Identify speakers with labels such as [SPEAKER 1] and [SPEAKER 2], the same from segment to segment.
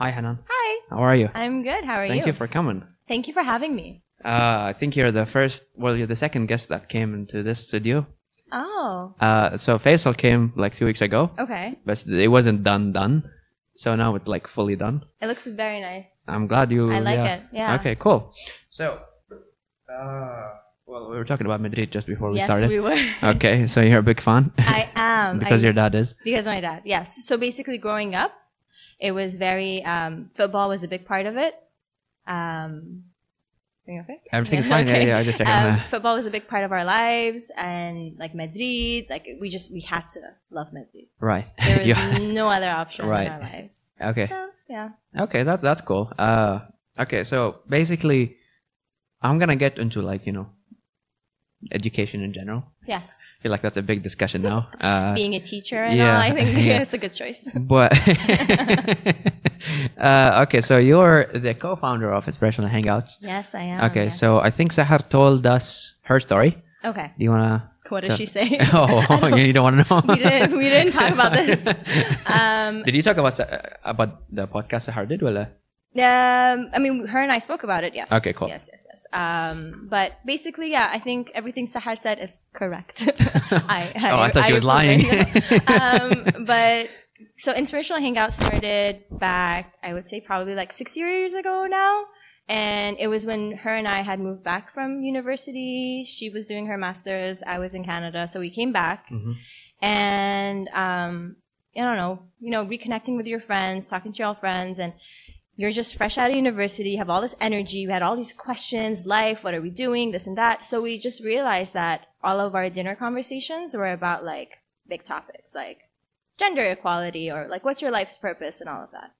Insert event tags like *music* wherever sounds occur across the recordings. [SPEAKER 1] Hi, Hanan.
[SPEAKER 2] Hi,
[SPEAKER 1] How are you?
[SPEAKER 2] I'm good. How are
[SPEAKER 1] Thank
[SPEAKER 2] you?
[SPEAKER 1] you for coming.
[SPEAKER 2] Thank you for having me.
[SPEAKER 1] Uh, I think you're the first, well, you're the second guest that came into this studio.
[SPEAKER 2] Oh,
[SPEAKER 1] Uh, so Faisal came like two weeks ago,
[SPEAKER 2] okay.
[SPEAKER 1] but it wasn't done done. So now it's like fully done.
[SPEAKER 2] It looks very nice.
[SPEAKER 1] I'm glad you.
[SPEAKER 2] I like
[SPEAKER 1] yeah.
[SPEAKER 2] it. Yeah.
[SPEAKER 1] Okay, cool. So, uh, well, we were talking about Madrid just before we
[SPEAKER 2] yes,
[SPEAKER 1] started.
[SPEAKER 2] we were.
[SPEAKER 1] *laughs* Okay, so you're a big fan
[SPEAKER 2] I am
[SPEAKER 1] *laughs* because
[SPEAKER 2] I-
[SPEAKER 1] your dad is.
[SPEAKER 2] because my dad. Yes. So basically, growing up, it was very um, football was a big part of it. Um, everything okay?
[SPEAKER 1] Everything's
[SPEAKER 2] *laughs* Yeah,
[SPEAKER 1] fine.
[SPEAKER 2] okay.
[SPEAKER 1] Yeah, yeah. I just
[SPEAKER 2] Um,
[SPEAKER 1] checking.
[SPEAKER 2] football was a big part of our lives, and like Madrid, like we just we had to love Madrid.
[SPEAKER 1] right. *laughs*
[SPEAKER 2] There was
[SPEAKER 1] Yeah.
[SPEAKER 2] no other option
[SPEAKER 1] Right.
[SPEAKER 2] in our lives.
[SPEAKER 1] Okay.
[SPEAKER 2] So yeah.
[SPEAKER 1] Okay, that that's cool. Uh, okay, so basically, I'm gonna get into like you know, education in general.
[SPEAKER 2] Yes.
[SPEAKER 1] I feel like that's a big discussion
[SPEAKER 2] *laughs*
[SPEAKER 1] now. Uh,
[SPEAKER 2] Being a teacher and
[SPEAKER 1] yeah,
[SPEAKER 2] all, I think
[SPEAKER 1] *laughs* yeah.
[SPEAKER 2] it's a good choice.
[SPEAKER 1] but *laughs* uh, okay, so you're the co-founder of Inspirational Hangouts.
[SPEAKER 2] Yes, I am.
[SPEAKER 1] Okay,
[SPEAKER 2] Oh, yes.
[SPEAKER 1] so I think Sahar told us her story.
[SPEAKER 2] okay,
[SPEAKER 1] Do you
[SPEAKER 2] *laughs*
[SPEAKER 1] wanna? *laughs*
[SPEAKER 2] what did
[SPEAKER 1] So-
[SPEAKER 2] she say? I
[SPEAKER 1] Oh,
[SPEAKER 2] don't-
[SPEAKER 1] you don't wanna know.
[SPEAKER 2] *laughs* we didn't. We didn't talk about
[SPEAKER 1] *laughs*
[SPEAKER 2] this. Um,
[SPEAKER 1] Did you talk about Sa- uh, about the podcast Sahar did? Well, uh,
[SPEAKER 2] um, I mean, her and I spoke about it. Yes.
[SPEAKER 1] Okay, cool.
[SPEAKER 2] Yes, yes, yes. Um, but basically, yeah, I think everything Sahar said is correct. *laughs* *laughs* I,
[SPEAKER 1] *laughs* oh, I thought she was
[SPEAKER 2] approve
[SPEAKER 1] lying.
[SPEAKER 2] it. *laughs*
[SPEAKER 1] *laughs*
[SPEAKER 2] um, but so inspirational hangout started back i would say probably like six years ago now and it was when her and i had moved back from university she was doing her master's i was in canada so we came back
[SPEAKER 1] Mhm.
[SPEAKER 2] and um, i don't know you know reconnecting with your friends talking to your friends and you're just fresh out of university you have all this energy you had all these questions life what are we doing this and that so we just realized that all of our dinner conversations were about like big topics like gender equality or like what's your life's purpose and all of that.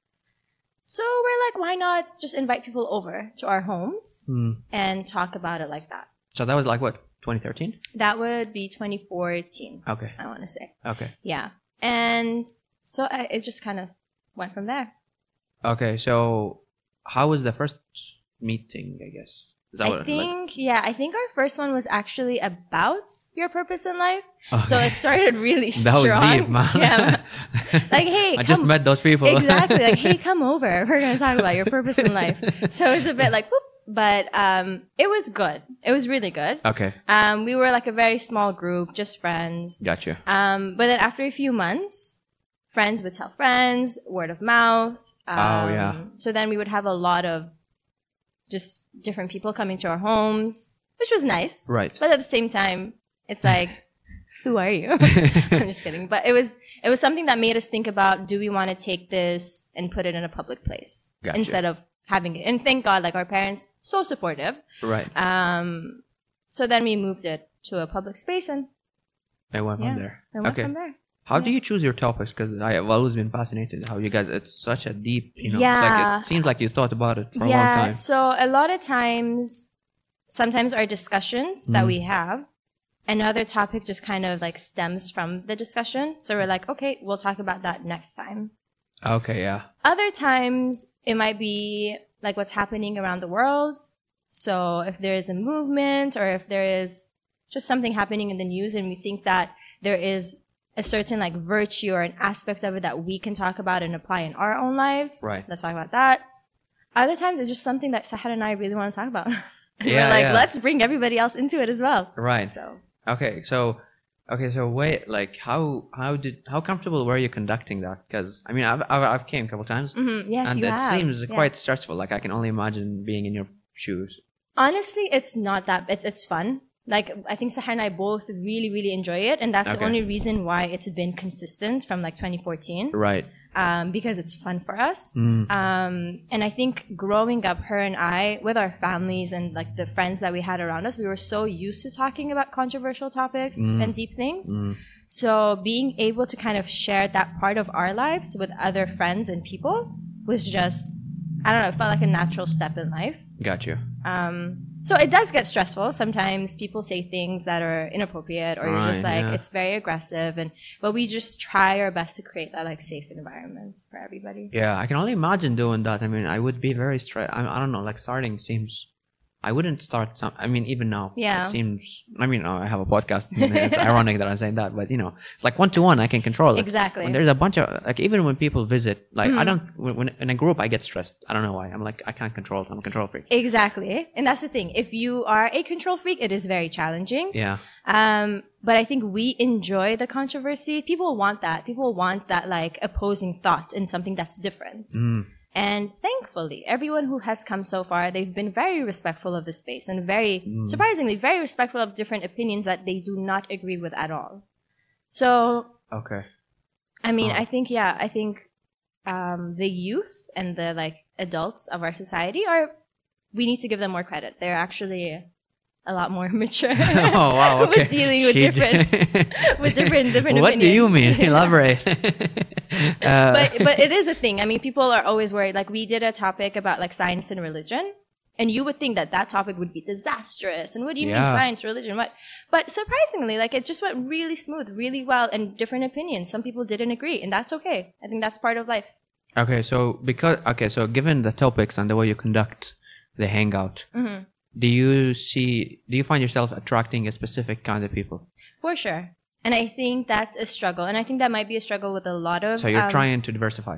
[SPEAKER 2] So we're like, why not just invite people over to our homes
[SPEAKER 1] Hmm.
[SPEAKER 2] and talk about it like that?
[SPEAKER 1] So that was like what 2013.
[SPEAKER 2] That would be 2014,
[SPEAKER 1] Okay.
[SPEAKER 2] I want to say.
[SPEAKER 1] Okay.
[SPEAKER 2] Yeah. And so I, it just kind of went from there.
[SPEAKER 1] Okay. So how was the first meeting? I guess. Is
[SPEAKER 2] I
[SPEAKER 1] what- like-
[SPEAKER 2] think, yeah, I think our first one was actually about your purpose in life. So
[SPEAKER 1] Okay.
[SPEAKER 2] it started really
[SPEAKER 1] *laughs* that
[SPEAKER 2] strong.
[SPEAKER 1] was deep, man. *laughs*
[SPEAKER 2] *laughs* Yeah. Like, hey,
[SPEAKER 1] I just
[SPEAKER 2] come-
[SPEAKER 1] met those people. *laughs*
[SPEAKER 2] exactly. Like, hey, come over. We're going to talk about your purpose in life. So it was a bit like, whoop, but um, it was good. It was really good.
[SPEAKER 1] *laughs* Okay,
[SPEAKER 2] Um, we were like a very small group, just friends.
[SPEAKER 1] gotcha.
[SPEAKER 2] Um, but then after a few months, friends would tell friends, word of mouth. Um,
[SPEAKER 1] Oh, yeah.
[SPEAKER 2] So then we would have a lot of just different people coming to our homes, which was nice.
[SPEAKER 1] Right.
[SPEAKER 2] But at the same time, it's like, *laughs* who are you? *laughs* I'm just kidding. But it was it was something that made us think about: do we want to take this and put it in a public place
[SPEAKER 1] *laughs* Gotcha.
[SPEAKER 2] instead of having it? And thank God, like our parents, so supportive.
[SPEAKER 1] right.
[SPEAKER 2] Um, so then we moved it to a public space and
[SPEAKER 1] I went
[SPEAKER 2] yeah.
[SPEAKER 1] from there.
[SPEAKER 2] I went
[SPEAKER 1] Okay.
[SPEAKER 2] from there.
[SPEAKER 1] How do
[SPEAKER 2] Yeah.
[SPEAKER 1] you choose your topics? Because I have always been fascinated how you guys. It's such a deep, you know.
[SPEAKER 2] Yeah.
[SPEAKER 1] It's like it seems like you thought about it for
[SPEAKER 2] yeah.
[SPEAKER 1] a long time.
[SPEAKER 2] So a lot of times, sometimes our discussions that
[SPEAKER 1] Mhm.
[SPEAKER 2] we have, another topic just kind of like stems from the discussion. So we're like, okay, we'll talk about that next time.
[SPEAKER 1] Okay, yeah.
[SPEAKER 2] Other times it might be like what's happening around the world. So if there is a movement or if there is just something happening in the news and we think that there is a certain like virtue or an aspect of it that we can talk about and apply in our own lives.
[SPEAKER 1] Right.
[SPEAKER 2] Let's talk about that. Other times it's just something that Sahar and I really want to talk about. *laughs* And
[SPEAKER 1] Yeah,
[SPEAKER 2] we're like,
[SPEAKER 1] yeah.
[SPEAKER 2] let's bring everybody else into it as well.
[SPEAKER 1] Right.
[SPEAKER 2] So
[SPEAKER 1] Okay, so okay, so wait, like how how did how comfortable were you conducting that? Because I mean, I've I've, I've came a couple times,
[SPEAKER 2] mhm, yes,
[SPEAKER 1] and
[SPEAKER 2] you
[SPEAKER 1] it
[SPEAKER 2] have.
[SPEAKER 1] seems
[SPEAKER 2] Yeah.
[SPEAKER 1] quite stressful. Like I can only imagine being in your shoes.
[SPEAKER 2] honestly it's not that it's it's fun like i think sahar and i both really really enjoy it and that's
[SPEAKER 1] Okay.
[SPEAKER 2] the only reason why it's been consistent from like 2014
[SPEAKER 1] Right.
[SPEAKER 2] um, because it's fun for us
[SPEAKER 1] Mm.
[SPEAKER 2] um, and i think growing up her and i with our families and like the friends that we had around us we were so used to talking about controversial topics
[SPEAKER 1] Mm.
[SPEAKER 2] and deep things
[SPEAKER 1] Mm.
[SPEAKER 2] so being able to kind of share that part of our lives with other friends and people was just i don't know it felt like a natural step in life
[SPEAKER 1] Got you.
[SPEAKER 2] um, so it does get stressful. Sometimes people say things that are inappropriate, or you're just
[SPEAKER 1] Right,
[SPEAKER 2] like,
[SPEAKER 1] yeah.
[SPEAKER 2] it's very aggressive. And but we just try our best to create that like safe environment for everybody.
[SPEAKER 1] Yeah, I can only imagine doing that. I mean, I would be very stressed. I, I don't know. Like starting seems. I wouldn't start some. I mean, even now,
[SPEAKER 2] Yeah.
[SPEAKER 1] it seems. I mean, oh, I have a podcast. And it's ironic that I'm saying that, but you know, like one to one, I can control it.
[SPEAKER 2] Exactly.
[SPEAKER 1] When there's a bunch of like, even when people visit, like I
[SPEAKER 2] Mhm.
[SPEAKER 1] don't. When, when in a group, I get stressed. I don't know why. I'm like, I can't control it. I'm a control freak.
[SPEAKER 2] Exactly. And that's the thing. If you are a control freak, it is very challenging.
[SPEAKER 1] Yeah,
[SPEAKER 2] Um, but I think we enjoy the controversy. People want that. People want that like opposing thought in something that's different.
[SPEAKER 1] Mm.
[SPEAKER 2] And thankfully, everyone who has come so far, they've been very respectful of the space and very,
[SPEAKER 1] Mm.
[SPEAKER 2] surprisingly, very respectful of different opinions that they do not agree with at all. So, *laughs*
[SPEAKER 1] Okay. *laughs*
[SPEAKER 2] I mean,
[SPEAKER 1] Huh.
[SPEAKER 2] I think, yeah, I think um, the youth and the like adults of our society are, we need to give them more credit. They're actually a lot more *laughs* mature.
[SPEAKER 1] oh *laughs* wow.
[SPEAKER 2] With
[SPEAKER 1] Okay.
[SPEAKER 2] dealing with
[SPEAKER 1] *laughs*
[SPEAKER 2] different-
[SPEAKER 1] different.
[SPEAKER 2] with different- different
[SPEAKER 1] What do you mean?
[SPEAKER 2] opinions. *laughs*
[SPEAKER 1] Elaborate. *laughs* Uh,
[SPEAKER 2] but but
[SPEAKER 1] *laughs*
[SPEAKER 2] it is a thing. I mean, people are always worried. Like we did a topic about like science and religion, and you would think that that topic would be disastrous. And what do you mean
[SPEAKER 1] Yeah.
[SPEAKER 2] science, religion? What? But surprisingly, like it just went really smooth, really well, and different opinions. Some people didn't agree, and that's okay. I think that's part of life.
[SPEAKER 1] *laughs* Okay, so because okay, so given the topics and the way you conduct the hangout,
[SPEAKER 2] hmm
[SPEAKER 1] do you see do you find yourself attracting a specific kind of people?
[SPEAKER 2] For sure. And I think that's a struggle. And I think that might be a struggle with a lot of.
[SPEAKER 1] So you're
[SPEAKER 2] um,
[SPEAKER 1] trying to diversify.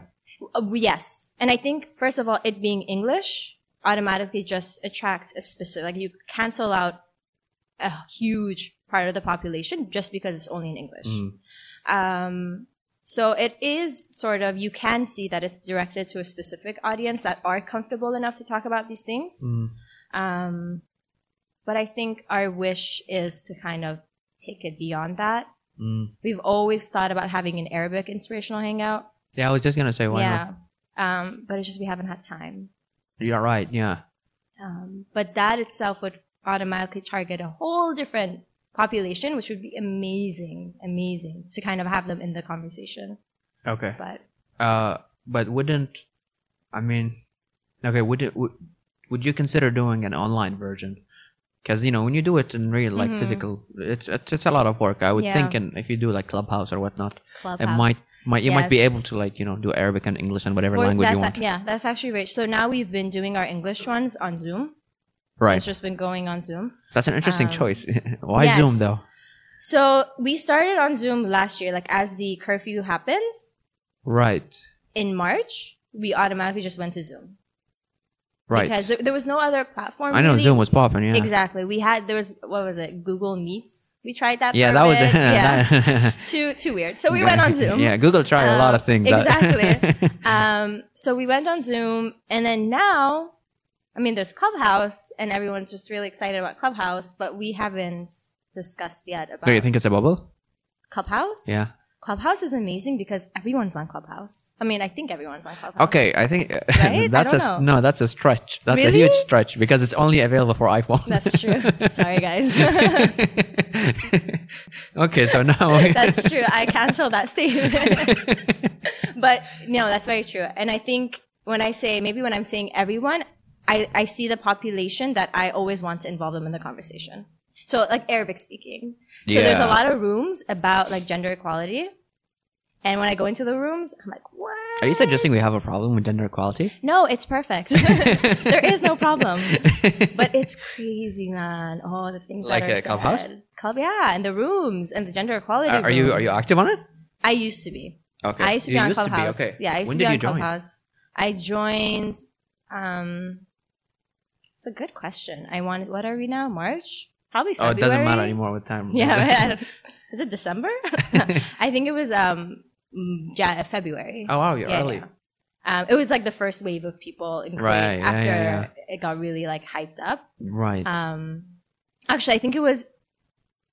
[SPEAKER 2] Uh, yes. And I think, first of all, it being English automatically just attracts a specific, like you cancel out a huge part of the population just because it's only in English.
[SPEAKER 1] Mm.
[SPEAKER 2] Um, so it is sort of, you can see that it's directed to a specific audience that are comfortable enough to talk about these things.
[SPEAKER 1] Mm.
[SPEAKER 2] Um, but I think our wish is to kind of take it beyond that.
[SPEAKER 1] Mm.
[SPEAKER 2] We've always thought about having an Arabic inspirational hangout.
[SPEAKER 1] Yeah, I was just gonna say why
[SPEAKER 2] yeah. Um, but it's just we haven't had time.
[SPEAKER 1] not? You're right, yeah.
[SPEAKER 2] Um, but that itself would automatically target a whole different population, which would be amazing, amazing to kind of have them in the conversation.
[SPEAKER 1] Okay.
[SPEAKER 2] But
[SPEAKER 1] Uh but wouldn't I mean okay, would it would, would you consider doing an online version? Because you know when you do it in real, like
[SPEAKER 2] Mhm.
[SPEAKER 1] physical, it's, it's it's a lot of work. I would
[SPEAKER 2] Yeah.
[SPEAKER 1] think, and if you do like Clubhouse or whatnot,
[SPEAKER 2] clubhouse.
[SPEAKER 1] it might might you might be
[SPEAKER 2] Yes.
[SPEAKER 1] able to like you know do Arabic and English and whatever
[SPEAKER 2] Or
[SPEAKER 1] language
[SPEAKER 2] that's
[SPEAKER 1] you want.
[SPEAKER 2] a- yeah, that's actually rich. So now we've been doing our English ones on Zoom.
[SPEAKER 1] Right.
[SPEAKER 2] It's just been going on Zoom.
[SPEAKER 1] That's an interesting
[SPEAKER 2] um,
[SPEAKER 1] choice. *laughs* Why
[SPEAKER 2] yes.
[SPEAKER 1] Zoom though?
[SPEAKER 2] So we started on Zoom last year, like as the curfew happens
[SPEAKER 1] Right.
[SPEAKER 2] in March, we automatically just went to Zoom
[SPEAKER 1] Right.
[SPEAKER 2] because there, there was no other platform.
[SPEAKER 1] I know
[SPEAKER 2] really.
[SPEAKER 1] Zoom was popping. Yeah.
[SPEAKER 2] Exactly. We had there was what was it? Google Meets. We tried that.
[SPEAKER 1] Yeah,
[SPEAKER 2] for
[SPEAKER 1] that
[SPEAKER 2] a
[SPEAKER 1] was *laughs*
[SPEAKER 2] bit. yeah.
[SPEAKER 1] that-
[SPEAKER 2] too too weird. So we went on
[SPEAKER 1] *laughs*
[SPEAKER 2] Zoom.
[SPEAKER 1] Yeah, Google tried a lot
[SPEAKER 2] Um,
[SPEAKER 1] of things. *laughs* that-
[SPEAKER 2] exactly. Um. So we went on Zoom, and then now, I mean, there's Clubhouse, and everyone's just really excited about Clubhouse, but we haven't discussed yet about
[SPEAKER 1] Do you think it's a bubble?
[SPEAKER 2] Clubhouse.
[SPEAKER 1] Yeah.
[SPEAKER 2] Clubhouse is amazing because everyone's on Clubhouse. I mean, I think everyone's on Clubhouse.
[SPEAKER 1] Okay, I think *laughs*
[SPEAKER 2] I
[SPEAKER 1] that's a
[SPEAKER 2] don't
[SPEAKER 1] s- no, that's a stretch. That's a
[SPEAKER 2] Really?
[SPEAKER 1] huge stretch because it's only available for iPhone. *laughs*
[SPEAKER 2] That's true. Sorry, guys. *laughs*
[SPEAKER 1] okay, so
[SPEAKER 2] *laughs*
[SPEAKER 1] now we- *laughs*
[SPEAKER 2] That's true. I cancel that statement. but no, that's very true. And I think when I say maybe when I'm saying everyone, I, I see the population that I always want to involve them in the conversation. So like Arabic speaking. So there's a
[SPEAKER 1] Yeah.
[SPEAKER 2] lot of rooms about like gender equality. And when I go into the rooms, I'm like, what?
[SPEAKER 1] Are you suggesting we have a problem with gender equality?
[SPEAKER 2] No, it's
[SPEAKER 1] *laughs*
[SPEAKER 2] perfect. *laughs* there is no problem. But it's crazy, man. Oh, the things
[SPEAKER 1] Like
[SPEAKER 2] that are
[SPEAKER 1] at Clubhouse?
[SPEAKER 2] said. Club, yeah. And the rooms and the gender equality.
[SPEAKER 1] are, are you are you
[SPEAKER 2] rooms.
[SPEAKER 1] active on it?
[SPEAKER 2] I used to be.
[SPEAKER 1] Okay,
[SPEAKER 2] I used to
[SPEAKER 1] You
[SPEAKER 2] be on Clubhouse. Yeah, I used
[SPEAKER 1] when
[SPEAKER 2] to be
[SPEAKER 1] did
[SPEAKER 2] on
[SPEAKER 1] you join?
[SPEAKER 2] Clubhouse. I joined. Um, it's a good question. I wanted. What are we now? March? Probably
[SPEAKER 1] Oh,
[SPEAKER 2] February.
[SPEAKER 1] it doesn't matter anymore with time.
[SPEAKER 2] *laughs* Yeah.
[SPEAKER 1] *laughs*
[SPEAKER 2] I don't- Is it December? *laughs* I think it was um mm, yeah February.
[SPEAKER 1] oh wow, you're
[SPEAKER 2] Yeah,
[SPEAKER 1] early.
[SPEAKER 2] yeah. Um, it was like the first wave of people in Korea
[SPEAKER 1] Right, yeah,
[SPEAKER 2] after
[SPEAKER 1] yeah,
[SPEAKER 2] it got really like hyped up.
[SPEAKER 1] Right.
[SPEAKER 2] Um, actually, I think it was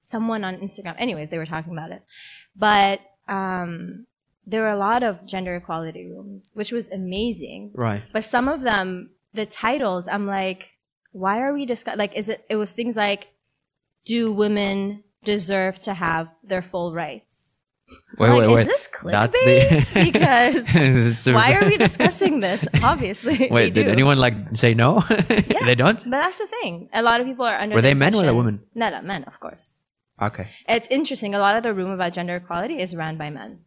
[SPEAKER 2] someone on Instagram. Anyways, they were talking about it, but um, there were a lot of gender equality rooms, which was amazing.
[SPEAKER 1] right.
[SPEAKER 2] But some of them, the titles, I'm like, why are we discussing? Like, is it? It was things like, do women deserve to have their full rights?
[SPEAKER 1] Wait, wait,
[SPEAKER 2] Like,
[SPEAKER 1] wait.
[SPEAKER 2] Is this clickbait?
[SPEAKER 1] That's *laughs* the-
[SPEAKER 2] *laughs* because
[SPEAKER 1] It's a-
[SPEAKER 2] why are
[SPEAKER 1] *laughs*
[SPEAKER 2] we discussing this? Obviously, *laughs* we
[SPEAKER 1] Wait, did
[SPEAKER 2] do.
[SPEAKER 1] anyone like say no? *laughs* they don't.
[SPEAKER 2] But that's the thing. A lot of people are under.
[SPEAKER 1] Were
[SPEAKER 2] the
[SPEAKER 1] they men or
[SPEAKER 2] impression-
[SPEAKER 1] they women?
[SPEAKER 2] No, no, men, of course.
[SPEAKER 1] Okay.
[SPEAKER 2] It's interesting. A lot of the room about gender equality is ran by men.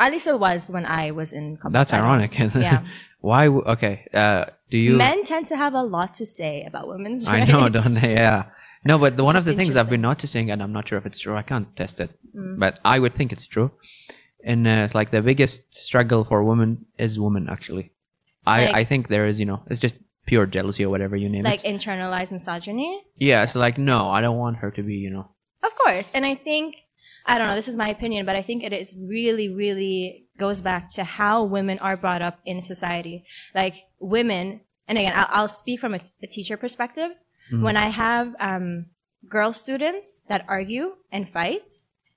[SPEAKER 2] At least it was when I was in. Compos.
[SPEAKER 1] That's
[SPEAKER 2] I don't-
[SPEAKER 1] ironic. *laughs*
[SPEAKER 2] Yeah.
[SPEAKER 1] Why? W- okay. Uh, Do you?
[SPEAKER 2] Men tend to have a lot to say about women's
[SPEAKER 1] *laughs* I
[SPEAKER 2] rights.
[SPEAKER 1] know, don't they? Yeah. No, but the, one of the
[SPEAKER 2] Just
[SPEAKER 1] things I've been noticing, and I'm not sure if it's true. I can't test it, *laughs*
[SPEAKER 2] Mm.
[SPEAKER 1] but I would think it's true. And uh, like the biggest struggle for women is women actually. I
[SPEAKER 2] Like-
[SPEAKER 1] I think there is you know it's just pure jealousy or whatever you name
[SPEAKER 2] Like
[SPEAKER 1] it.
[SPEAKER 2] internalized misogyny.
[SPEAKER 1] Yeah. So like no, I don't want her to be you know.
[SPEAKER 2] Of course. And I think, I don't know, this is my opinion, but I think it is really, really goes back to how women are brought up in society. Like women, and again, I'll, I'll speak from a, a teacher perspective.
[SPEAKER 1] Mhm.
[SPEAKER 2] When I have um, girl students that argue and fight,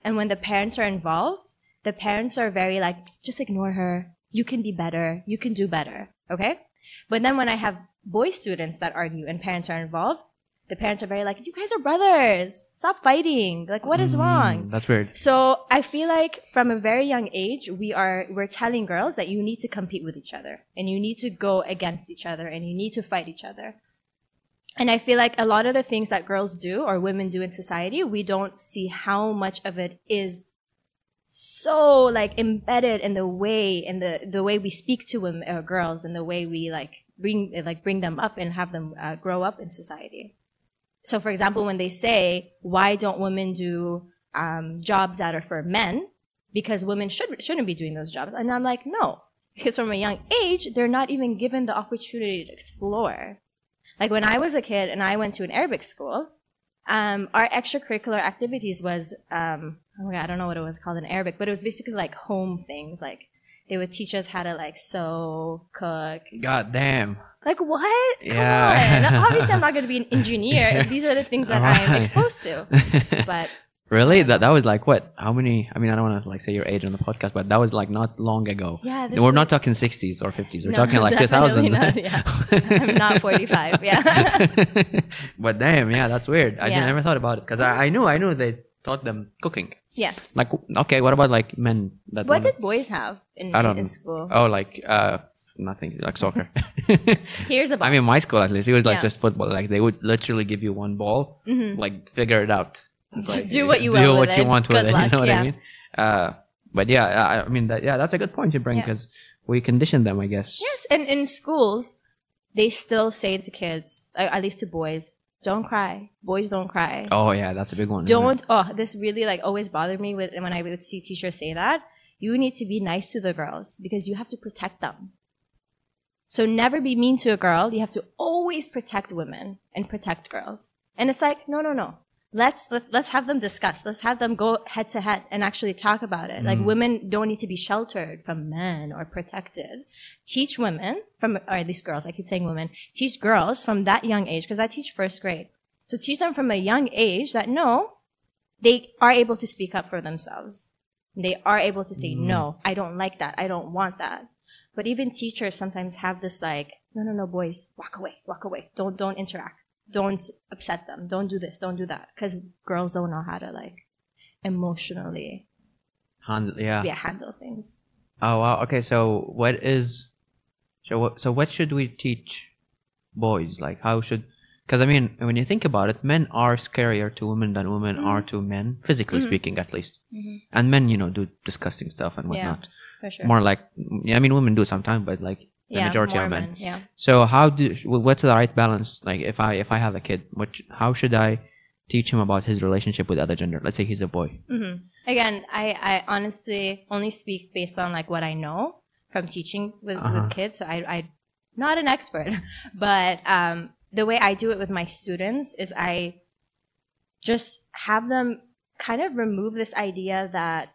[SPEAKER 2] and when the parents are involved, the parents are very like, just ignore her. You can be better. You can do better. Okay? But then when I have boy students that argue and parents are involved, the parents are very like, you guys are brothers. Stop fighting. Like, what is
[SPEAKER 1] Mm,
[SPEAKER 2] wrong?
[SPEAKER 1] That's weird.
[SPEAKER 2] So I feel like from a very young age, we are we're telling girls that you need to compete with each other and you need to go against each other and you need to fight each other. And I feel like a lot of the things that girls do or women do in society, we don't see how much of it is so like embedded in the way in the the way we speak to women or girls and the way we like bring like bring them up and have them uh, grow up in society. So, for example, when they say, "Why don't women do um, jobs that are for men?" because women should shouldn't be doing those jobs, and I'm like, no, because from a young age they're not even given the opportunity to explore. Like when I was a kid and I went to an Arabic school, um, our extracurricular activities was um, oh my god, I don't know what it was called in Arabic, but it was basically like home things. Like they would teach us how to like sew, cook,
[SPEAKER 1] God damn. *laughs*
[SPEAKER 2] like what? Come
[SPEAKER 1] Yeah.
[SPEAKER 2] on. Obviously, I'm not going to
[SPEAKER 1] *laughs*
[SPEAKER 2] be an engineer if these are the things that I'm
[SPEAKER 1] Right.
[SPEAKER 2] exposed to. But
[SPEAKER 1] really? That that was like what? How many? I mean, I don't want to like say your age on the podcast, but that was like not long ago.
[SPEAKER 2] yeah, this
[SPEAKER 1] We're
[SPEAKER 2] was-
[SPEAKER 1] not talking 60s or 50s. We're
[SPEAKER 2] No,
[SPEAKER 1] talking like
[SPEAKER 2] definitely
[SPEAKER 1] 2000s.
[SPEAKER 2] not, yeah. I'm not 45, yeah.
[SPEAKER 1] *laughs* but damn, yeah, that's weird. I
[SPEAKER 2] Yeah.
[SPEAKER 1] never thought about it because I, I knew I knew they taught them cooking.
[SPEAKER 2] Yes.
[SPEAKER 1] Like, okay, what about like men? That
[SPEAKER 2] what
[SPEAKER 1] don't-
[SPEAKER 2] did boys have in,
[SPEAKER 1] I don't
[SPEAKER 2] in
[SPEAKER 1] know.
[SPEAKER 2] school?
[SPEAKER 1] oh, like uh, nothing like
[SPEAKER 2] *laughs*
[SPEAKER 1] soccer. *laughs*
[SPEAKER 2] Here's a ball.
[SPEAKER 1] I mean, my school at least it was like
[SPEAKER 2] Yeah.
[SPEAKER 1] just football. Like they would literally give you one ball
[SPEAKER 2] Mhm.
[SPEAKER 1] like figure it out. It's
[SPEAKER 2] Do
[SPEAKER 1] like,
[SPEAKER 2] what you
[SPEAKER 1] do
[SPEAKER 2] will
[SPEAKER 1] what
[SPEAKER 2] with
[SPEAKER 1] you
[SPEAKER 2] it.
[SPEAKER 1] want with
[SPEAKER 2] Good
[SPEAKER 1] it. *laughs*
[SPEAKER 2] luck,
[SPEAKER 1] you know what
[SPEAKER 2] yeah.
[SPEAKER 1] I mean? Uh, but yeah, I, I mean that. Yeah, that's a good point you bring
[SPEAKER 2] Yeah.
[SPEAKER 1] because we condition them, I guess.
[SPEAKER 2] Yes, and in schools, they still say to kids, uh, at least to boys, don't cry. Boys don't cry.
[SPEAKER 1] Oh yeah, that's a big one. isn't it?
[SPEAKER 2] Don't. Oh, this really like always bothered me with, when I would see teachers say that. You need to be nice to the girls because you have to protect them. So never be mean to a girl. You have to always protect women and protect girls. And it's like, no, no, no. Let's let, let's have them discuss. Let's have them go head to head and actually talk about it. Like
[SPEAKER 1] Mm.
[SPEAKER 2] women don't need to be sheltered from men or protected. Teach women from, or at least girls. I keep saying women. Teach girls from that young age because I teach first grade. So teach them from a young age that no, they are able to speak up for themselves. They are able to say,
[SPEAKER 1] Mm.
[SPEAKER 2] no, I don't like that. I don't want that. But even teachers sometimes have this like, no, no, no, boys, walk away, walk away. Don't, don't interact. Don't upset them. Don't do this. Don't do that. Because girls don't know how to like emotionally
[SPEAKER 1] Hand- yeah.
[SPEAKER 2] yeah, handle things.
[SPEAKER 1] Oh wow. Okay, so what is? So what? So what should we teach boys? Like how should? Because I mean, when you think about it, men are scarier to women than women
[SPEAKER 2] Mhm.
[SPEAKER 1] are to men, physically
[SPEAKER 2] Mhm.
[SPEAKER 1] speaking, at least. And men, you know, do disgusting stuff and
[SPEAKER 2] Mm-hmm. Yeah,
[SPEAKER 1] whatnot.
[SPEAKER 2] For sure.
[SPEAKER 1] More like, yeah, I mean, women do sometimes, but like the
[SPEAKER 2] yeah,
[SPEAKER 1] majority
[SPEAKER 2] more
[SPEAKER 1] are men.
[SPEAKER 2] Yeah.
[SPEAKER 1] So how do wh- what's the right balance? Like if I if I have a kid, what sh- how should I teach him about his relationship with other gender? Let's say he's a boy.
[SPEAKER 2] hmm Again, I, I honestly only speak based on like what I know from teaching with,
[SPEAKER 1] Uh-huh.
[SPEAKER 2] with kids. So I, I, not an expert, *laughs* but um, the way I do it with my students is I just have them kind of remove this idea that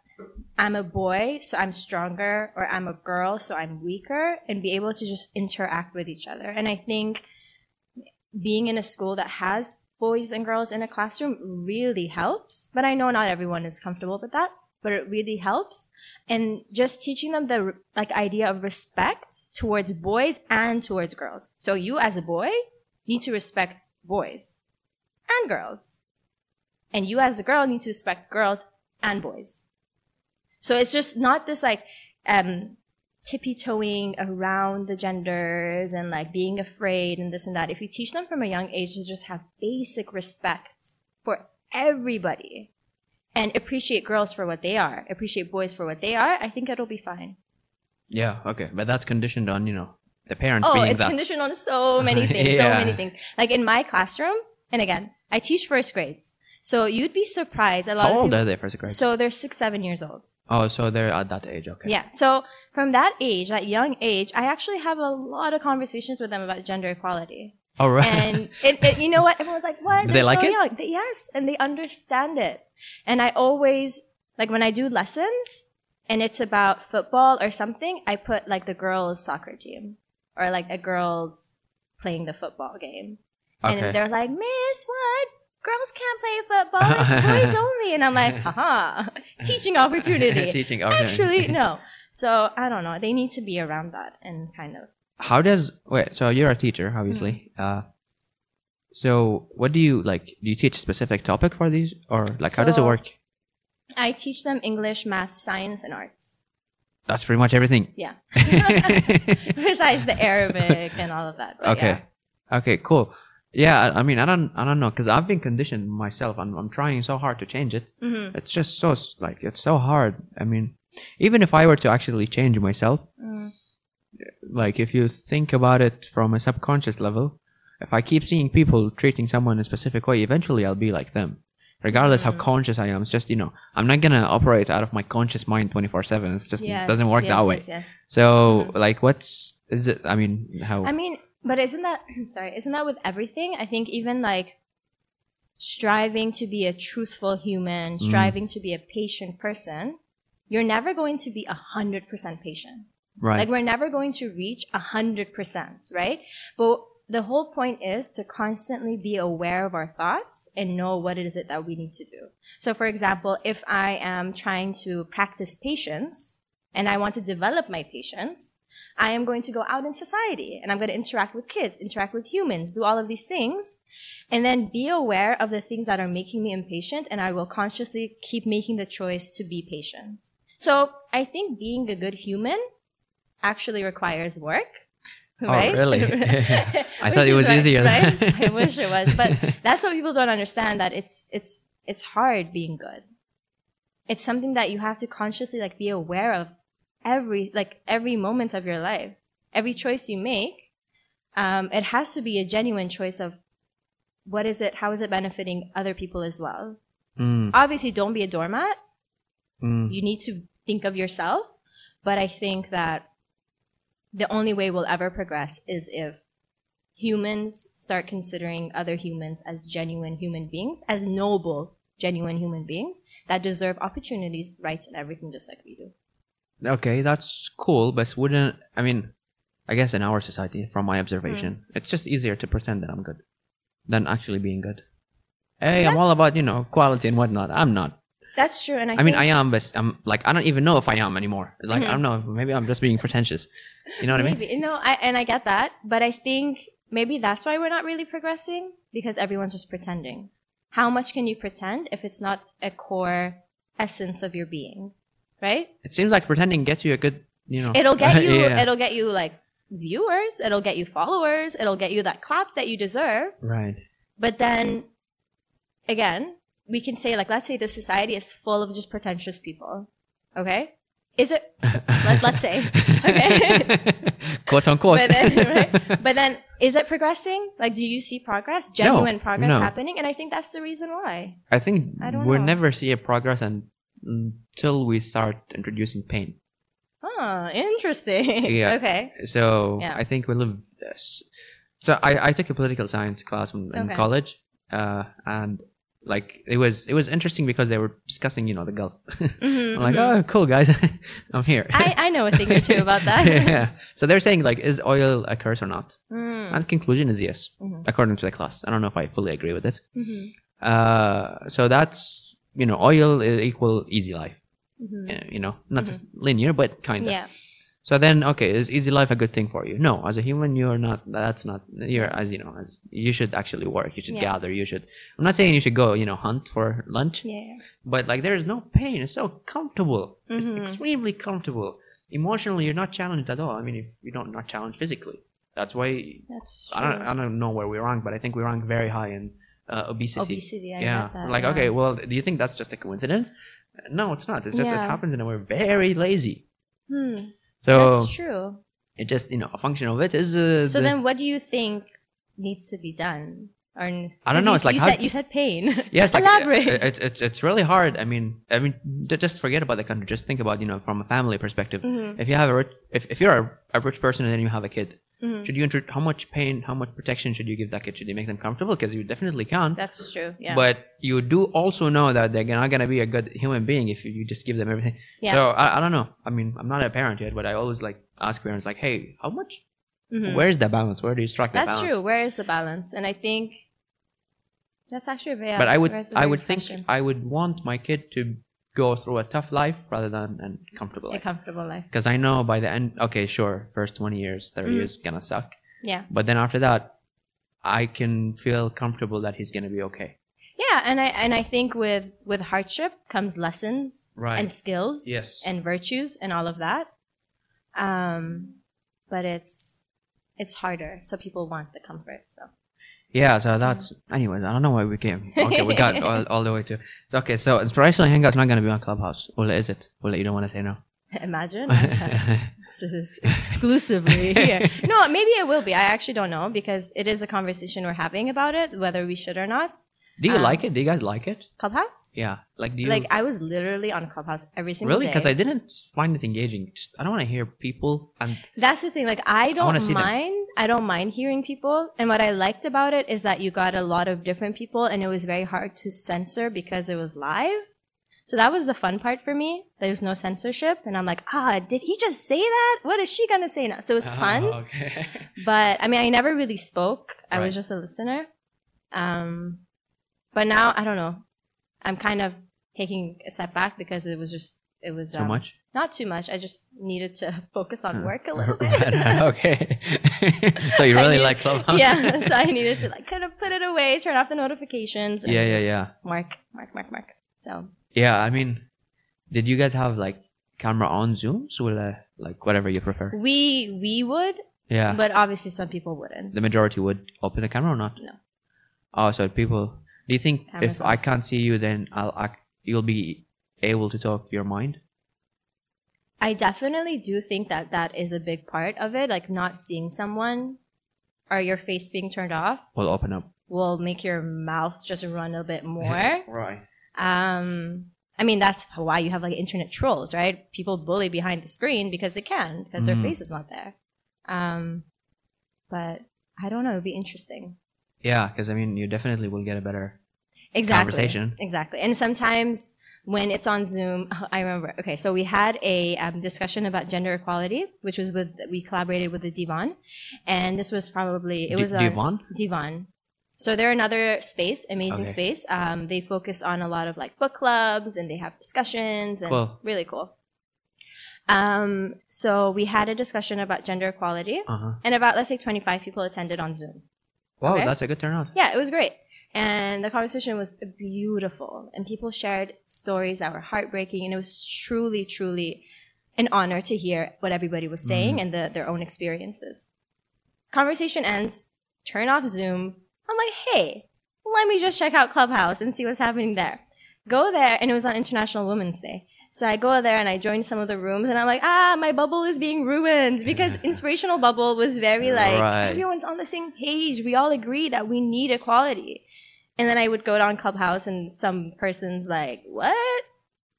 [SPEAKER 2] I'm a boy, so I'm stronger, or I'm a girl, so I'm weaker, and be able to just interact with each other. And I think being in a school that has boys and girls in a classroom really helps. But I know not everyone is comfortable with that, but it really helps. And just teaching them the like idea of respect towards boys and towards girls. So you as a boy need to respect boys and girls. And you as a girl need to respect girls and boys. So it's just not this like um, tippy toeing around the genders and like being afraid and this and that. If you teach them from a young age to just have basic respect for everybody and appreciate girls for what they are, appreciate boys for what they are, I think it'll be fine.
[SPEAKER 1] Yeah, okay, but that's conditioned on you know the parents
[SPEAKER 2] Oh,
[SPEAKER 1] being
[SPEAKER 2] it's
[SPEAKER 1] that.
[SPEAKER 2] conditioned on
[SPEAKER 1] *laughs*
[SPEAKER 2] so many things,
[SPEAKER 1] Yeah.
[SPEAKER 2] so many things. Like in my classroom, and again, I teach first grades, so you'd be surprised. A lot
[SPEAKER 1] How
[SPEAKER 2] of
[SPEAKER 1] old
[SPEAKER 2] people,
[SPEAKER 1] are they first grade?
[SPEAKER 2] so they're six, seven years old.
[SPEAKER 1] oh, so they're at that age. Okay.
[SPEAKER 2] Yeah. So from that age, that young age, I actually have a lot of conversations with them about gender equality.
[SPEAKER 1] All right. *laughs*
[SPEAKER 2] And it, it, you know what? Everyone's like, what?
[SPEAKER 1] Do they
[SPEAKER 2] They're
[SPEAKER 1] like
[SPEAKER 2] so
[SPEAKER 1] it?
[SPEAKER 2] young. They- yes. And they understand it. And I always, like when I do lessons and it's about football or something, I put like the girls soccer team or like a girls playing the football game. And
[SPEAKER 1] okay.
[SPEAKER 2] they're like, Miss, what? Girls can't play football.
[SPEAKER 1] *laughs*
[SPEAKER 2] It's boys only. And I'm like, haha,
[SPEAKER 1] *laughs*
[SPEAKER 2] teaching opportunity.
[SPEAKER 1] Teaching
[SPEAKER 2] Actually,
[SPEAKER 1] opportunity.
[SPEAKER 2] no. So I don't know. They need to be around that and kind of.
[SPEAKER 1] *laughs* How does wait? So you're a
[SPEAKER 2] Mm-hmm.
[SPEAKER 1] teacher, obviously. Uh, so what do you like? Do you teach a specific topic for these, or like how does it
[SPEAKER 2] So-
[SPEAKER 1] work?
[SPEAKER 2] I teach them English, math, science, and arts.
[SPEAKER 1] That's pretty much everything. *laughs*
[SPEAKER 2] Yeah. *laughs*
[SPEAKER 1] okay.
[SPEAKER 2] Besides the Arabic and all of that. But Yeah.
[SPEAKER 1] Okay. Cool. Yeah. I, I mean, I don't. I don't know because I've been conditioned myself. I'm. I'm trying so hard to change it.
[SPEAKER 2] Mhm.
[SPEAKER 1] It's just so s- like it's so hard. I mean, even if I were to actually change myself,
[SPEAKER 2] Mm.
[SPEAKER 1] like if you think about it from a subconscious level, if I keep seeing people treating someone a specific way, eventually I'll be like them. Regardless how
[SPEAKER 2] Mhm.
[SPEAKER 1] conscious I am, it's just you know, I'm not gonna operate out of my conscious mind twenty four seven. It's just
[SPEAKER 2] Yes,
[SPEAKER 1] it doesn't work
[SPEAKER 2] yes,
[SPEAKER 1] that way.
[SPEAKER 2] yes, Mm-hmm. yes.
[SPEAKER 1] So like what's is it I mean how
[SPEAKER 2] I mean, but isn't that *clears throat* sorry? Isn't that with everything? I think even like striving to be a truthful human,
[SPEAKER 1] Mm.
[SPEAKER 2] striving to be a patient person, you're never going to be a hundred percent patient.
[SPEAKER 1] right.
[SPEAKER 2] Like we're never going to reach a hundred percent, right? But the whole point is to constantly be aware of our thoughts and know what it is it that we need to do. So for example, if I am trying to practice patience and I want to develop my patience, I am going to go out in society and I'm going to interact with kids, interact with humans, do all of these things, and then be aware of the things that are making me impatient and I will consciously keep making the choice to be patient. So I think being a good human actually requires work. Right?
[SPEAKER 1] Oh,
[SPEAKER 2] *laughs*
[SPEAKER 1] really? *laughs* I thought it
[SPEAKER 2] Which is
[SPEAKER 1] was
[SPEAKER 2] right,
[SPEAKER 1] easier.
[SPEAKER 2] Right?
[SPEAKER 1] *laughs*
[SPEAKER 2] I wish it was, but that's what people don't understand. That it's it's it's hard being good. It's something that you have to consciously like be aware of every like every moment of your life, every choice you make. Um, it has to be a genuine choice of what is it, how is it benefiting other people as well.
[SPEAKER 1] Mm,
[SPEAKER 2] Obviously, don't be a doormat
[SPEAKER 1] mm.
[SPEAKER 2] you need to think of yourself but i think that the only way we'll ever progress is if humans start considering other humans as genuine human beings as noble genuine human beings that deserve opportunities rights and everything just like we do
[SPEAKER 1] Okay, that's cool, but wouldn't I mean I guess in our society, from my observation,
[SPEAKER 2] Hmm.
[SPEAKER 1] it's just easier to pretend that I'm good than actually being good. Hey, I'm all about, you know, quality and whatnot. I'm not.
[SPEAKER 2] that's true and i,
[SPEAKER 1] I mean,
[SPEAKER 2] think- Hmm.
[SPEAKER 1] I am, but I'm like, I don't even know if I am anymore. Like, I don't know. Maybe I'm just being pretentious. You know what I mean?
[SPEAKER 2] Maybe. No, I, and I get that, but I think maybe that's why we're not really progressing because everyone's just pretending. How much can you pretend if it's not a core essence of your being, right?
[SPEAKER 1] It seems like pretending gets you a good, you know.
[SPEAKER 2] It'll
[SPEAKER 1] *laughs*
[SPEAKER 2] get you.
[SPEAKER 1] Oh. Yeah.
[SPEAKER 2] It'll get you like viewers. It'll get you followers. It'll get you that clap that you deserve.
[SPEAKER 1] Right.
[SPEAKER 2] But then, again, we can say like, let's say the society is full of just pretentious people. Okay, is it Let- let's
[SPEAKER 1] *laughs*
[SPEAKER 2] say. Okay.
[SPEAKER 1] Quote unquote.
[SPEAKER 2] But then-
[SPEAKER 1] *laughs*
[SPEAKER 2] But then, is it progressing? Like, do you see progress, genuine progress
[SPEAKER 1] no.
[SPEAKER 2] happening? And I think that's the reason why.
[SPEAKER 1] I think
[SPEAKER 2] I don't
[SPEAKER 1] we'll
[SPEAKER 2] know.
[SPEAKER 1] never see a progress un- until we start introducing pain.
[SPEAKER 2] Oh, interesting. *laughs*
[SPEAKER 1] Yeah.
[SPEAKER 2] Okay.
[SPEAKER 1] So
[SPEAKER 2] Yeah.
[SPEAKER 1] I think we live this. So I, I took a political science class in, in
[SPEAKER 2] Okay.
[SPEAKER 1] college, uh, and like it was it was interesting because they were discussing you know the Gulf. *laughs*
[SPEAKER 2] Mhm,
[SPEAKER 1] I'm like,
[SPEAKER 2] mhm.
[SPEAKER 1] oh, cool guys, *laughs* I'm here. *laughs*
[SPEAKER 2] I, I know a thing or two about that.
[SPEAKER 1] yeah. So they're saying like, is oil a curse or not?
[SPEAKER 2] Mm,
[SPEAKER 1] And conclusion is yes,
[SPEAKER 2] mhm,
[SPEAKER 1] according to the class. I don't know if I fully agree with it.
[SPEAKER 2] mhm,
[SPEAKER 1] Uh, so that's you know, oil is equal easy life.
[SPEAKER 2] mhm.
[SPEAKER 1] Uh, You know, not just linear, but kind of.
[SPEAKER 2] Mm-hmm. Yeah.
[SPEAKER 1] So then, okay, is easy life a good thing for you? No, as a human, you are not. That's not. You're as you know. As, you should actually work. You should
[SPEAKER 2] Yeah.
[SPEAKER 1] gather. You should. I'm not saying you should go. You know, hunt for lunch.
[SPEAKER 2] Yeah.
[SPEAKER 1] But like, there is no pain. It's so comfortable. It's
[SPEAKER 2] Mhm.
[SPEAKER 1] extremely comfortable. Emotionally, you're not challenged at all. I mean, if you don't not challenged physically. That's why
[SPEAKER 2] That's
[SPEAKER 1] I don't. I don't know where we rank, but I think we rank very high in uh, obesity.
[SPEAKER 2] Obesity. I
[SPEAKER 1] yeah.
[SPEAKER 2] get that,
[SPEAKER 1] like
[SPEAKER 2] yeah.
[SPEAKER 1] okay, well, do you think that's just a coincidence? No, it's not. It's just it
[SPEAKER 2] Yeah.
[SPEAKER 1] happens, and we're very lazy.
[SPEAKER 2] Hmm,
[SPEAKER 1] So
[SPEAKER 2] That's true.
[SPEAKER 1] It just you know a function of it is. Uh,
[SPEAKER 2] So
[SPEAKER 1] the-
[SPEAKER 2] then, what do you think needs to be done? Or n-
[SPEAKER 1] I don't
[SPEAKER 2] 'cause
[SPEAKER 1] know,
[SPEAKER 2] You,
[SPEAKER 1] it's like
[SPEAKER 2] you
[SPEAKER 1] how-
[SPEAKER 2] said you said pain. *laughs*
[SPEAKER 1] Yes, like,
[SPEAKER 2] Elaborate.
[SPEAKER 1] uh, It's it's it's really hard. I mean, I mean, d- just forget about the country. Just think about you know from a family perspective.
[SPEAKER 2] Mhm,
[SPEAKER 1] If you have a rich, if, if you're a, a rich person and then you have a kid,
[SPEAKER 2] mhm.
[SPEAKER 1] should you intro- how much pain, how much protection should you give that kid? Should you make them comfortable? Because you definitely can't.
[SPEAKER 2] That's true. Yeah.
[SPEAKER 1] But you do also know that they're not gonna be a good human being if you, you just give them everything.
[SPEAKER 2] Yeah.
[SPEAKER 1] So I, I don't know. I mean, I'm not a parent yet, but I always like ask parents like, hey, how much?
[SPEAKER 2] Mhm.
[SPEAKER 1] Where's the balance? Where do you strike the
[SPEAKER 2] that's
[SPEAKER 1] balance?
[SPEAKER 2] true. Where is the balance? And I think that's actually a very.
[SPEAKER 1] but I would
[SPEAKER 2] that's a
[SPEAKER 1] I
[SPEAKER 2] very
[SPEAKER 1] would
[SPEAKER 2] good
[SPEAKER 1] think
[SPEAKER 2] question.
[SPEAKER 1] I would want my kid to go through a tough life rather than an comfortable
[SPEAKER 2] a
[SPEAKER 1] life.
[SPEAKER 2] comfortable life.
[SPEAKER 1] Because I know by the end, okay, sure, first 20 years, 30
[SPEAKER 2] Mhm.
[SPEAKER 1] years gonna suck,
[SPEAKER 2] Yeah.
[SPEAKER 1] but then after that, I can feel comfortable that he's gonna be okay.
[SPEAKER 2] Yeah, and I and I think with with hardship comes lessons
[SPEAKER 1] Right.
[SPEAKER 2] and skills
[SPEAKER 1] yes.
[SPEAKER 2] and virtues and all of that. Um, but it's it's harder, so people want the comfort. So *laughs*
[SPEAKER 1] yeah. So that's. Anyways, I don't know why we came. Okay, we
[SPEAKER 2] *laughs*
[SPEAKER 1] got all, all the way to. Okay, so inspirational hangout's not gonna be on Clubhouse. Well, is it? Well, you don't want to
[SPEAKER 2] *laughs*
[SPEAKER 1] say no. *laughs*
[SPEAKER 2] imagine it's, it's
[SPEAKER 1] *laughs*
[SPEAKER 2] exclusively here. No, maybe it will be. I actually don't know because it is a conversation we're having about it, whether we should or not.
[SPEAKER 1] do you
[SPEAKER 2] Um,
[SPEAKER 1] like it? Do you guys like it?
[SPEAKER 2] Clubhouse.
[SPEAKER 1] Yeah. Like, do you
[SPEAKER 2] Like I was literally on Clubhouse every single
[SPEAKER 1] really?
[SPEAKER 2] day.
[SPEAKER 1] Because I didn't find it engaging. Just, I don't want to hear people and
[SPEAKER 2] That's the thing. Like I
[SPEAKER 1] wanna
[SPEAKER 2] don't
[SPEAKER 1] see them.
[SPEAKER 2] mind. I don't mind hearing people. And what I liked about it is that you got a lot of different people, and it was very hard to censor because it was live. So that was the fun part for me. There was no censorship, and I'm like, ah, did he just say that? What is she gonna say now? So it
[SPEAKER 1] Uh-huh.
[SPEAKER 2] was fun.
[SPEAKER 1] Oh,
[SPEAKER 2] *laughs*
[SPEAKER 1] okay.
[SPEAKER 2] But I mean, I never really spoke. I was
[SPEAKER 1] Right.
[SPEAKER 2] just a listener. Um, but now I don't know. I'm kind of taking a step back because it was just it was
[SPEAKER 1] so
[SPEAKER 2] um,
[SPEAKER 1] much.
[SPEAKER 2] not too much. I just needed to *laughs* focus on
[SPEAKER 1] Huh.
[SPEAKER 2] work
[SPEAKER 1] *laughs*
[SPEAKER 2] a little bit.
[SPEAKER 1] Right, okay. *laughs* so you
[SPEAKER 2] I
[SPEAKER 1] really
[SPEAKER 2] need-
[SPEAKER 1] like Clubhouse? *laughs*
[SPEAKER 2] yeah, so I needed to like kind of put it away, turn off the notifications. and
[SPEAKER 1] yeah, yeah,
[SPEAKER 2] just
[SPEAKER 1] yeah.
[SPEAKER 2] Mark, mark, mark, mark. So
[SPEAKER 1] Yeah, I mean, did you guys have like camera on Zooms or uh, like whatever you prefer?
[SPEAKER 2] we we would,
[SPEAKER 1] Yeah.
[SPEAKER 2] but obviously some people wouldn't.
[SPEAKER 1] the majority would open the camera or not?
[SPEAKER 2] No.
[SPEAKER 1] Oh, so people. Do you think if
[SPEAKER 2] Amazon.
[SPEAKER 1] I can't see you, then I'll act, you'll be able to talk your mind?
[SPEAKER 2] I definitely do think that that is a big part of it. Like not seeing someone or your face being turned off
[SPEAKER 1] We'll open up.
[SPEAKER 2] will make your mouth just run a
[SPEAKER 1] *laughs*
[SPEAKER 2] bit more.
[SPEAKER 1] right.
[SPEAKER 2] Um, I mean, that's why you have like internet trolls, right? People bully behind the screen because they can, because their
[SPEAKER 1] Mhm.
[SPEAKER 2] face is not there. Um, but I don't know. It'd be interesting.
[SPEAKER 1] Yeah, because I mean, you definitely will get a better
[SPEAKER 2] Exactly.
[SPEAKER 1] conversation.
[SPEAKER 2] Exactly. And sometimes when it's on Zoom, *laughs* I remember. Okay, so we had a um, discussion about gender equality, which was with we collaborated with the Divan, and this was probably it
[SPEAKER 1] Do-
[SPEAKER 2] was
[SPEAKER 1] do
[SPEAKER 2] on-
[SPEAKER 1] you want?
[SPEAKER 2] Divan. So they're another space, amazing
[SPEAKER 1] Okay.
[SPEAKER 2] space. Um, they focus on a lot of like book clubs and they have discussions and
[SPEAKER 1] Cool.
[SPEAKER 2] really cool. Um, so we had a discussion about gender equality
[SPEAKER 1] Uh huh.
[SPEAKER 2] and about let's say 25 people attended on Zoom.
[SPEAKER 1] Wow,
[SPEAKER 2] Okay.
[SPEAKER 1] that's a good turnout.
[SPEAKER 2] Yeah, it was great. And the conversation was beautiful and people shared stories that were heartbreaking and it was truly, truly an honor to hear what everybody was saying and the, their own experiences. Conversation ends, turn off Zoom. I'm like, hey, let me just check out Clubhouse and see what's happening there. Go there, and it was on International Women's Day. So I go there and I join some of the rooms, and I'm like, ah, my bubble is being ruined because inspirational bubble was very like
[SPEAKER 1] Right.
[SPEAKER 2] everyone's on the same page. We all agree that we need equality. And then I would go down Clubhouse, and some person's like, what?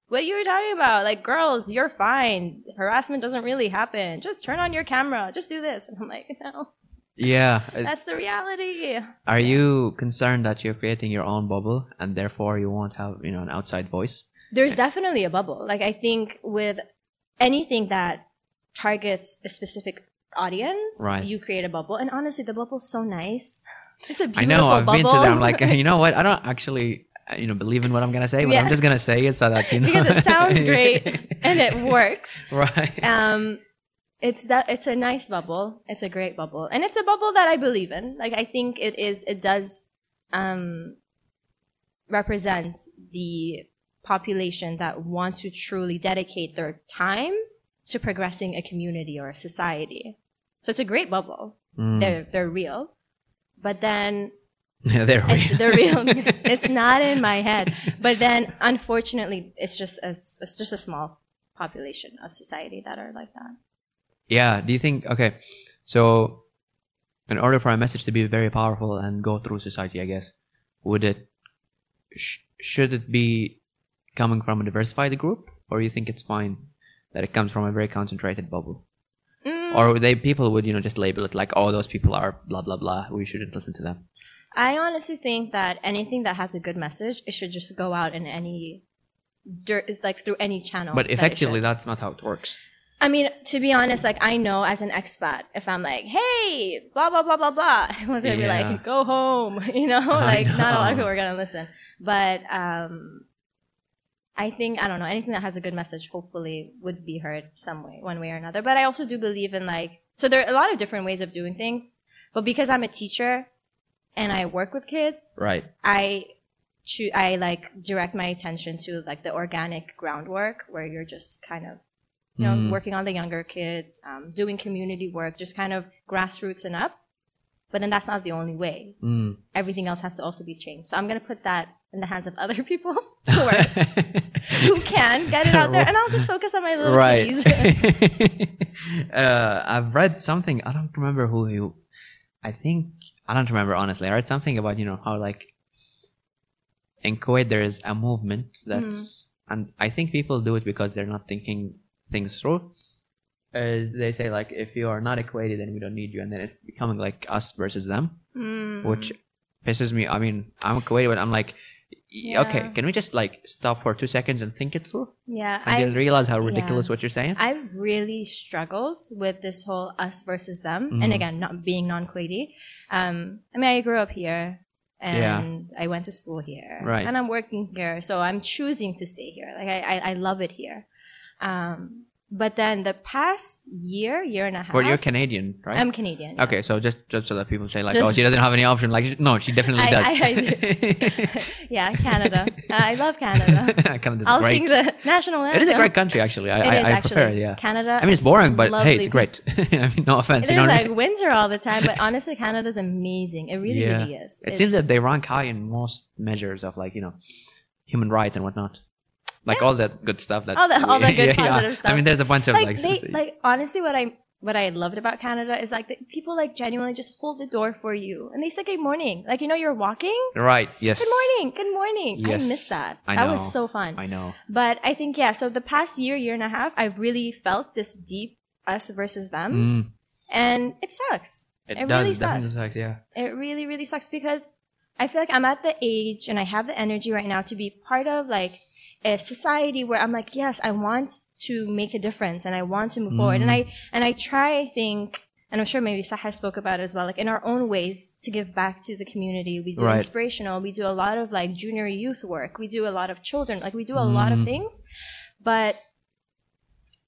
[SPEAKER 2] What are you talking about? Like, girls, you're fine. Harassment doesn't really happen. Just turn on your camera. Just do this. *laughs* And I'm like, no,
[SPEAKER 1] Yeah. it-
[SPEAKER 2] that's the reality.
[SPEAKER 1] Are you concerned that you're creating your own bubble and therefore you won't have, you know, an outside voice?
[SPEAKER 2] there's definitely a bubble. Like I think with anything that targets a specific audience,
[SPEAKER 1] Right.
[SPEAKER 2] you create a bubble. And honestly, the bubble's so nice. It's a beautiful
[SPEAKER 1] I know I've
[SPEAKER 2] bubble.
[SPEAKER 1] been to there. I'm like, *laughs* you know what? I don't actually, uh, you know, believe in what I'm gonna say, but I'm
[SPEAKER 2] Yeah.
[SPEAKER 1] just gonna say it so that you know.
[SPEAKER 2] *laughs* Because it sounds
[SPEAKER 1] *laughs*
[SPEAKER 2] great *laughs* and it works.
[SPEAKER 1] Right.
[SPEAKER 2] Um, it's that it's a nice bubble. It's a great bubble, and it's a bubble that I believe in. Like I think it is. It does um, represent the population that want to truly dedicate their time to progressing a community or a society. So it's a great bubble.
[SPEAKER 1] Mm.
[SPEAKER 2] They're they're real, but then
[SPEAKER 1] Yeah, they're
[SPEAKER 2] it's
[SPEAKER 1] real.
[SPEAKER 2] the
[SPEAKER 1] *laughs*
[SPEAKER 2] real. *laughs* it's not in my head. But then, unfortunately, it's just a, it's just a small population of society that are like that.
[SPEAKER 1] Yeah. Do you think? Okay. So, in order for a message to be very powerful and go through society, I guess, would it sh- should it be coming from a diversified group, or you think it's fine that it comes from a very concentrated bubble,
[SPEAKER 2] Mm,
[SPEAKER 1] or they people would you know just label it like, oh, those people are blah blah blah. We shouldn't listen to them.
[SPEAKER 2] I honestly think that anything that has a good message, it should just go out in any, dir- it's like through any channel.
[SPEAKER 1] but
[SPEAKER 2] that it
[SPEAKER 1] effectively,
[SPEAKER 2] should.
[SPEAKER 1] that's not how it works.
[SPEAKER 2] I mean, to be honest, like I know as an expat, if I'm like, hey, blah blah blah blah blah, *laughs* everyone's gonna
[SPEAKER 1] Yeah.
[SPEAKER 2] be like, go home, *laughs* you know,
[SPEAKER 1] I
[SPEAKER 2] like not a lot of
[SPEAKER 1] know.
[SPEAKER 2] people are gonna listen. But um, I think I don't know anything that has a good message. Hopefully, would be heard some way, one way or another. But I also do believe in like, so there are a lot of different ways of doing things. But because I'm a teacher and I work with kids,
[SPEAKER 1] Right.
[SPEAKER 2] I choo- I like direct my attention to like the organic groundwork where you're just kind of you know
[SPEAKER 1] Mm.
[SPEAKER 2] working on the younger kids, um, doing community work, just kind of grassroots and up. But then that's not the only way.
[SPEAKER 1] Mm.
[SPEAKER 2] Everything else has to also be changed. So I'm gonna put that in the hands of other *laughs* people who,
[SPEAKER 1] Mm.
[SPEAKER 2] are,
[SPEAKER 1] *laughs*
[SPEAKER 2] who can get it out there, and I'll just focus on my little
[SPEAKER 1] right. *laughs*
[SPEAKER 2] piece.
[SPEAKER 1] uh, I've read something. I don't remember who you. I think I don't remember honestly. I read something about you know how like in Kuwait there is a movement that's
[SPEAKER 2] Hmm.
[SPEAKER 1] and I think people do it because they're not thinking things through. Uh, they say like if you are not equated then we don't need you and then it's becoming like us versus them
[SPEAKER 2] Mm.
[SPEAKER 1] which pisses me. I mean, I'm Kuwaiti, but I'm like, y okay,
[SPEAKER 2] Yeah.
[SPEAKER 1] can we just like stop for two seconds and think it through?
[SPEAKER 2] yeah,
[SPEAKER 1] And
[SPEAKER 2] I
[SPEAKER 1] you'll realize how ridiculous what you're saying.
[SPEAKER 2] I've really struggled with this whole us versus them, and
[SPEAKER 1] Mhm.
[SPEAKER 2] again, not being non-Kuwaiti. Um, I mean, I grew up here,
[SPEAKER 1] Yeah.
[SPEAKER 2] and I went to school here,
[SPEAKER 1] Right.
[SPEAKER 2] and I'm working here, so I'm choosing to stay here. Like I, I, I love it here. Um, but then the past year, year and a half,
[SPEAKER 1] but you're Canadian, right?
[SPEAKER 2] Uh-huh. I'm Canadian. yeah.
[SPEAKER 1] okay, so just just so that people say like,
[SPEAKER 2] Just-
[SPEAKER 1] oh, she doesn't have any option. Like, no, she definitely
[SPEAKER 2] I-
[SPEAKER 1] does.
[SPEAKER 2] I-
[SPEAKER 1] *laughs*
[SPEAKER 2] I yeah, Canada. *laughs* Uh, I love Canada.
[SPEAKER 1] *laughs* Canada's
[SPEAKER 2] I'll
[SPEAKER 1] great.
[SPEAKER 2] sing the national anthem.
[SPEAKER 1] it is a great country, actually. I,
[SPEAKER 2] It
[SPEAKER 1] I,
[SPEAKER 2] is
[SPEAKER 1] I
[SPEAKER 2] actually
[SPEAKER 1] prefer it. Yeah.
[SPEAKER 2] Canada.
[SPEAKER 1] I mean, it's
[SPEAKER 2] is
[SPEAKER 1] boring, but hey, it's
[SPEAKER 2] lovely
[SPEAKER 1] great. *laughs* I mean, no offense.
[SPEAKER 2] It
[SPEAKER 1] You
[SPEAKER 2] is
[SPEAKER 1] know what I
[SPEAKER 2] like
[SPEAKER 1] mean?
[SPEAKER 2] winter all the time, but honestly, Canada's amazing. It really,
[SPEAKER 1] Yeah.
[SPEAKER 2] really is.
[SPEAKER 1] It seems that they rank high in most measures of like you know human rights and whatnot, like all that good stuff. That
[SPEAKER 2] All the-
[SPEAKER 1] *laughs*
[SPEAKER 2] all the good positive
[SPEAKER 1] I
[SPEAKER 2] stuff.
[SPEAKER 1] mean, there's a bunch of
[SPEAKER 2] like,
[SPEAKER 1] like,
[SPEAKER 2] they,
[SPEAKER 1] s-
[SPEAKER 2] like honestly, what I what I loved about Canada is like that people like genuinely just hold the door for you and they say good morning. Like you know, you're walking.
[SPEAKER 1] right. Yes.
[SPEAKER 2] Good morning. Good morning.
[SPEAKER 1] Yes.
[SPEAKER 2] I miss that.
[SPEAKER 1] I
[SPEAKER 2] that
[SPEAKER 1] know.
[SPEAKER 2] was so fun.
[SPEAKER 1] I know.
[SPEAKER 2] But I think yeah. So the past year, year and a half, I've really felt this deep us versus them,
[SPEAKER 1] Mm,
[SPEAKER 2] and it sucks.
[SPEAKER 1] it,
[SPEAKER 2] Um, it
[SPEAKER 1] does
[SPEAKER 2] really
[SPEAKER 1] definitely
[SPEAKER 2] sucks.
[SPEAKER 1] suck. Yeah.
[SPEAKER 2] It really, really sucks because I feel like I'm at the age and I have the energy right now to be part of like a society where I'm like, yes, I want to make a difference and I want to move forward. And
[SPEAKER 1] Mm.
[SPEAKER 2] I and I try, I think, and I'm sure maybe Sahar spoke about it as well, like in our own ways to give back to the community. We do
[SPEAKER 1] Right.
[SPEAKER 2] inspirational, we do a lot of like junior youth work, we do a lot of children, like we do a lot
[SPEAKER 1] Mm.
[SPEAKER 2] of things. But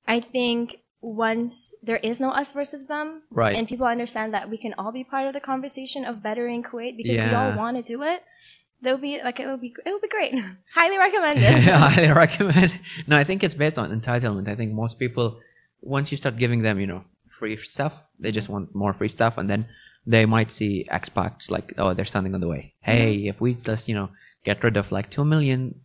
[SPEAKER 2] I think once there is no us versus them,
[SPEAKER 1] Right.
[SPEAKER 2] and people understand that we can all be part of the conversation of bettering Kuwait because we
[SPEAKER 1] Yeah.
[SPEAKER 2] all want to do it. That would be like it would be it would be great. *laughs* Highly *laughs*
[SPEAKER 1] *laughs*
[SPEAKER 2] recommended.
[SPEAKER 1] I highly recommend. No, I think it's based on entitlement. I think most people, once you start giving them, you know, free stuff, they just want more free stuff, and then they might see expats like, oh, they're standing on the way. Hey, if we just, you know, get rid of like two million,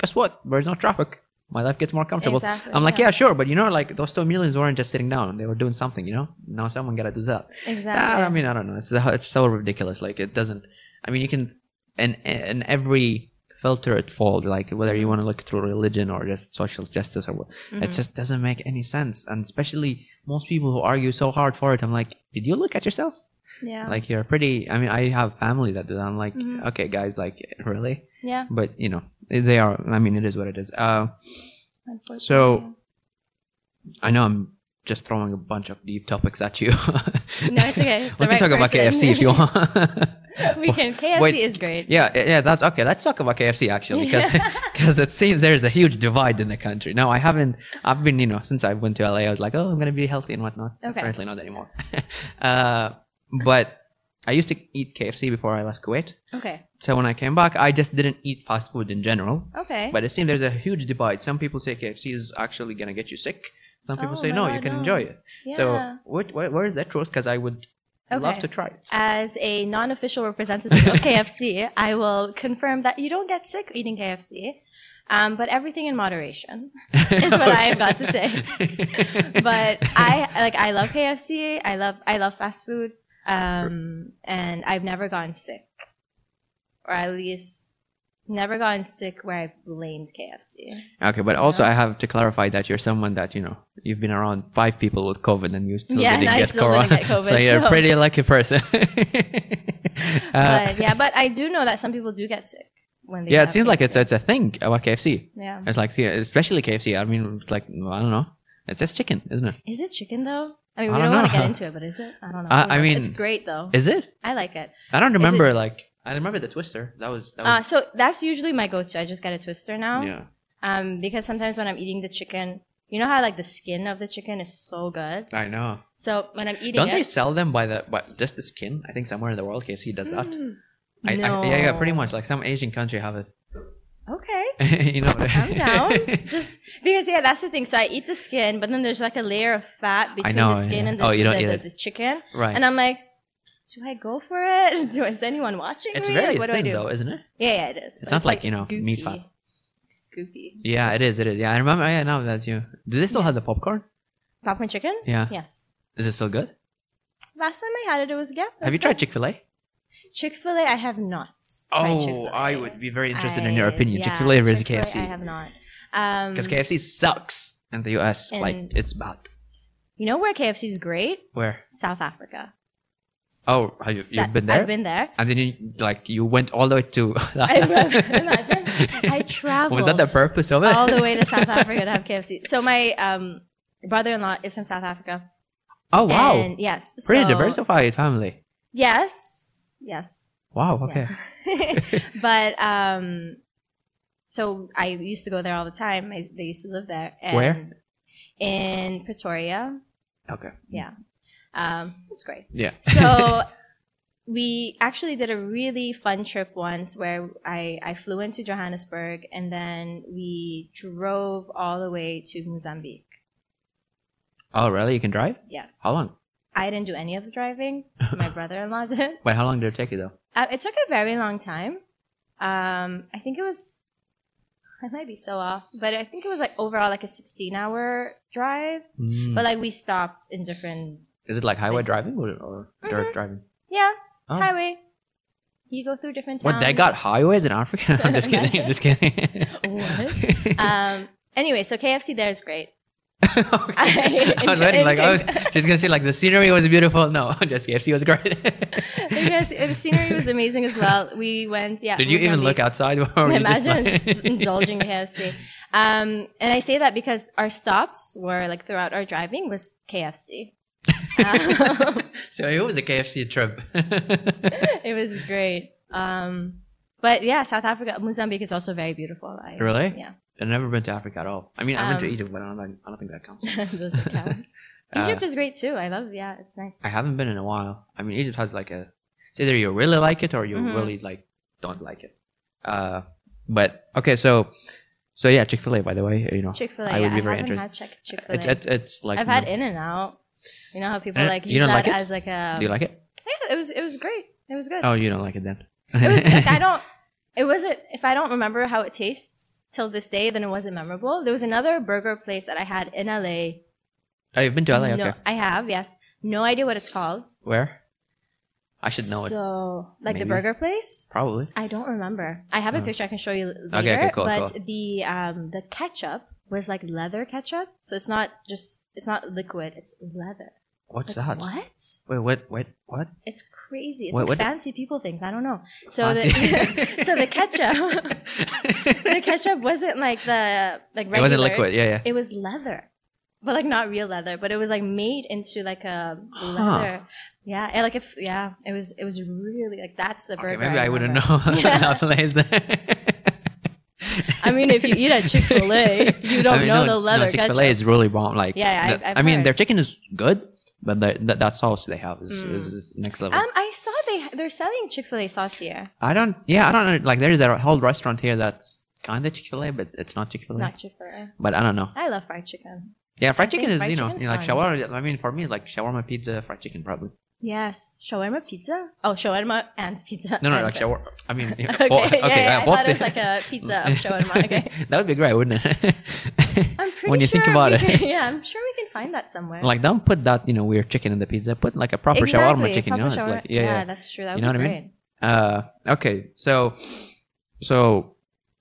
[SPEAKER 1] guess what? There's no traffic. My life gets more comfortable.
[SPEAKER 2] Exactly,
[SPEAKER 1] I'm like,
[SPEAKER 2] yeah.
[SPEAKER 1] yeah, sure, but you know, like those two millions weren't just sitting down; they were doing something. You know, now someone gotta do that.
[SPEAKER 2] exactly.
[SPEAKER 1] Ah, I mean, I don't know. It's it's so ridiculous. Like it doesn't. I mean, you can in in every filter it falls. Like whether you want to look through religion or just social justice or what, it
[SPEAKER 2] Mhm.
[SPEAKER 1] just doesn't make any sense. And especially most people who argue so hard for it, I'm like, did you look at yourself?
[SPEAKER 2] Mm-hmm. yeah.
[SPEAKER 1] Like you're pretty. I mean, I have family that do that. I'm like,
[SPEAKER 2] Mhm.
[SPEAKER 1] okay, guys, like really?
[SPEAKER 2] yeah.
[SPEAKER 1] But you know, eh, they are. I mean, it is what it is. Uh,
[SPEAKER 2] unfortunately.
[SPEAKER 1] so- I know I'm just throwing a bunch of deep topics at you. *laughs*
[SPEAKER 2] no, it's okay.
[SPEAKER 1] We
[SPEAKER 2] The
[SPEAKER 1] can
[SPEAKER 2] right
[SPEAKER 1] talk about
[SPEAKER 2] person.
[SPEAKER 1] KFC if you want.
[SPEAKER 2] *laughs* we can. KFC
[SPEAKER 1] *laughs* Wait.
[SPEAKER 2] is great.
[SPEAKER 1] Yeah, yeah, yeah, that's okay. Let's talk about KFC actually, because *laughs* it seems there's a huge divide in the country. Now I haven't. I've been, you know, since I went to LA, I was like, oh, I'm gonna be healthy and whatnot.
[SPEAKER 2] Okay.
[SPEAKER 1] Apparently not anymore. *laughs* uh, but I used to eat KFC before I left Kuwait.
[SPEAKER 2] *laughs* Okay.
[SPEAKER 1] So when I came back, I just didn't eat fast food in general.
[SPEAKER 2] Okay.
[SPEAKER 1] But it seems there's a huge divide. Some people say KFC is actually gonna get you sick. Some people
[SPEAKER 2] Oh,
[SPEAKER 1] say
[SPEAKER 2] no,
[SPEAKER 1] no, you
[SPEAKER 2] I
[SPEAKER 1] can
[SPEAKER 2] know.
[SPEAKER 1] enjoy it.
[SPEAKER 2] yeah.
[SPEAKER 1] So what, where, where is that truth? Because I would love
[SPEAKER 2] Okay. Uh,
[SPEAKER 1] to try it.
[SPEAKER 2] as a
[SPEAKER 1] *laughs*
[SPEAKER 2] non-official representative of KFC, I will confirm that you don't get sick eating KFC. Um, but everything in moderation is what I've got to
[SPEAKER 1] *laughs*
[SPEAKER 2] say. but I like I love KFC. I love I love fast food. Um, and I've never gotten sick, or at least never gotten sick where I blamed KFC.
[SPEAKER 1] okay, but also
[SPEAKER 2] No.
[SPEAKER 1] I have to clarify that you're someone that you know you've been around five people with COVID and you still
[SPEAKER 2] Yeah, and
[SPEAKER 1] didn't
[SPEAKER 2] I
[SPEAKER 1] get
[SPEAKER 2] still
[SPEAKER 1] corona.
[SPEAKER 2] didn't get COVID,
[SPEAKER 1] *laughs* so you're a
[SPEAKER 2] so-
[SPEAKER 1] pretty lucky
[SPEAKER 2] *laughs*
[SPEAKER 1] person. *laughs* Uh,
[SPEAKER 2] but yeah, but I do know that some people do get sick when they.
[SPEAKER 1] yeah, it
[SPEAKER 2] have
[SPEAKER 1] seems like it's
[SPEAKER 2] cancer.
[SPEAKER 1] it's a thing about KFC.
[SPEAKER 2] yeah.
[SPEAKER 1] It's like yeah, especially KFC. I mean, like I don't know. It's just chicken, isn't it?
[SPEAKER 2] Is it chicken though? I
[SPEAKER 1] I
[SPEAKER 2] mean, we
[SPEAKER 1] don't
[SPEAKER 2] don't, want to
[SPEAKER 1] know.
[SPEAKER 2] get into it, but is it? I don't know.
[SPEAKER 1] I-
[SPEAKER 2] Who
[SPEAKER 1] I
[SPEAKER 2] knows?
[SPEAKER 1] mean-
[SPEAKER 2] it's great though.
[SPEAKER 1] Is it?
[SPEAKER 2] I like it.
[SPEAKER 1] I don't
[SPEAKER 2] it-
[SPEAKER 1] remember. Like I remember the twister. That was that
[SPEAKER 2] Uh,
[SPEAKER 1] was
[SPEAKER 2] so that's usually my go-to. I just get a twister now.
[SPEAKER 1] Oh. yeah.
[SPEAKER 2] Um, because sometimes when I'm eating the chicken, you know how like the skin of the chicken is so good.
[SPEAKER 1] I know.
[SPEAKER 2] So when I'm eating
[SPEAKER 1] Don't
[SPEAKER 2] it,
[SPEAKER 1] they sell them by the by just the skin? I think somewhere in the world KFC does that.
[SPEAKER 2] *gasps* Mm,
[SPEAKER 1] I,
[SPEAKER 2] no.
[SPEAKER 1] I, yeah, yeah, pretty much. Like some Asian country have it. *laughs*
[SPEAKER 2] Okay,
[SPEAKER 1] you know.
[SPEAKER 2] I'm down. just because yeah, that's the thing. So I eat the skin, but then there's like a layer of fat between
[SPEAKER 1] know,
[SPEAKER 2] the skin
[SPEAKER 1] yeah.
[SPEAKER 2] and the,
[SPEAKER 1] Oh, you don't
[SPEAKER 2] the,
[SPEAKER 1] eat
[SPEAKER 2] the,
[SPEAKER 1] it.
[SPEAKER 2] the chicken,
[SPEAKER 1] *laughs* right.
[SPEAKER 2] and I'm like, do I go for it? *laughs* Do is anyone watching?
[SPEAKER 1] it's
[SPEAKER 2] me?
[SPEAKER 1] very
[SPEAKER 2] like, what
[SPEAKER 1] thin
[SPEAKER 2] do I do?
[SPEAKER 1] though, isn't it?
[SPEAKER 2] Yeah, yeah, it is. But
[SPEAKER 1] not like, you know, meat
[SPEAKER 2] goopy.
[SPEAKER 1] fat.
[SPEAKER 2] Just goopy.
[SPEAKER 1] Yeah, it is. It is. Yeah, I remember. Yeah, now that's you. Do they still have the popcorn?
[SPEAKER 2] Popcorn chicken?
[SPEAKER 1] Yeah.
[SPEAKER 2] Yes.
[SPEAKER 1] Is it still good?
[SPEAKER 2] Last time I had it, it was yeah. it
[SPEAKER 1] have
[SPEAKER 2] was
[SPEAKER 1] you tried
[SPEAKER 2] good.
[SPEAKER 1] Chick Fil A?
[SPEAKER 2] Chick Fil A? I have not. tried
[SPEAKER 1] Oh,
[SPEAKER 2] Chick-fil-A.
[SPEAKER 1] I would be very interested in your
[SPEAKER 2] I-
[SPEAKER 1] opinion.
[SPEAKER 2] yeah,
[SPEAKER 1] Chick Fil A versus
[SPEAKER 2] Chick-fil-A, I
[SPEAKER 1] KFC
[SPEAKER 2] have not. Um,
[SPEAKER 1] because KFC sucks in the US. like
[SPEAKER 2] And-
[SPEAKER 1] it's bad.
[SPEAKER 2] you know where KFC is great?
[SPEAKER 1] Where?
[SPEAKER 2] South Africa.
[SPEAKER 1] Oh, have you,
[SPEAKER 2] Sa-
[SPEAKER 1] you've been there?
[SPEAKER 2] I've been
[SPEAKER 1] *laughs*
[SPEAKER 2] there.
[SPEAKER 1] and then you like you went all the way to.
[SPEAKER 2] *laughs*
[SPEAKER 1] *laughs*
[SPEAKER 2] I remember, imagine I traveled.
[SPEAKER 1] Was that the purpose of it?
[SPEAKER 2] all the way
[SPEAKER 1] *laughs*
[SPEAKER 2] to South Africa to have KFC? So my um, brother-in-law is from South Africa.
[SPEAKER 1] oh wow!
[SPEAKER 2] And yes.
[SPEAKER 1] Pretty
[SPEAKER 2] so-
[SPEAKER 1] diversified family.
[SPEAKER 2] Yes. Yes.
[SPEAKER 1] Wow. Okay.
[SPEAKER 2] Yeah. *laughs* but um, so I used to go there all the time. I, they used to live there. And
[SPEAKER 1] Where?
[SPEAKER 2] In Pretoria.
[SPEAKER 1] Okay.
[SPEAKER 2] Yeah. Um, it's great.
[SPEAKER 1] Yeah. *laughs*
[SPEAKER 2] So we actually did a really fun trip once where I, I flew into Johannesburg and then we drove all the way to Mozambique.
[SPEAKER 1] oh really? You can drive?
[SPEAKER 2] Yes.
[SPEAKER 1] How long?
[SPEAKER 2] I didn't do any of the driving.
[SPEAKER 1] *laughs*
[SPEAKER 2] My brother-in-law did.
[SPEAKER 1] Wait, how long did it take you though?
[SPEAKER 2] Uh, it took a very long time. Um, I think it was, I might be so off, but I think it was like overall like a 16 hour drive.
[SPEAKER 1] Mm.
[SPEAKER 2] But like we stopped in different,
[SPEAKER 1] Is it like highway
[SPEAKER 2] Basically.
[SPEAKER 1] driving or, or dirt
[SPEAKER 2] Mhm.
[SPEAKER 1] driving?
[SPEAKER 2] yeah,
[SPEAKER 1] Oh.
[SPEAKER 2] highway. You go through different towns.
[SPEAKER 1] What they
[SPEAKER 2] *laughs*
[SPEAKER 1] got highways in Africa? *laughs* I'm just kidding. I'm
[SPEAKER 2] Imagine.
[SPEAKER 1] just kidding.
[SPEAKER 2] *laughs*
[SPEAKER 1] *laughs*
[SPEAKER 2] What? Um, anyway, so KFC there is great. *laughs*
[SPEAKER 1] Okay. I was waiting, like I was *laughs* just gonna say, like the scenery was beautiful. No, *laughs* just KFC was
[SPEAKER 2] *laughs*
[SPEAKER 1] great.
[SPEAKER 2] Because the scenery was amazing as well. We went, yeah.
[SPEAKER 1] *laughs* Did you even look
[SPEAKER 2] Mozambique.
[SPEAKER 1] outside? Or were you just
[SPEAKER 2] Imagine
[SPEAKER 1] like-
[SPEAKER 2] just,
[SPEAKER 1] *laughs*
[SPEAKER 2] indulging in KFC. Um, and I say that because our stops were like throughout our driving was KFC. Um,
[SPEAKER 1] *laughs*
[SPEAKER 2] *laughs*
[SPEAKER 1] so it was a KFC trip. *laughs*
[SPEAKER 2] it was great. Um, but yeah, South Africa, Mozambique is also very beautiful. I,
[SPEAKER 1] really?
[SPEAKER 2] Yeah. *laughs*
[SPEAKER 1] I've never been to Africa at all. I mean, I've been
[SPEAKER 2] Um,
[SPEAKER 1] to Egypt, but I don't, think- I don't think that counts.
[SPEAKER 2] Those are counts.
[SPEAKER 1] *laughs* Uh,
[SPEAKER 2] Egypt is great too. I love. Yeah, it's nice.
[SPEAKER 1] I haven't been in a while. I mean, Egypt has like a. It's either you really like it or you
[SPEAKER 2] Mhm.
[SPEAKER 1] really like don't like it. Uh, but okay, so so yeah, Chick Fil A. By the way, you know,
[SPEAKER 2] Chick Fil A.
[SPEAKER 1] I would be
[SPEAKER 2] yeah,
[SPEAKER 1] very
[SPEAKER 2] I haven't
[SPEAKER 1] interested.
[SPEAKER 2] had Chick Chick Fil
[SPEAKER 1] it's
[SPEAKER 2] A.
[SPEAKER 1] it's it's like
[SPEAKER 2] I've had In and Out. You know how people
[SPEAKER 1] Uh,
[SPEAKER 2] like
[SPEAKER 1] you
[SPEAKER 2] use
[SPEAKER 1] don't
[SPEAKER 2] that
[SPEAKER 1] like it?
[SPEAKER 2] as like a.
[SPEAKER 1] Do you like it?
[SPEAKER 2] yeah, it was it was great. It was good.
[SPEAKER 1] Oh, you don't like it then.
[SPEAKER 2] It was like
[SPEAKER 1] *laughs*
[SPEAKER 2] I don't. It wasn't. If I don't remember how it tastes till this day, then it wasn't memorable. There was another burger place that I had in LA.
[SPEAKER 1] oh, *laughs* you've been to LA. Okay,
[SPEAKER 2] *laughs* No, I have yes. No idea what it's called.
[SPEAKER 1] where? I should know it
[SPEAKER 2] So like the
[SPEAKER 1] Maybe.
[SPEAKER 2] burger place.
[SPEAKER 1] probably.
[SPEAKER 2] I don't remember. I have a
[SPEAKER 1] Oh.
[SPEAKER 2] picture I can show you later.
[SPEAKER 1] Okay, okay, cool,
[SPEAKER 2] but the um the ketchup was like leather ketchup, so it's not just it's not liquid. It's leather.
[SPEAKER 1] What's
[SPEAKER 2] Like,
[SPEAKER 1] that?
[SPEAKER 2] What?
[SPEAKER 1] Wait, what? Wait, what?
[SPEAKER 2] It's crazy. It's
[SPEAKER 1] What-
[SPEAKER 2] like
[SPEAKER 1] what-
[SPEAKER 2] fancy people things. I don't know. So
[SPEAKER 1] Fancy.
[SPEAKER 2] the *laughs* so the
[SPEAKER 1] *laughs*
[SPEAKER 2] ketchup the ketchup wasn't like the like regular.
[SPEAKER 1] It wasn't liquid. Yeah, yeah.
[SPEAKER 2] It was leather, but like not real leather. But it was like made into like a
[SPEAKER 1] Huh.
[SPEAKER 2] leather. Yeah, and like if yeah, it was it was really like that's the burger.
[SPEAKER 1] Okay, maybe I, wouldn't
[SPEAKER 2] remember.
[SPEAKER 1] know. *laughs*
[SPEAKER 2] Yeah.
[SPEAKER 1] That's what it is then.
[SPEAKER 2] I mean, if you
[SPEAKER 1] *laughs*
[SPEAKER 2] eat at Chick-fil-A, you don't
[SPEAKER 1] I mean,
[SPEAKER 2] know
[SPEAKER 1] no,
[SPEAKER 2] the leather
[SPEAKER 1] No, Chick Fil A
[SPEAKER 2] ketchup.
[SPEAKER 1] is really bomb. Like,
[SPEAKER 2] Yeah, I-
[SPEAKER 1] the-
[SPEAKER 2] I've
[SPEAKER 1] mean,
[SPEAKER 2] heard.
[SPEAKER 1] their chicken is good, but the, that that sauce they have is,
[SPEAKER 2] Mm.
[SPEAKER 1] is, is next level.
[SPEAKER 2] Um, I saw they they're selling Chick Fil A sauce here,
[SPEAKER 1] I don't. Yeah, I don't know. Like, there is a whole restaurant here that's kind of Chick Fil A, but it's not Chick Fil A.
[SPEAKER 2] not Chick Fil A.
[SPEAKER 1] But I don't know.
[SPEAKER 2] I love fried chicken.
[SPEAKER 1] Yeah, fried
[SPEAKER 2] I
[SPEAKER 1] chicken
[SPEAKER 2] think
[SPEAKER 1] is
[SPEAKER 2] fried
[SPEAKER 1] you know
[SPEAKER 2] chicken's
[SPEAKER 1] you know, like
[SPEAKER 2] fine.
[SPEAKER 1] shawarma. I mean, for me, like shawarma pizza, fried chicken probably.
[SPEAKER 2] Yes, shawarma pizza. Oh, shawarma and pizza.
[SPEAKER 1] No, no,
[SPEAKER 2] and
[SPEAKER 1] like shower. I mean, you know,
[SPEAKER 2] *laughs* Okay,
[SPEAKER 1] oh,
[SPEAKER 2] yeah,
[SPEAKER 1] okay,
[SPEAKER 2] yeah, I
[SPEAKER 1] both
[SPEAKER 2] thought it was
[SPEAKER 1] the-
[SPEAKER 2] like a pizza
[SPEAKER 1] *laughs*
[SPEAKER 2] of shawarma. Okay,
[SPEAKER 1] that would be great, wouldn't it? *laughs*
[SPEAKER 2] I'm pretty
[SPEAKER 1] When you
[SPEAKER 2] sure
[SPEAKER 1] think about
[SPEAKER 2] we
[SPEAKER 1] it.
[SPEAKER 2] can- yeah, I'm sure we can find that somewhere.
[SPEAKER 1] like, don't put that you know weird chicken in the pizza. Put like a proper shawarma chicken. you know, it's
[SPEAKER 2] proper shawarma.
[SPEAKER 1] like yeah, yeah.
[SPEAKER 2] that's true. That
[SPEAKER 1] You
[SPEAKER 2] would
[SPEAKER 1] know
[SPEAKER 2] be
[SPEAKER 1] what I
[SPEAKER 2] great.
[SPEAKER 1] Uh, okay, so, so,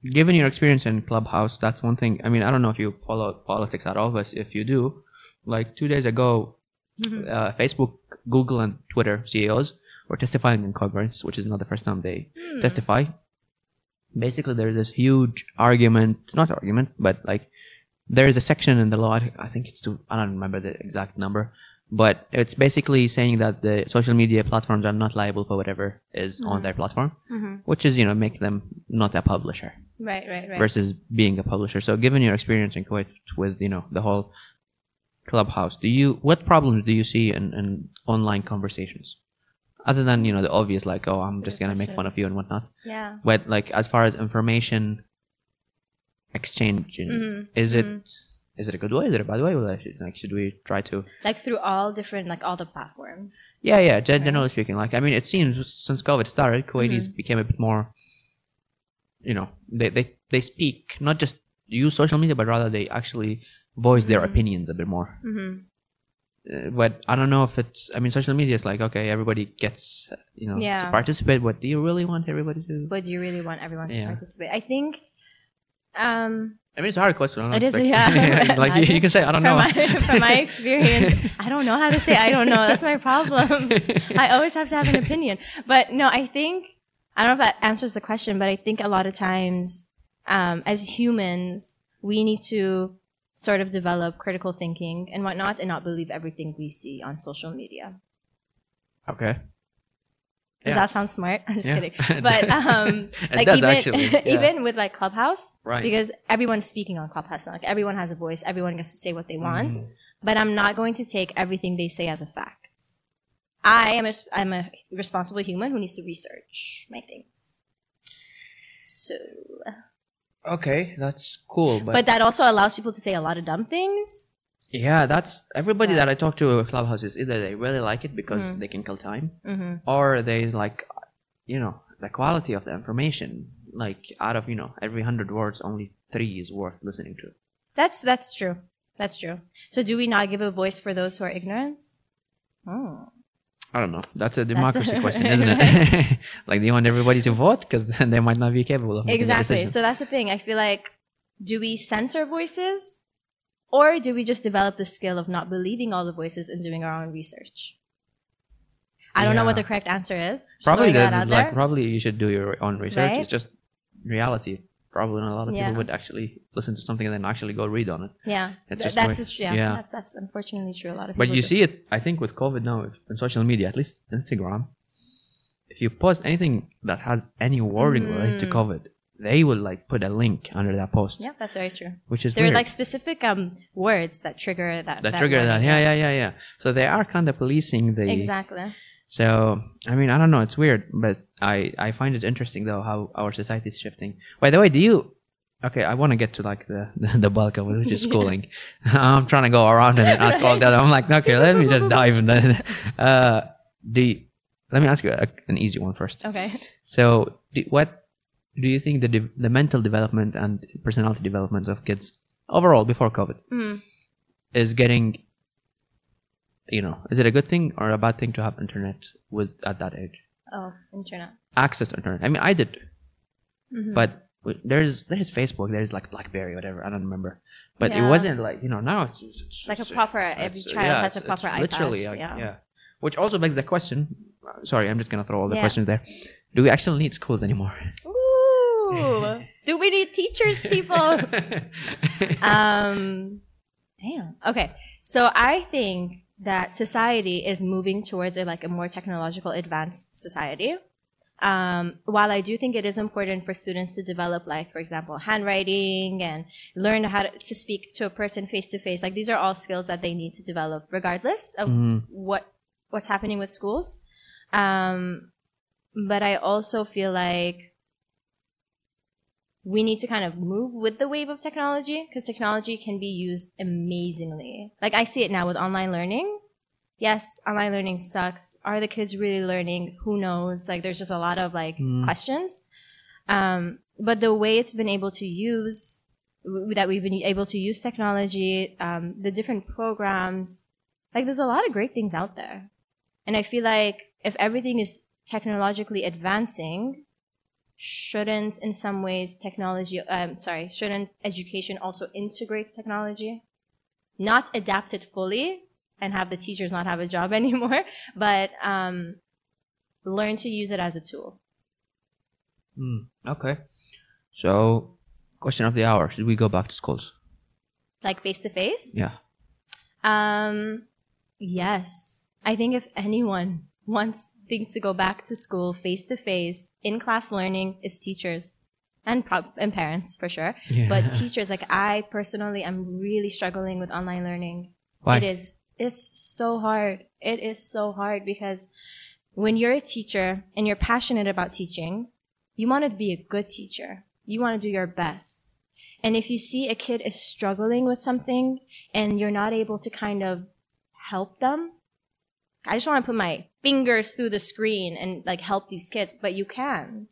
[SPEAKER 1] given your experience in Clubhouse, that's one thing. I mean, I don't know if you follow politics at all, but if you do, like two days ago,
[SPEAKER 2] Mhm.
[SPEAKER 1] uh, Facebook, Google, and Twitter CEOs were testifying in Congress, which is not the first time they
[SPEAKER 2] Hmm.
[SPEAKER 1] testify. Basically, there is this huge argument, not argument, but like there is a section in the law. I- I think it's two. I don't remember the exact number, but it's basically saying that the social media platforms are not liable for whatever is on
[SPEAKER 2] Mhm.
[SPEAKER 1] their platform,
[SPEAKER 2] Mhm.
[SPEAKER 1] which is you know make them not a publisher
[SPEAKER 2] Right, right, right.
[SPEAKER 1] versus being a publisher. So, given your experience in Kuwait with you know the whole clubhouse, do you what problems do you see in, in online conversations, other than you know the obvious like oh I'm
[SPEAKER 2] That's a
[SPEAKER 1] just
[SPEAKER 2] good
[SPEAKER 1] gonna make
[SPEAKER 2] question.
[SPEAKER 1] fun of you and whatnot,
[SPEAKER 2] yeah.
[SPEAKER 1] but like as far as information exchange, you know,
[SPEAKER 2] Mhm.
[SPEAKER 1] is it
[SPEAKER 2] mhm.
[SPEAKER 1] is it a good way? Is it a bad way? Well, I should, like should we try to?
[SPEAKER 2] Like through all different, like all the platforms.
[SPEAKER 1] Yeah, yeah. Gen-
[SPEAKER 2] Right. Mm-hmm.
[SPEAKER 1] Generally speaking, like I mean, it seems since COVID started, Kuwaitis became a bit more. You know, they they they speak not just use social media, but rather they actually voice their
[SPEAKER 2] Mhm.
[SPEAKER 1] opinions a bit more.
[SPEAKER 2] hmm
[SPEAKER 1] Uh, but I don't know if it's. I mean, social media is like okay, everybody gets you know to
[SPEAKER 2] Yeah.
[SPEAKER 1] participate. But do you really want everybody to?
[SPEAKER 2] But do you really want everyone to
[SPEAKER 1] Yeah.
[SPEAKER 2] participate? I think. Um,
[SPEAKER 1] I mean, it's a hard question. I don't
[SPEAKER 2] It is,
[SPEAKER 1] expect- *laughs*
[SPEAKER 2] yeah.
[SPEAKER 1] like you, you can say I don't
[SPEAKER 2] *laughs* from,
[SPEAKER 1] know.
[SPEAKER 2] my, *laughs* from my experience,
[SPEAKER 1] *laughs*
[SPEAKER 2] I don't know how to say I don't know. That's my problem. I always have to have an opinion. But no, I think I don't know if that answers the question, but I think a lot of times um, as humans, we need to sort of develop critical thinking and whatnot and not believe everything we see on social media.
[SPEAKER 1] okay. *laughs*
[SPEAKER 2] Does
[SPEAKER 1] Yeah.
[SPEAKER 2] that sound smart? *laughs* I'm just
[SPEAKER 1] Yeah.
[SPEAKER 2] kidding. But um
[SPEAKER 1] it
[SPEAKER 2] like
[SPEAKER 1] does
[SPEAKER 2] even
[SPEAKER 1] actually. yeah.
[SPEAKER 2] *laughs* even with like Clubhouse,
[SPEAKER 1] right.
[SPEAKER 2] because everyone's speaking on Clubhouse now. Like everyone has a voice, everyone gets to say what they want.
[SPEAKER 1] Mm.
[SPEAKER 2] but I'm not going to take everything they say as a fact. I am a, I'm a responsible human who needs to research my things. So,
[SPEAKER 1] Okay, that's cool. But,
[SPEAKER 2] but, that also allows people to say a lot of dumb things.
[SPEAKER 1] yeah, that's everybody
[SPEAKER 2] Yeah.
[SPEAKER 1] that I talk to at clubhouses. Either they really like it because
[SPEAKER 2] Mhm.
[SPEAKER 1] they can kill time,
[SPEAKER 2] Mm-hmm.
[SPEAKER 1] or they like, you know, the quality of the information. Like out of you know every hundred words, only three is worth listening to.
[SPEAKER 2] That's that's true. That's true. So, do we not give a voice for those who are ignorant? Oh,
[SPEAKER 1] I don't know. That's a democracy
[SPEAKER 2] *laughs* a-
[SPEAKER 1] question, isn't it? *laughs* like, do you want everybody to vote? Because then *laughs* they might not be capable of making that
[SPEAKER 2] exactly.
[SPEAKER 1] decision.
[SPEAKER 2] So that's the thing. I feel like, do we censor voices, or do we just develop the skill of not believing all the voices and doing our own research? I don't know what
[SPEAKER 1] Yeah.
[SPEAKER 2] the correct answer is. Just
[SPEAKER 1] probably
[SPEAKER 2] throwing that
[SPEAKER 1] the-
[SPEAKER 2] out
[SPEAKER 1] like
[SPEAKER 2] there.
[SPEAKER 1] probably you should do your own research.
[SPEAKER 2] Right?
[SPEAKER 1] It's just reality. Probably not a lot of
[SPEAKER 2] Yeah.
[SPEAKER 1] people would actually listen to something and then actually go read on it.
[SPEAKER 2] Yeah,
[SPEAKER 1] That's
[SPEAKER 2] that's
[SPEAKER 1] just
[SPEAKER 2] that's
[SPEAKER 1] the
[SPEAKER 2] just- yeah,
[SPEAKER 1] yeah.
[SPEAKER 2] That's that's unfortunately true. A lot of
[SPEAKER 1] But
[SPEAKER 2] people
[SPEAKER 1] you
[SPEAKER 2] just-
[SPEAKER 1] see it, I think, with COVID now if- on social media, at least Instagram. If you post anything that has any wording related to
[SPEAKER 2] Mm.
[SPEAKER 1] COVID, they will like put a link under that post,
[SPEAKER 2] Yeah, that's very true.
[SPEAKER 1] which is
[SPEAKER 2] There
[SPEAKER 1] weird.
[SPEAKER 2] are like specific um words that trigger that
[SPEAKER 1] that, trigger
[SPEAKER 2] word.
[SPEAKER 1] that, yeah, yeah, yeah, yeah. So they are kind of policing the.
[SPEAKER 2] exactly.
[SPEAKER 1] So I mean, I don't know, it's weird, but I I find it interesting though how our society is shifting. By the way, do you? Okay, I want to get to like the the, the bulk of it, which is
[SPEAKER 2] Yeah.
[SPEAKER 1] schooling. I'm trying to go around and then ask all the other. I'm like, okay, let me just dive in. Then. *laughs* Uh, do you- let me ask you a, an easy one first.
[SPEAKER 2] Okay.
[SPEAKER 1] So, do, what do you think the de- the mental development and personality development of kids overall before COVID
[SPEAKER 2] Mm.
[SPEAKER 1] is getting? You know, is it a good thing or a bad thing to have internet with at that age?
[SPEAKER 2] Oh, internet.
[SPEAKER 1] access to internet. I mean, I did,
[SPEAKER 2] Mhm.
[SPEAKER 1] but w- there's there's Facebook, there's like BlackBerry, whatever. I don't remember, but it
[SPEAKER 2] Yeah.
[SPEAKER 1] wasn't like you know now it's, it's,
[SPEAKER 2] It's like a
[SPEAKER 1] it's-
[SPEAKER 2] proper every
[SPEAKER 1] it's- uh,
[SPEAKER 2] child
[SPEAKER 1] yeah,
[SPEAKER 2] has
[SPEAKER 1] it's-
[SPEAKER 2] a
[SPEAKER 1] it's
[SPEAKER 2] proper iPad.
[SPEAKER 1] Literally, like, yeah.
[SPEAKER 2] yeah.
[SPEAKER 1] Which also begs the question. uh, Sorry, I'm just gonna throw all the
[SPEAKER 2] Yeah.
[SPEAKER 1] questions there. Do we actually need schools anymore?
[SPEAKER 2] Ooh, do we need teachers,
[SPEAKER 1] *laughs*
[SPEAKER 2] people? um damn okay so i think that society is moving towards a like a more technological advanced society um, while i do think it is important for students to develop like for example handwriting and learn how to, to speak to a person face to face like these are all skills that they need to develop regardless of
[SPEAKER 1] Mm,
[SPEAKER 2] what what's happening with schools. Um, but I also feel like we need to kind of move with the wave of technology because technology can be used amazingly. Like I see it now with online learning. yes, am I learning sucks? Are the kids really learning? Who knows? Like, there's just a lot of like
[SPEAKER 1] Mm.
[SPEAKER 2] questions. Um, but the way it's been able to use w- that we've been able to use technology, um, the different programs, like there's a lot of great things out there. And I feel like if everything is technologically advancing, shouldn't in some ways technology, um, sorry, shouldn't education also integrate technology? Not adapt it fully, and have the teachers not have a job *laughs* anymore, but um, learn to use it as a tool.
[SPEAKER 1] Mm, okay. So, question of the hour: Should we go back to schools?
[SPEAKER 2] Like face to face?
[SPEAKER 1] Yeah.
[SPEAKER 2] Um, yes. I think if anyone wants things to go back to school face to face, in class learning is teachers and, prob and parents for sure.
[SPEAKER 1] yeah. *laughs*
[SPEAKER 2] But teachers, like I personally am really struggling with online learning.
[SPEAKER 1] Why?
[SPEAKER 2] It is. It's so hard. It is so hard because when you're a teacher and you're passionate about teaching, you want to be a good teacher. You want to do your best. And if you see a kid is struggling with something and you're not able to kind of help them, I just want to put my fingers through the screen and like help these kids, but you can't.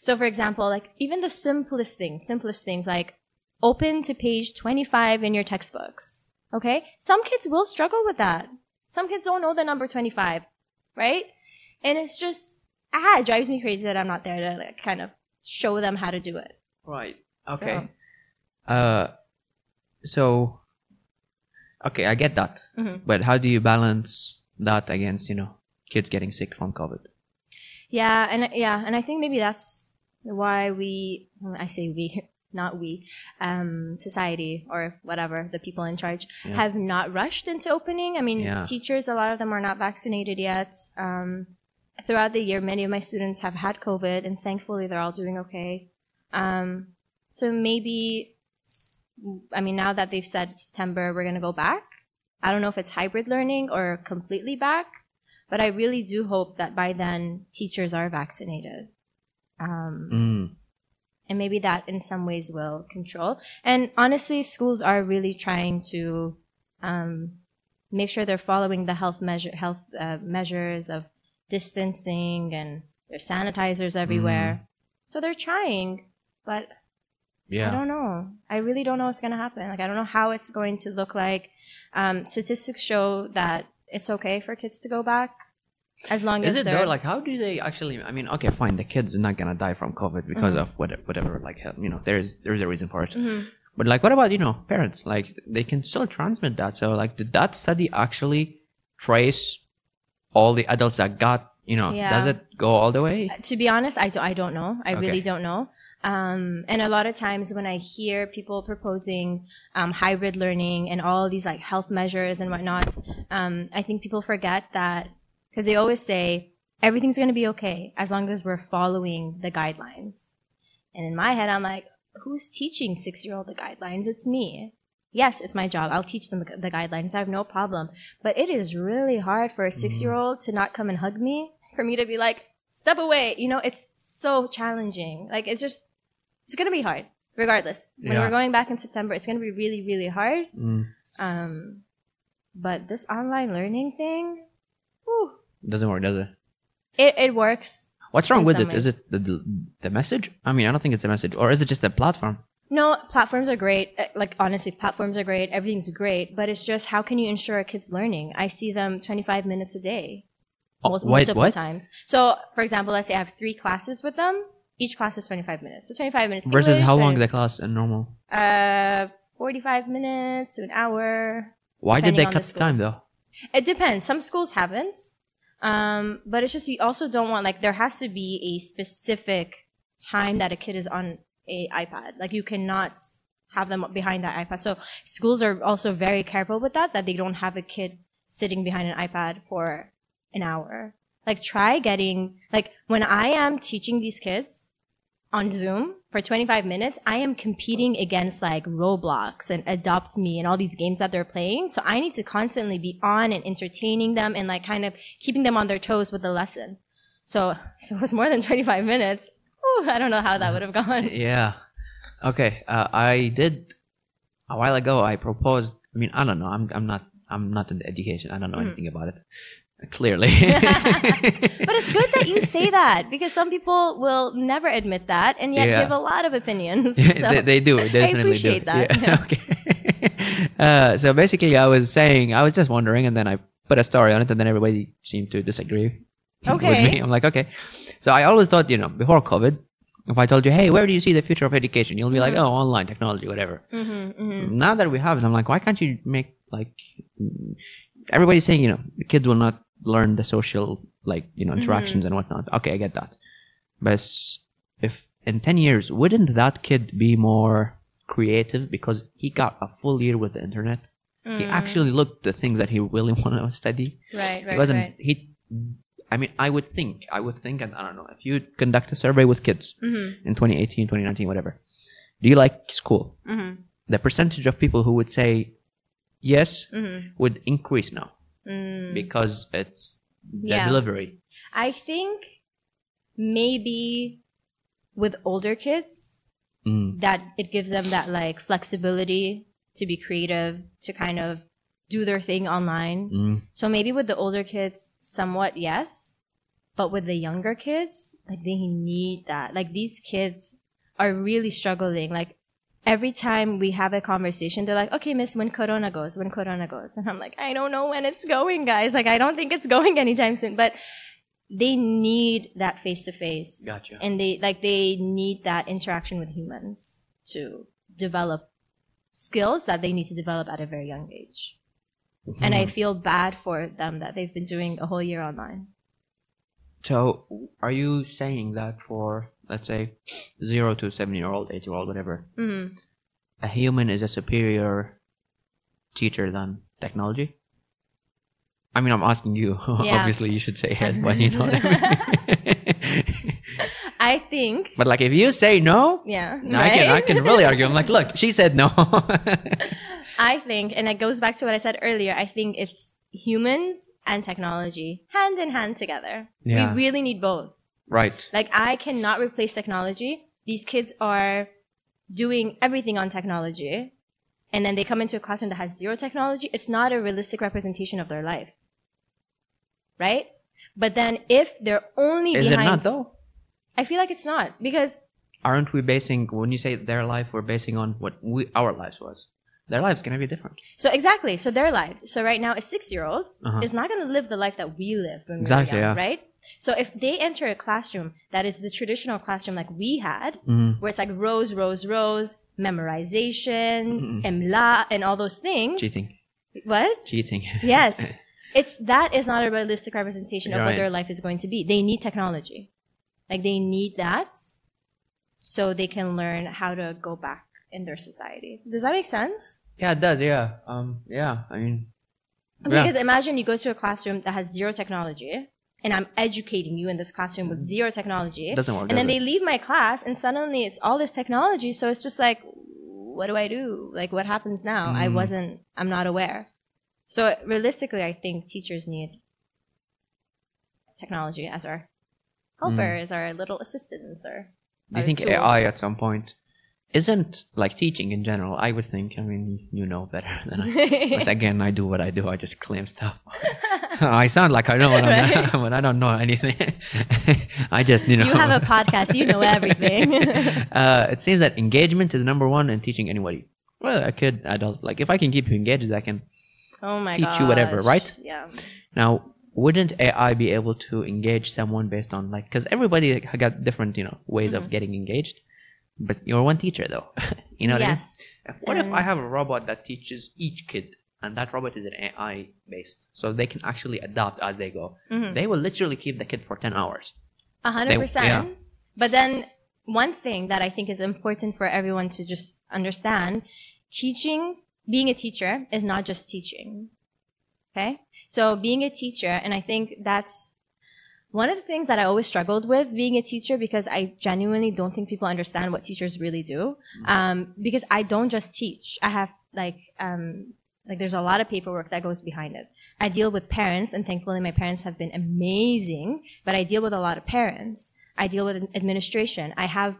[SPEAKER 2] So for example, like even the simplest things, simplest things like open to page 25 in your textbooks. Okay? Some kids will struggle with that. Some kids don't know the number 25, right? And it's just, ah, it drives me crazy that I'm not there to like, kind of show them how to do it.
[SPEAKER 1] Right.
[SPEAKER 2] So-
[SPEAKER 1] Okay. Uh, so. Okay, I get that,
[SPEAKER 2] Mhm.
[SPEAKER 1] but how do you balance that against you know kids getting sick from COVID?
[SPEAKER 2] Yeah, and yeah, and I think maybe that's why we, I say we, *laughs* not we, um, society or whatever, the people in charge
[SPEAKER 1] Yeah.
[SPEAKER 2] have not rushed into opening. I mean,
[SPEAKER 1] Yeah.
[SPEAKER 2] teachers, a lot of them are not vaccinated yet. Um, throughout the year, many of my students have had COVID, and thankfully, they're all doing okay. Um, so maybe, s- I mean, now that they've said September, we're going to go back. I don't know if it's hybrid learning or completely back, but I really do hope that by then teachers are vaccinated. Um,
[SPEAKER 1] Mm,
[SPEAKER 2] and maybe that in some ways will control. And honestly, schools are really trying to um, make sure they're following the health measure health uh, measures of distancing and there's sanitizers everywhere. So they're trying, but I
[SPEAKER 1] yeah.
[SPEAKER 2] don't know. I really don't know what's going to happen. Like I don't know how it's going to look like. Um, statistics show that it's okay for kids to go back as long
[SPEAKER 1] Is
[SPEAKER 2] as
[SPEAKER 1] it
[SPEAKER 2] they're
[SPEAKER 1] though? Like, how do they actually? I mean, okay, fine. The kids are not gonna die from COVID because
[SPEAKER 2] Mhm.
[SPEAKER 1] of whatever, whatever. Like, you know, there is there is a reason for it.
[SPEAKER 2] Mhm.
[SPEAKER 1] But like, what about you know parents? Like, they can still transmit that. So like, did that study actually trace all the adults that got? You know,
[SPEAKER 2] Yeah.
[SPEAKER 1] does it go all the way?
[SPEAKER 2] to be honest, I, do, I don't know. I
[SPEAKER 1] Okay.
[SPEAKER 2] really don't know. Um, and a lot of times when I hear people proposing um, hybrid learning and all these like health measures and whatnot, um, I think people forget that because they always say everything's going to be okay as long as we're following the guidelines. And in my head, I'm like, who's teaching six year old the guidelines? It's me. Yes, it's my job. I'll teach them the guidelines. I have no problem. But it is really hard for a six year old to not come and hug me, for me to be like, step away. You know, it's so challenging. Like, it's just, it's going to be hard regardless. When
[SPEAKER 1] Yeah.
[SPEAKER 2] we're going back in September, it's going to be really, really hard.
[SPEAKER 1] Mm,
[SPEAKER 2] Um, but this online learning thing, whew,
[SPEAKER 1] doesn't work, does it?
[SPEAKER 2] it, it works.
[SPEAKER 1] What's wrong
[SPEAKER 2] In
[SPEAKER 1] with
[SPEAKER 2] some
[SPEAKER 1] it? Is
[SPEAKER 2] ways.
[SPEAKER 1] it the- the the message? I mean, I don't think it's a message, or is it just the platform?
[SPEAKER 2] No, platforms are great. Uh, Like honestly, platforms are great. Everything's great, but it's just how can you ensure a kid's learning? I see them 25 minutes a day,
[SPEAKER 1] Oh,
[SPEAKER 2] mul-
[SPEAKER 1] wait,
[SPEAKER 2] multiple
[SPEAKER 1] what?
[SPEAKER 2] times. So, for example, let's say I have three classes with them. Each class is 25 minutes. So 25 minutes
[SPEAKER 1] Versus
[SPEAKER 2] English,
[SPEAKER 1] how long
[SPEAKER 2] 20
[SPEAKER 1] the class in normal?
[SPEAKER 2] Uh, 45 minutes to an hour.
[SPEAKER 1] Why did they
[SPEAKER 2] Depending on the
[SPEAKER 1] cut the
[SPEAKER 2] school.
[SPEAKER 1] time though? *laughs*
[SPEAKER 2] It depends. Some schools haven't. Um, but it's just you also don't want like there has to be a specific time that a kid is on a iPad. Like you cannot have them behind that iPad. So schools are also very careful with that that they don't have a kid sitting behind an iPad for an hour. Like try getting like when I am teaching these kids on Zoom for 25 minutes, I am competing against like Roblox and Adopt Me and all these games that they're playing. So I need to constantly be on and entertaining them and like kind of keeping them on their toes with the lesson. So *laughs* if it was more than 25 minutes, whew, I don't know how that would have gone.
[SPEAKER 1] Yeah. Okay. Uh, I did a while ago. I proposed. I mean, I don't know. I'm I'm not I'm not in the education. I don't know
[SPEAKER 2] Mhm.
[SPEAKER 1] anything about it. Clearly.
[SPEAKER 2] *laughs*
[SPEAKER 1] *laughs*
[SPEAKER 2] But it's good that you say that because some people will never admit that and yet
[SPEAKER 1] Yeah.
[SPEAKER 2] give a lot of opinions. So,
[SPEAKER 1] *laughs* they, they do. They definitely
[SPEAKER 2] appreciate
[SPEAKER 1] do.
[SPEAKER 2] that,
[SPEAKER 1] Yeah. *laughs*
[SPEAKER 2] yeah.
[SPEAKER 1] okay. Uh, so basically, I was saying, I was just wondering, and then I put a story on it, and then everybody seemed to disagree
[SPEAKER 2] Okay.
[SPEAKER 1] with me. I'm like, okay. So I always thought, you know, before COVID, if I told you, hey, where do you see the future of education? You'll be like,
[SPEAKER 2] Mhm.
[SPEAKER 1] oh, online technology, whatever.
[SPEAKER 2] Mhm, mhm.
[SPEAKER 1] Now that we have it, I'm like, why can't you make like mm, everybody's saying, you know, the kids will not learn the social like you know
[SPEAKER 2] Mm-hmm.
[SPEAKER 1] interactions and whatnot. Okay, I get that. But s- if in ten years, wouldn't that kid be more creative because he got a full year with the internet? He
[SPEAKER 2] Mm.
[SPEAKER 1] actually looked the things that he really *laughs* wanted to study.
[SPEAKER 2] right,
[SPEAKER 1] he
[SPEAKER 2] right,
[SPEAKER 1] wasn't.
[SPEAKER 2] right.
[SPEAKER 1] He. I mean, I would think, I would think, and I don't know, if you conduct a survey with kids
[SPEAKER 2] Mm-hmm,
[SPEAKER 1] in 2018, 2019, whatever, do you like school?
[SPEAKER 2] mm-hmm,
[SPEAKER 1] the percentage of people who would say yes
[SPEAKER 2] mm-hmm,
[SPEAKER 1] would increase now
[SPEAKER 2] mm.
[SPEAKER 1] because it's the
[SPEAKER 2] Yeah.
[SPEAKER 1] delivery.
[SPEAKER 2] I think maybe with older kids
[SPEAKER 1] Mm.
[SPEAKER 2] that it gives them that like flexibility to be creative, to kind of do their thing online.
[SPEAKER 1] Mm.
[SPEAKER 2] So maybe with the older kids, somewhat yes, but with the younger kids, like they need that. Like these kids are really struggling. Like every time we have a conversation, they're like, "Okay, Miss, when Corona goes, when Corona goes," and I'm like, "I don't know when it's going, guys. Like I don't think it's going *laughs* anytime soon." But they need that face to face,
[SPEAKER 1] Gotcha.
[SPEAKER 2] and they like they need that interaction with humans to develop skills that they need to develop at a very young age
[SPEAKER 1] Mm-hmm.
[SPEAKER 2] and I feel bad for them that they've been doing a whole year online.
[SPEAKER 1] so are you saying that for let's say zero to seven year old, eight year old, whatever,
[SPEAKER 2] Mm.
[SPEAKER 1] a human is a superior teacher than technology? I mean, I'm asking you. *laughs*
[SPEAKER 2] Yeah.
[SPEAKER 1] Obviously, you should
[SPEAKER 2] *laughs*
[SPEAKER 1] say yes, but you know what I mean.
[SPEAKER 2] I think,
[SPEAKER 1] *laughs* but like, if you say no,
[SPEAKER 2] yeah,
[SPEAKER 1] I can I
[SPEAKER 2] right?
[SPEAKER 1] can really argue. I'm like, look, she said no. *laughs*
[SPEAKER 2] I think, and it goes back to what I said earlier. I think it's humans and technology hand in hand together.
[SPEAKER 1] Yeah.
[SPEAKER 2] We really need both.
[SPEAKER 1] right.
[SPEAKER 2] Like I cannot replace technology. These kids are doing everything on technology, and then they come into a classroom that has zero technology. It's not a realistic representation of their life, right? But then if they're only
[SPEAKER 1] Is it
[SPEAKER 2] behind,
[SPEAKER 1] not though?
[SPEAKER 2] I feel like it's not because
[SPEAKER 1] Aren't we basing when you say their life, we're basing on what we our lives was. Their lives gonna be different.
[SPEAKER 2] so exactly so their lives. So right now, a six-year-old
[SPEAKER 1] Uh-huh.
[SPEAKER 2] is not going to live the life that we lived when
[SPEAKER 1] Exactly,
[SPEAKER 2] we were young,
[SPEAKER 1] yeah.
[SPEAKER 2] right? So if they enter a classroom that is the traditional classroom like we had,
[SPEAKER 1] Mm.
[SPEAKER 2] where it's like rows, rows, rows, memorization,
[SPEAKER 1] Mm.
[SPEAKER 2] imla, and all those things.
[SPEAKER 1] Cheating,
[SPEAKER 2] What?
[SPEAKER 1] cheating. *laughs*
[SPEAKER 2] Yes. It's that is not a realistic representation of
[SPEAKER 1] You're
[SPEAKER 2] what
[SPEAKER 1] right.
[SPEAKER 2] their life is going to be. They need technology. Like they need that so they can learn how to go back in their society. Does that make sense?
[SPEAKER 1] yeah, it does. Yeah. Um. Yeah. I mean. Yeah.
[SPEAKER 2] Because imagine you go to a classroom that has zero technology and I'm educating you in this classroom with zero technology.
[SPEAKER 1] It doesn't work.
[SPEAKER 2] and then
[SPEAKER 1] does
[SPEAKER 2] they
[SPEAKER 1] it?
[SPEAKER 2] leave my class and suddenly it's all this technology so it's just like what do i do like what happens now i
[SPEAKER 1] Mm.
[SPEAKER 2] wasn't i'm not aware so realistically i think teachers need technology as our helpers
[SPEAKER 1] Mm.
[SPEAKER 2] our little assistants
[SPEAKER 1] *laughs*
[SPEAKER 2] or
[SPEAKER 1] Do you
[SPEAKER 2] our
[SPEAKER 1] think
[SPEAKER 2] tools.
[SPEAKER 1] AI at some point isn't like teaching in general? I would think. I mean, you know better *laughs* than I.
[SPEAKER 2] *laughs*
[SPEAKER 1] Because again, I do what I do. I just claim stuff. *laughs* I sound like I know what I'm *laughs*
[SPEAKER 2] Right.
[SPEAKER 1] but I don't know anything. *laughs* I just, you know.
[SPEAKER 2] You have a podcast, you know
[SPEAKER 1] *laughs*
[SPEAKER 2] everything.
[SPEAKER 1] uh, it seems that engagement is number one in teaching anybody. Well, a kid, adult. Like, if I can keep you engaged, I can.
[SPEAKER 2] oh my god
[SPEAKER 1] Teach you whatever, right?
[SPEAKER 2] yeah
[SPEAKER 1] Now, wouldn't AI be able to engage someone based on, like, because everybody like, got different, you know, ways
[SPEAKER 2] Mhm.
[SPEAKER 1] of getting engaged. But you're one teacher, though. *laughs* you know what
[SPEAKER 2] yes
[SPEAKER 1] I mean? What if
[SPEAKER 2] and-
[SPEAKER 1] I have a robot that teaches each kid, and that robot is an AI based, so they can actually adapt as they go?
[SPEAKER 2] Mhm.
[SPEAKER 1] They will literally keep the kid for 10 hours.
[SPEAKER 2] A hundred
[SPEAKER 1] They- yeah.
[SPEAKER 2] percent. But then one thing that I think is important for everyone to just understand, teaching, being a teacher is not just teaching. Okay. So being a teacher, and I think that's one of the things that I always struggled with being a teacher because I genuinely don't think people understand what teachers really do. Um, because I don't just teach. I have like, um, like there's a lot of paperwork that goes behind it. I deal with parents, and thankfully my parents have been amazing, but I deal with a lot of parents. I deal with administration. I have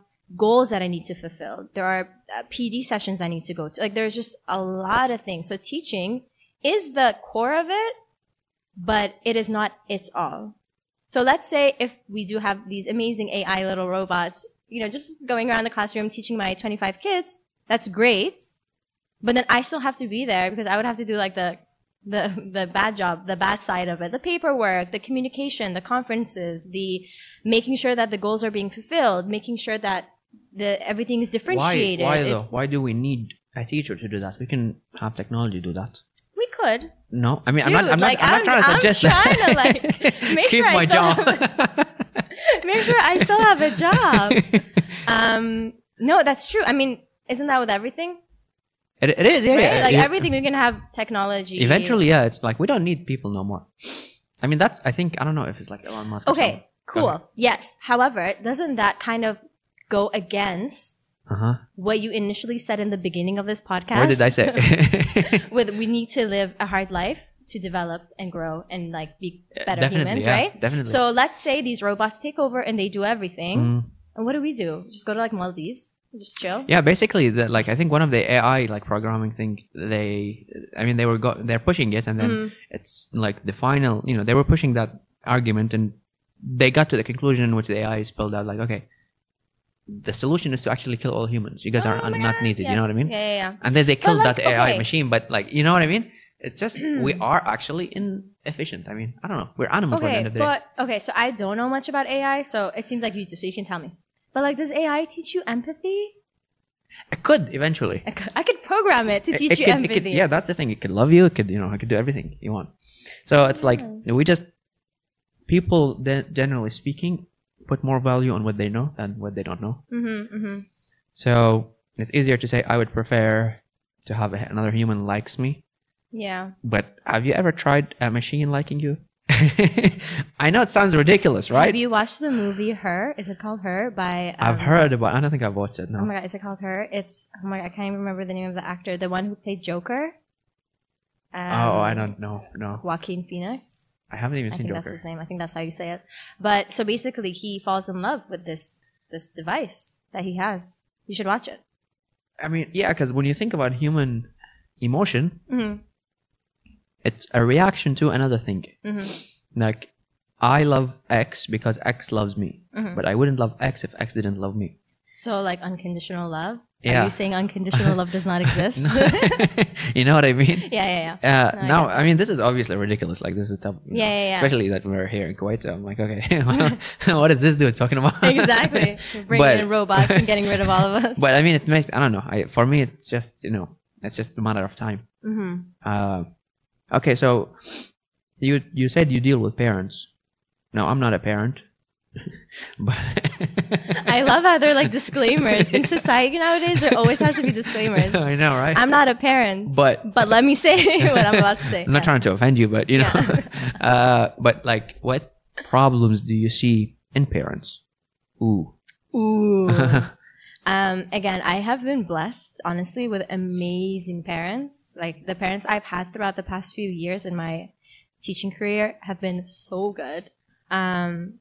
[SPEAKER 2] goals that I need to E fulfill. There are uh, PD sessions I need to go to. Like there's just a lot of things. So teaching is the core of it, but it is not its all. So let's say if we do have these amazing AI little robots, you know, just going around the classroom teaching my 25 kids, that's great. But then I still have to be there because I would have to do like the, the, the bad job, the bad side of it, the paperwork, the communication, the conferences, the making sure that the goals are being fulfilled, making sure that the, everything is
[SPEAKER 1] Why?
[SPEAKER 2] differentiated.
[SPEAKER 1] Why though?
[SPEAKER 2] It's-
[SPEAKER 1] Why do we need a teacher to do that? We can have technology do that.
[SPEAKER 2] We could. *laughs*
[SPEAKER 1] No, I mean, I'm not.
[SPEAKER 2] Dude,
[SPEAKER 1] I'm not,
[SPEAKER 2] like,
[SPEAKER 1] I'm not
[SPEAKER 2] I'm-
[SPEAKER 1] trying to
[SPEAKER 2] I'm
[SPEAKER 1] suggest
[SPEAKER 2] trying to,
[SPEAKER 1] that. *laughs*
[SPEAKER 2] like, make
[SPEAKER 1] Keep
[SPEAKER 2] sure I
[SPEAKER 1] my
[SPEAKER 2] still
[SPEAKER 1] job.
[SPEAKER 2] Make sure I still have a job. Um, no, that's true. I mean, isn't that with everything?
[SPEAKER 1] *laughs* it, it is, yeah.
[SPEAKER 2] right?
[SPEAKER 1] yeah,
[SPEAKER 2] Like
[SPEAKER 1] yeah.
[SPEAKER 2] everything, we can have technology.
[SPEAKER 1] Eventually, yeah, it's like we don't need people no more. I mean, that's. I think I don't know if it's like Elon Musk.
[SPEAKER 2] Okay, cool.
[SPEAKER 1] Okay.
[SPEAKER 2] Yes. However, doesn't that kind of go against
[SPEAKER 1] Uh huh.
[SPEAKER 2] what you initially said in the beginning of this podcast?
[SPEAKER 1] What did I say? *laughs*
[SPEAKER 2] with we need to live a hard life to develop and grow and like be *laughs* better
[SPEAKER 1] Uh, Definitely,
[SPEAKER 2] humans,
[SPEAKER 1] yeah,
[SPEAKER 2] right?
[SPEAKER 1] Definitely.
[SPEAKER 2] So let's say these robots take over and they do everything.
[SPEAKER 1] Mm.
[SPEAKER 2] And what do we do? Just go to like Maldives, just chill.
[SPEAKER 1] Yeah, basically, the, like I think one of the AI like programming thing they, I mean, they were go- they're pushing it, and then
[SPEAKER 2] Mm.
[SPEAKER 1] it's like the final, you know, they were pushing that argument, and they got to the conclusion in which the AI spelled out like, okay, the solution is to actually kill all humans. You guys are
[SPEAKER 2] Oh my
[SPEAKER 1] not
[SPEAKER 2] God,
[SPEAKER 1] needed. You
[SPEAKER 2] yes.
[SPEAKER 1] know what I mean?
[SPEAKER 2] Yeah, yeah, yeah.
[SPEAKER 1] And then they killed
[SPEAKER 2] like,
[SPEAKER 1] that AI
[SPEAKER 2] okay. Mm.
[SPEAKER 1] machine, but like, you know what I mean? It's just we are actually inefficient. I mean, I don't know, we're animals at the end
[SPEAKER 2] Okay,
[SPEAKER 1] of the day.
[SPEAKER 2] but okay, so I don't know much about AI, so it seems like you do, so you can tell me. But like, does AI teach you empathy?
[SPEAKER 1] It could eventually.
[SPEAKER 2] I could, I could program it to
[SPEAKER 1] It-
[SPEAKER 2] teach
[SPEAKER 1] it
[SPEAKER 2] you
[SPEAKER 1] could- it
[SPEAKER 2] empathy.
[SPEAKER 1] could- yeah, that's the thing. It could love you. It could, you know, it could do everything you want. So it's like
[SPEAKER 2] Yeah.
[SPEAKER 1] we just people, de- generally speaking, put more value on what they know than what they don't know.
[SPEAKER 2] Mm-hmm, mm-hmm.
[SPEAKER 1] So it's easier to say I would prefer to have a, another human likes me.
[SPEAKER 2] Yeah.
[SPEAKER 1] But have you ever tried a machine liking you? *laughs* I know it sounds ridiculous, right?
[SPEAKER 2] Have you watched the movie Her? Is it called Her? By um,
[SPEAKER 1] I've heard about. I don't think I've watched it. No.
[SPEAKER 2] Oh my god, is it called Her? It's oh my god, I can't even remember the name of the actor, the one who played Joker. Um,
[SPEAKER 1] oh, I don't know. No,
[SPEAKER 2] Joaquin Phoenix.
[SPEAKER 1] I haven't even
[SPEAKER 2] I
[SPEAKER 1] seen
[SPEAKER 2] think
[SPEAKER 1] Joker.
[SPEAKER 2] that's his name. I think that's how you say it. But so basically, he falls in love with this this device that he has. You should watch it.
[SPEAKER 1] I mean, yeah, because when you think about human emotion,
[SPEAKER 2] hmm
[SPEAKER 1] it's a reaction to another thing.
[SPEAKER 2] hmm
[SPEAKER 1] Like, I love X because X loves me,
[SPEAKER 2] hmm
[SPEAKER 1] but I wouldn't love X if X didn't love me.
[SPEAKER 2] So like unconditional love. Are
[SPEAKER 1] Yeah.
[SPEAKER 2] you saying unconditional love
[SPEAKER 1] *laughs*
[SPEAKER 2] does not *laughs* exist?
[SPEAKER 1] No.
[SPEAKER 2] yeah,
[SPEAKER 1] you know what I mean?
[SPEAKER 2] yeah, yeah.
[SPEAKER 1] Uh,
[SPEAKER 2] No, I
[SPEAKER 1] now, I mean, this is obviously ridiculous. Like, this is tough. you
[SPEAKER 2] Yeah,
[SPEAKER 1] know,
[SPEAKER 2] yeah, yeah.
[SPEAKER 1] Especially that we're here in Kuwait. So I'm like, okay, *laughs*
[SPEAKER 2] *laughs*
[SPEAKER 1] what is this dude talking about?
[SPEAKER 2] Exactly. You're Bringing
[SPEAKER 1] But-
[SPEAKER 2] in robots and getting rid of all of
[SPEAKER 1] *laughs*
[SPEAKER 2] us.
[SPEAKER 1] but I mean, it makes, I don't know. I, for me, it's just, you know, it's just a matter of time.
[SPEAKER 2] hmm
[SPEAKER 1] Uh, okay, so you you said you deal with parents. No, I'm not a parent. *laughs* but
[SPEAKER 2] I love how
[SPEAKER 1] *laughs*
[SPEAKER 2] they're like disclaimers in society nowadays. There always has to be disclaimers.
[SPEAKER 1] *laughs* I know, right?
[SPEAKER 2] I'm not a parent,
[SPEAKER 1] but
[SPEAKER 2] but let me say *laughs* what I'm about to say.
[SPEAKER 1] I'm not
[SPEAKER 2] Yeah.
[SPEAKER 1] trying to offend you, but you know, *laughs* uh, but like, what problems do you see in parents? Ooh,
[SPEAKER 2] Ooh.
[SPEAKER 1] *laughs*
[SPEAKER 2] um, again, I have been blessed, honestly, with amazing parents. Like the parents I've had throughout the past few years in my teaching career have been so good. Um,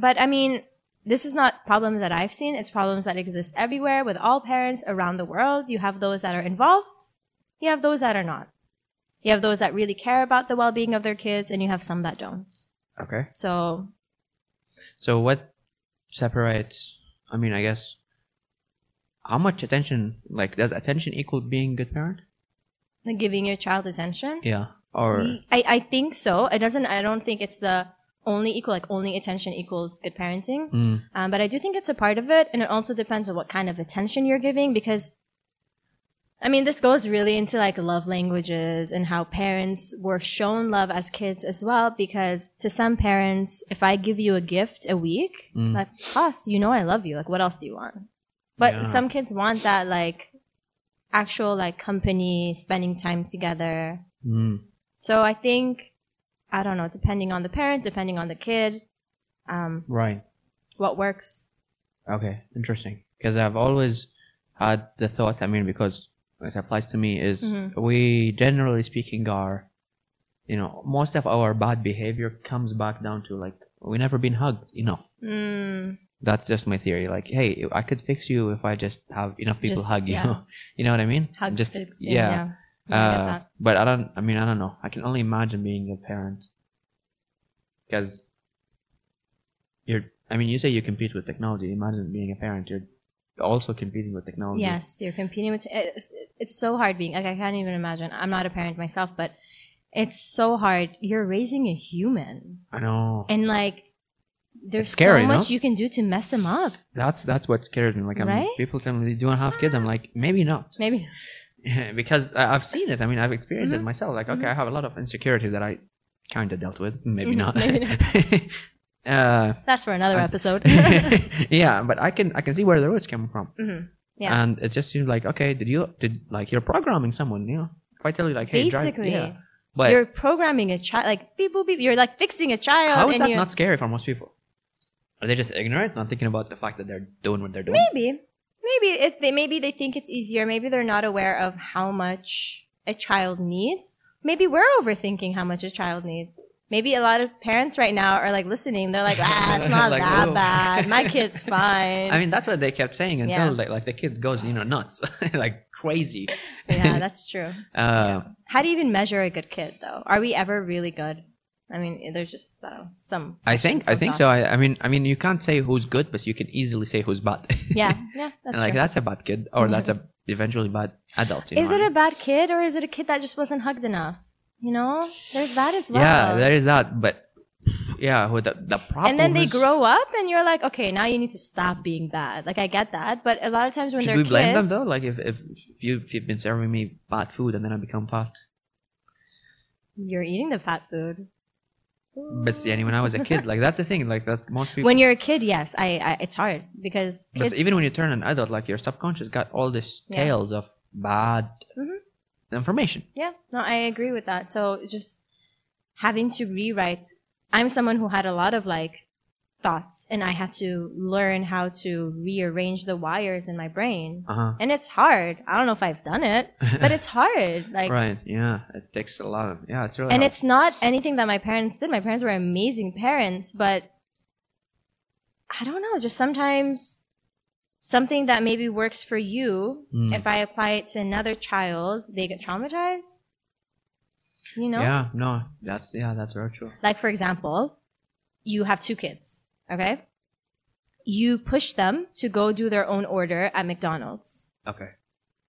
[SPEAKER 2] but I mean, this is not problems that I've seen. It's problems that exist everywhere with all parents around the world. You have those that are involved. You have those that are not. You have those that really care about the well-being of their kids, and you have some that don't.
[SPEAKER 1] okay.
[SPEAKER 2] So
[SPEAKER 1] So what separates? I mean, I guess how much attention? Like, does attention equal being a good parent?
[SPEAKER 2] like, giving your child attention.
[SPEAKER 1] Yeah. Or
[SPEAKER 2] Ye- Mm, I, I think so. It doesn't. I don't think it's the only equal. Like only attention equals good parenting.
[SPEAKER 1] Mm.
[SPEAKER 2] Um, but I do think it's a part of it, and it also depends on what kind of attention you're giving. Because, I mean, this goes really into like love languages and how parents were shown love as kids as well. Because to some parents, if I give you a gift a week,
[SPEAKER 1] Mm.
[SPEAKER 2] like, us, you know, I love you. Like, what else do you want? But
[SPEAKER 1] Yeah.
[SPEAKER 2] some kids want that like actual like company, spending time together.
[SPEAKER 1] Mm.
[SPEAKER 2] So I think, I don't know, depending on the parent, depending on the kid, um,
[SPEAKER 1] Right.
[SPEAKER 2] what works.
[SPEAKER 1] Okay. Interesting. Because I've always had the thought. I mean, because it applies to me is
[SPEAKER 2] Mhm.
[SPEAKER 1] we generally speaking are, you know, most of our bad behavior comes back down to like we never been hugged. You know,
[SPEAKER 2] Mm,
[SPEAKER 1] that's just my theory. Like, hey, I could fix you if I just have enough people
[SPEAKER 2] Just-
[SPEAKER 1] hug *laughs* you.
[SPEAKER 2] yeah.
[SPEAKER 1] you know what I mean?
[SPEAKER 2] hugs
[SPEAKER 1] just
[SPEAKER 2] fixed.
[SPEAKER 1] yeah.
[SPEAKER 2] Yeah, I get
[SPEAKER 1] Uh,
[SPEAKER 2] that.
[SPEAKER 1] but I don't. I mean, I don't know. I can only imagine being a parent because you're. I mean, you say you compete with technology. Imagine being a parent. You're also competing with technology.
[SPEAKER 2] Yes, you're competing with. It's, it's so hard being like I can't even imagine. I'm not a parent myself, but it's so hard. You're raising a human,
[SPEAKER 1] I know.
[SPEAKER 2] and like there's
[SPEAKER 1] It's scary,
[SPEAKER 2] so
[SPEAKER 1] no?
[SPEAKER 2] much you can do to mess him up.
[SPEAKER 1] that's that's what scares me. Like, I'm,
[SPEAKER 2] Right? Ah.
[SPEAKER 1] people tell me, "Do you want to have kids?" I'm like, maybe not. *laughs*
[SPEAKER 2] Maybe *laughs*
[SPEAKER 1] because I- I've seen it. I mean, I've experienced
[SPEAKER 2] Mhm.
[SPEAKER 1] it myself. Like, okay,
[SPEAKER 2] Mhm.
[SPEAKER 1] I have a lot of insecurity that I kind of dealt with, maybe
[SPEAKER 2] Mhm,
[SPEAKER 1] not.
[SPEAKER 2] maybe
[SPEAKER 1] *laughs* uh,
[SPEAKER 2] that's for another
[SPEAKER 1] I-
[SPEAKER 2] episode.
[SPEAKER 1] *laughs* yeah, but I can I can see where the roots come from,
[SPEAKER 2] Mhm. Yeah.
[SPEAKER 1] and it just seems like okay, did you did like you're programming someone? You know, if I tell you like, hey,
[SPEAKER 2] *laughs* Basically,
[SPEAKER 1] drive, yeah, but
[SPEAKER 2] you're programming a child. Like beep boop beep. You're like fixing a child.
[SPEAKER 1] how is
[SPEAKER 2] and
[SPEAKER 1] that
[SPEAKER 2] you're,
[SPEAKER 1] not scary for most people? Are they just ignorant, not thinking about the fact that they're doing what they're doing?
[SPEAKER 2] Maybe, maybe it. They maybe they think it's easier. Maybe they're not aware of how much a child needs. Maybe we're overthinking how much a child needs. Maybe a lot of parents right now are like listening. They're like,
[SPEAKER 1] *laughs*
[SPEAKER 2] ah, it's not
[SPEAKER 1] Like,
[SPEAKER 2] that
[SPEAKER 1] oh.
[SPEAKER 2] bad. My
[SPEAKER 1] *laughs*
[SPEAKER 2] kid's fine.
[SPEAKER 1] I mean, that's what they kept saying until
[SPEAKER 2] Yeah.
[SPEAKER 1] like, like the kid goes, you know, nuts, *laughs* like crazy. *laughs*
[SPEAKER 2] yeah, that's true.
[SPEAKER 1] Uh,
[SPEAKER 2] How do you even measure a good kid though? Are we ever really good? I mean, there's just uh, some.
[SPEAKER 1] I think I
[SPEAKER 2] some
[SPEAKER 1] think so.
[SPEAKER 2] thoughts.
[SPEAKER 1] I, I mean I mean you can't say who's good, but you can easily say who's bad. *laughs*
[SPEAKER 2] yeah, yeah,
[SPEAKER 1] and
[SPEAKER 2] that's
[SPEAKER 1] like
[SPEAKER 2] true. Mm-hmm.
[SPEAKER 1] that's a bad kid, or that's a eventually bad adult. you
[SPEAKER 2] Is
[SPEAKER 1] know
[SPEAKER 2] it
[SPEAKER 1] what
[SPEAKER 2] a bad kid or is it a kid that just wasn't hugged enough? You know, there's that as
[SPEAKER 1] I mean?
[SPEAKER 2] well.
[SPEAKER 1] Yeah, there is that, but yeah, with the the problem.
[SPEAKER 2] and then they
[SPEAKER 1] is-
[SPEAKER 2] grow up and you're like okay now you need to stop being bad like i get that but a lot of times when
[SPEAKER 1] Should
[SPEAKER 2] they're
[SPEAKER 1] we blame
[SPEAKER 2] kids
[SPEAKER 1] them though? Like if if you if you've been serving me bad food and then I become fat.
[SPEAKER 2] you're eating the fat food
[SPEAKER 1] But see, when I was a
[SPEAKER 2] *laughs*
[SPEAKER 1] kid, like that's the thing. Like that most people.
[SPEAKER 2] when you're a kid yes i, I it's hard because
[SPEAKER 1] But
[SPEAKER 2] kids,
[SPEAKER 1] even when you turn an adult, like your subconscious got all these
[SPEAKER 2] Yeah.
[SPEAKER 1] tales of bad
[SPEAKER 2] Mhm.
[SPEAKER 1] information.
[SPEAKER 2] yeah no i agree with that so it's just having to rewrite i'm someone who had a lot of like thoughts and i had to learn how to rearrange the wires in my brain
[SPEAKER 1] Uh huh.
[SPEAKER 2] and it's hard i don't know if i've done it but
[SPEAKER 1] *laughs*
[SPEAKER 2] it's hard like
[SPEAKER 1] right. Yeah, it takes a lot of yeah. It's really
[SPEAKER 2] and
[SPEAKER 1] hard.
[SPEAKER 2] it's not anything that my parents did. My parents were amazing parents, but I don't know. Just sometimes something that maybe works for you,
[SPEAKER 1] Mm.
[SPEAKER 2] if I apply it to another child, they get traumatized. You know,
[SPEAKER 1] Yeah, no, that's yeah, that's very true.
[SPEAKER 2] like for example, you have two kids, okay? You push them to go do their own order at McDonald's.
[SPEAKER 1] Okay.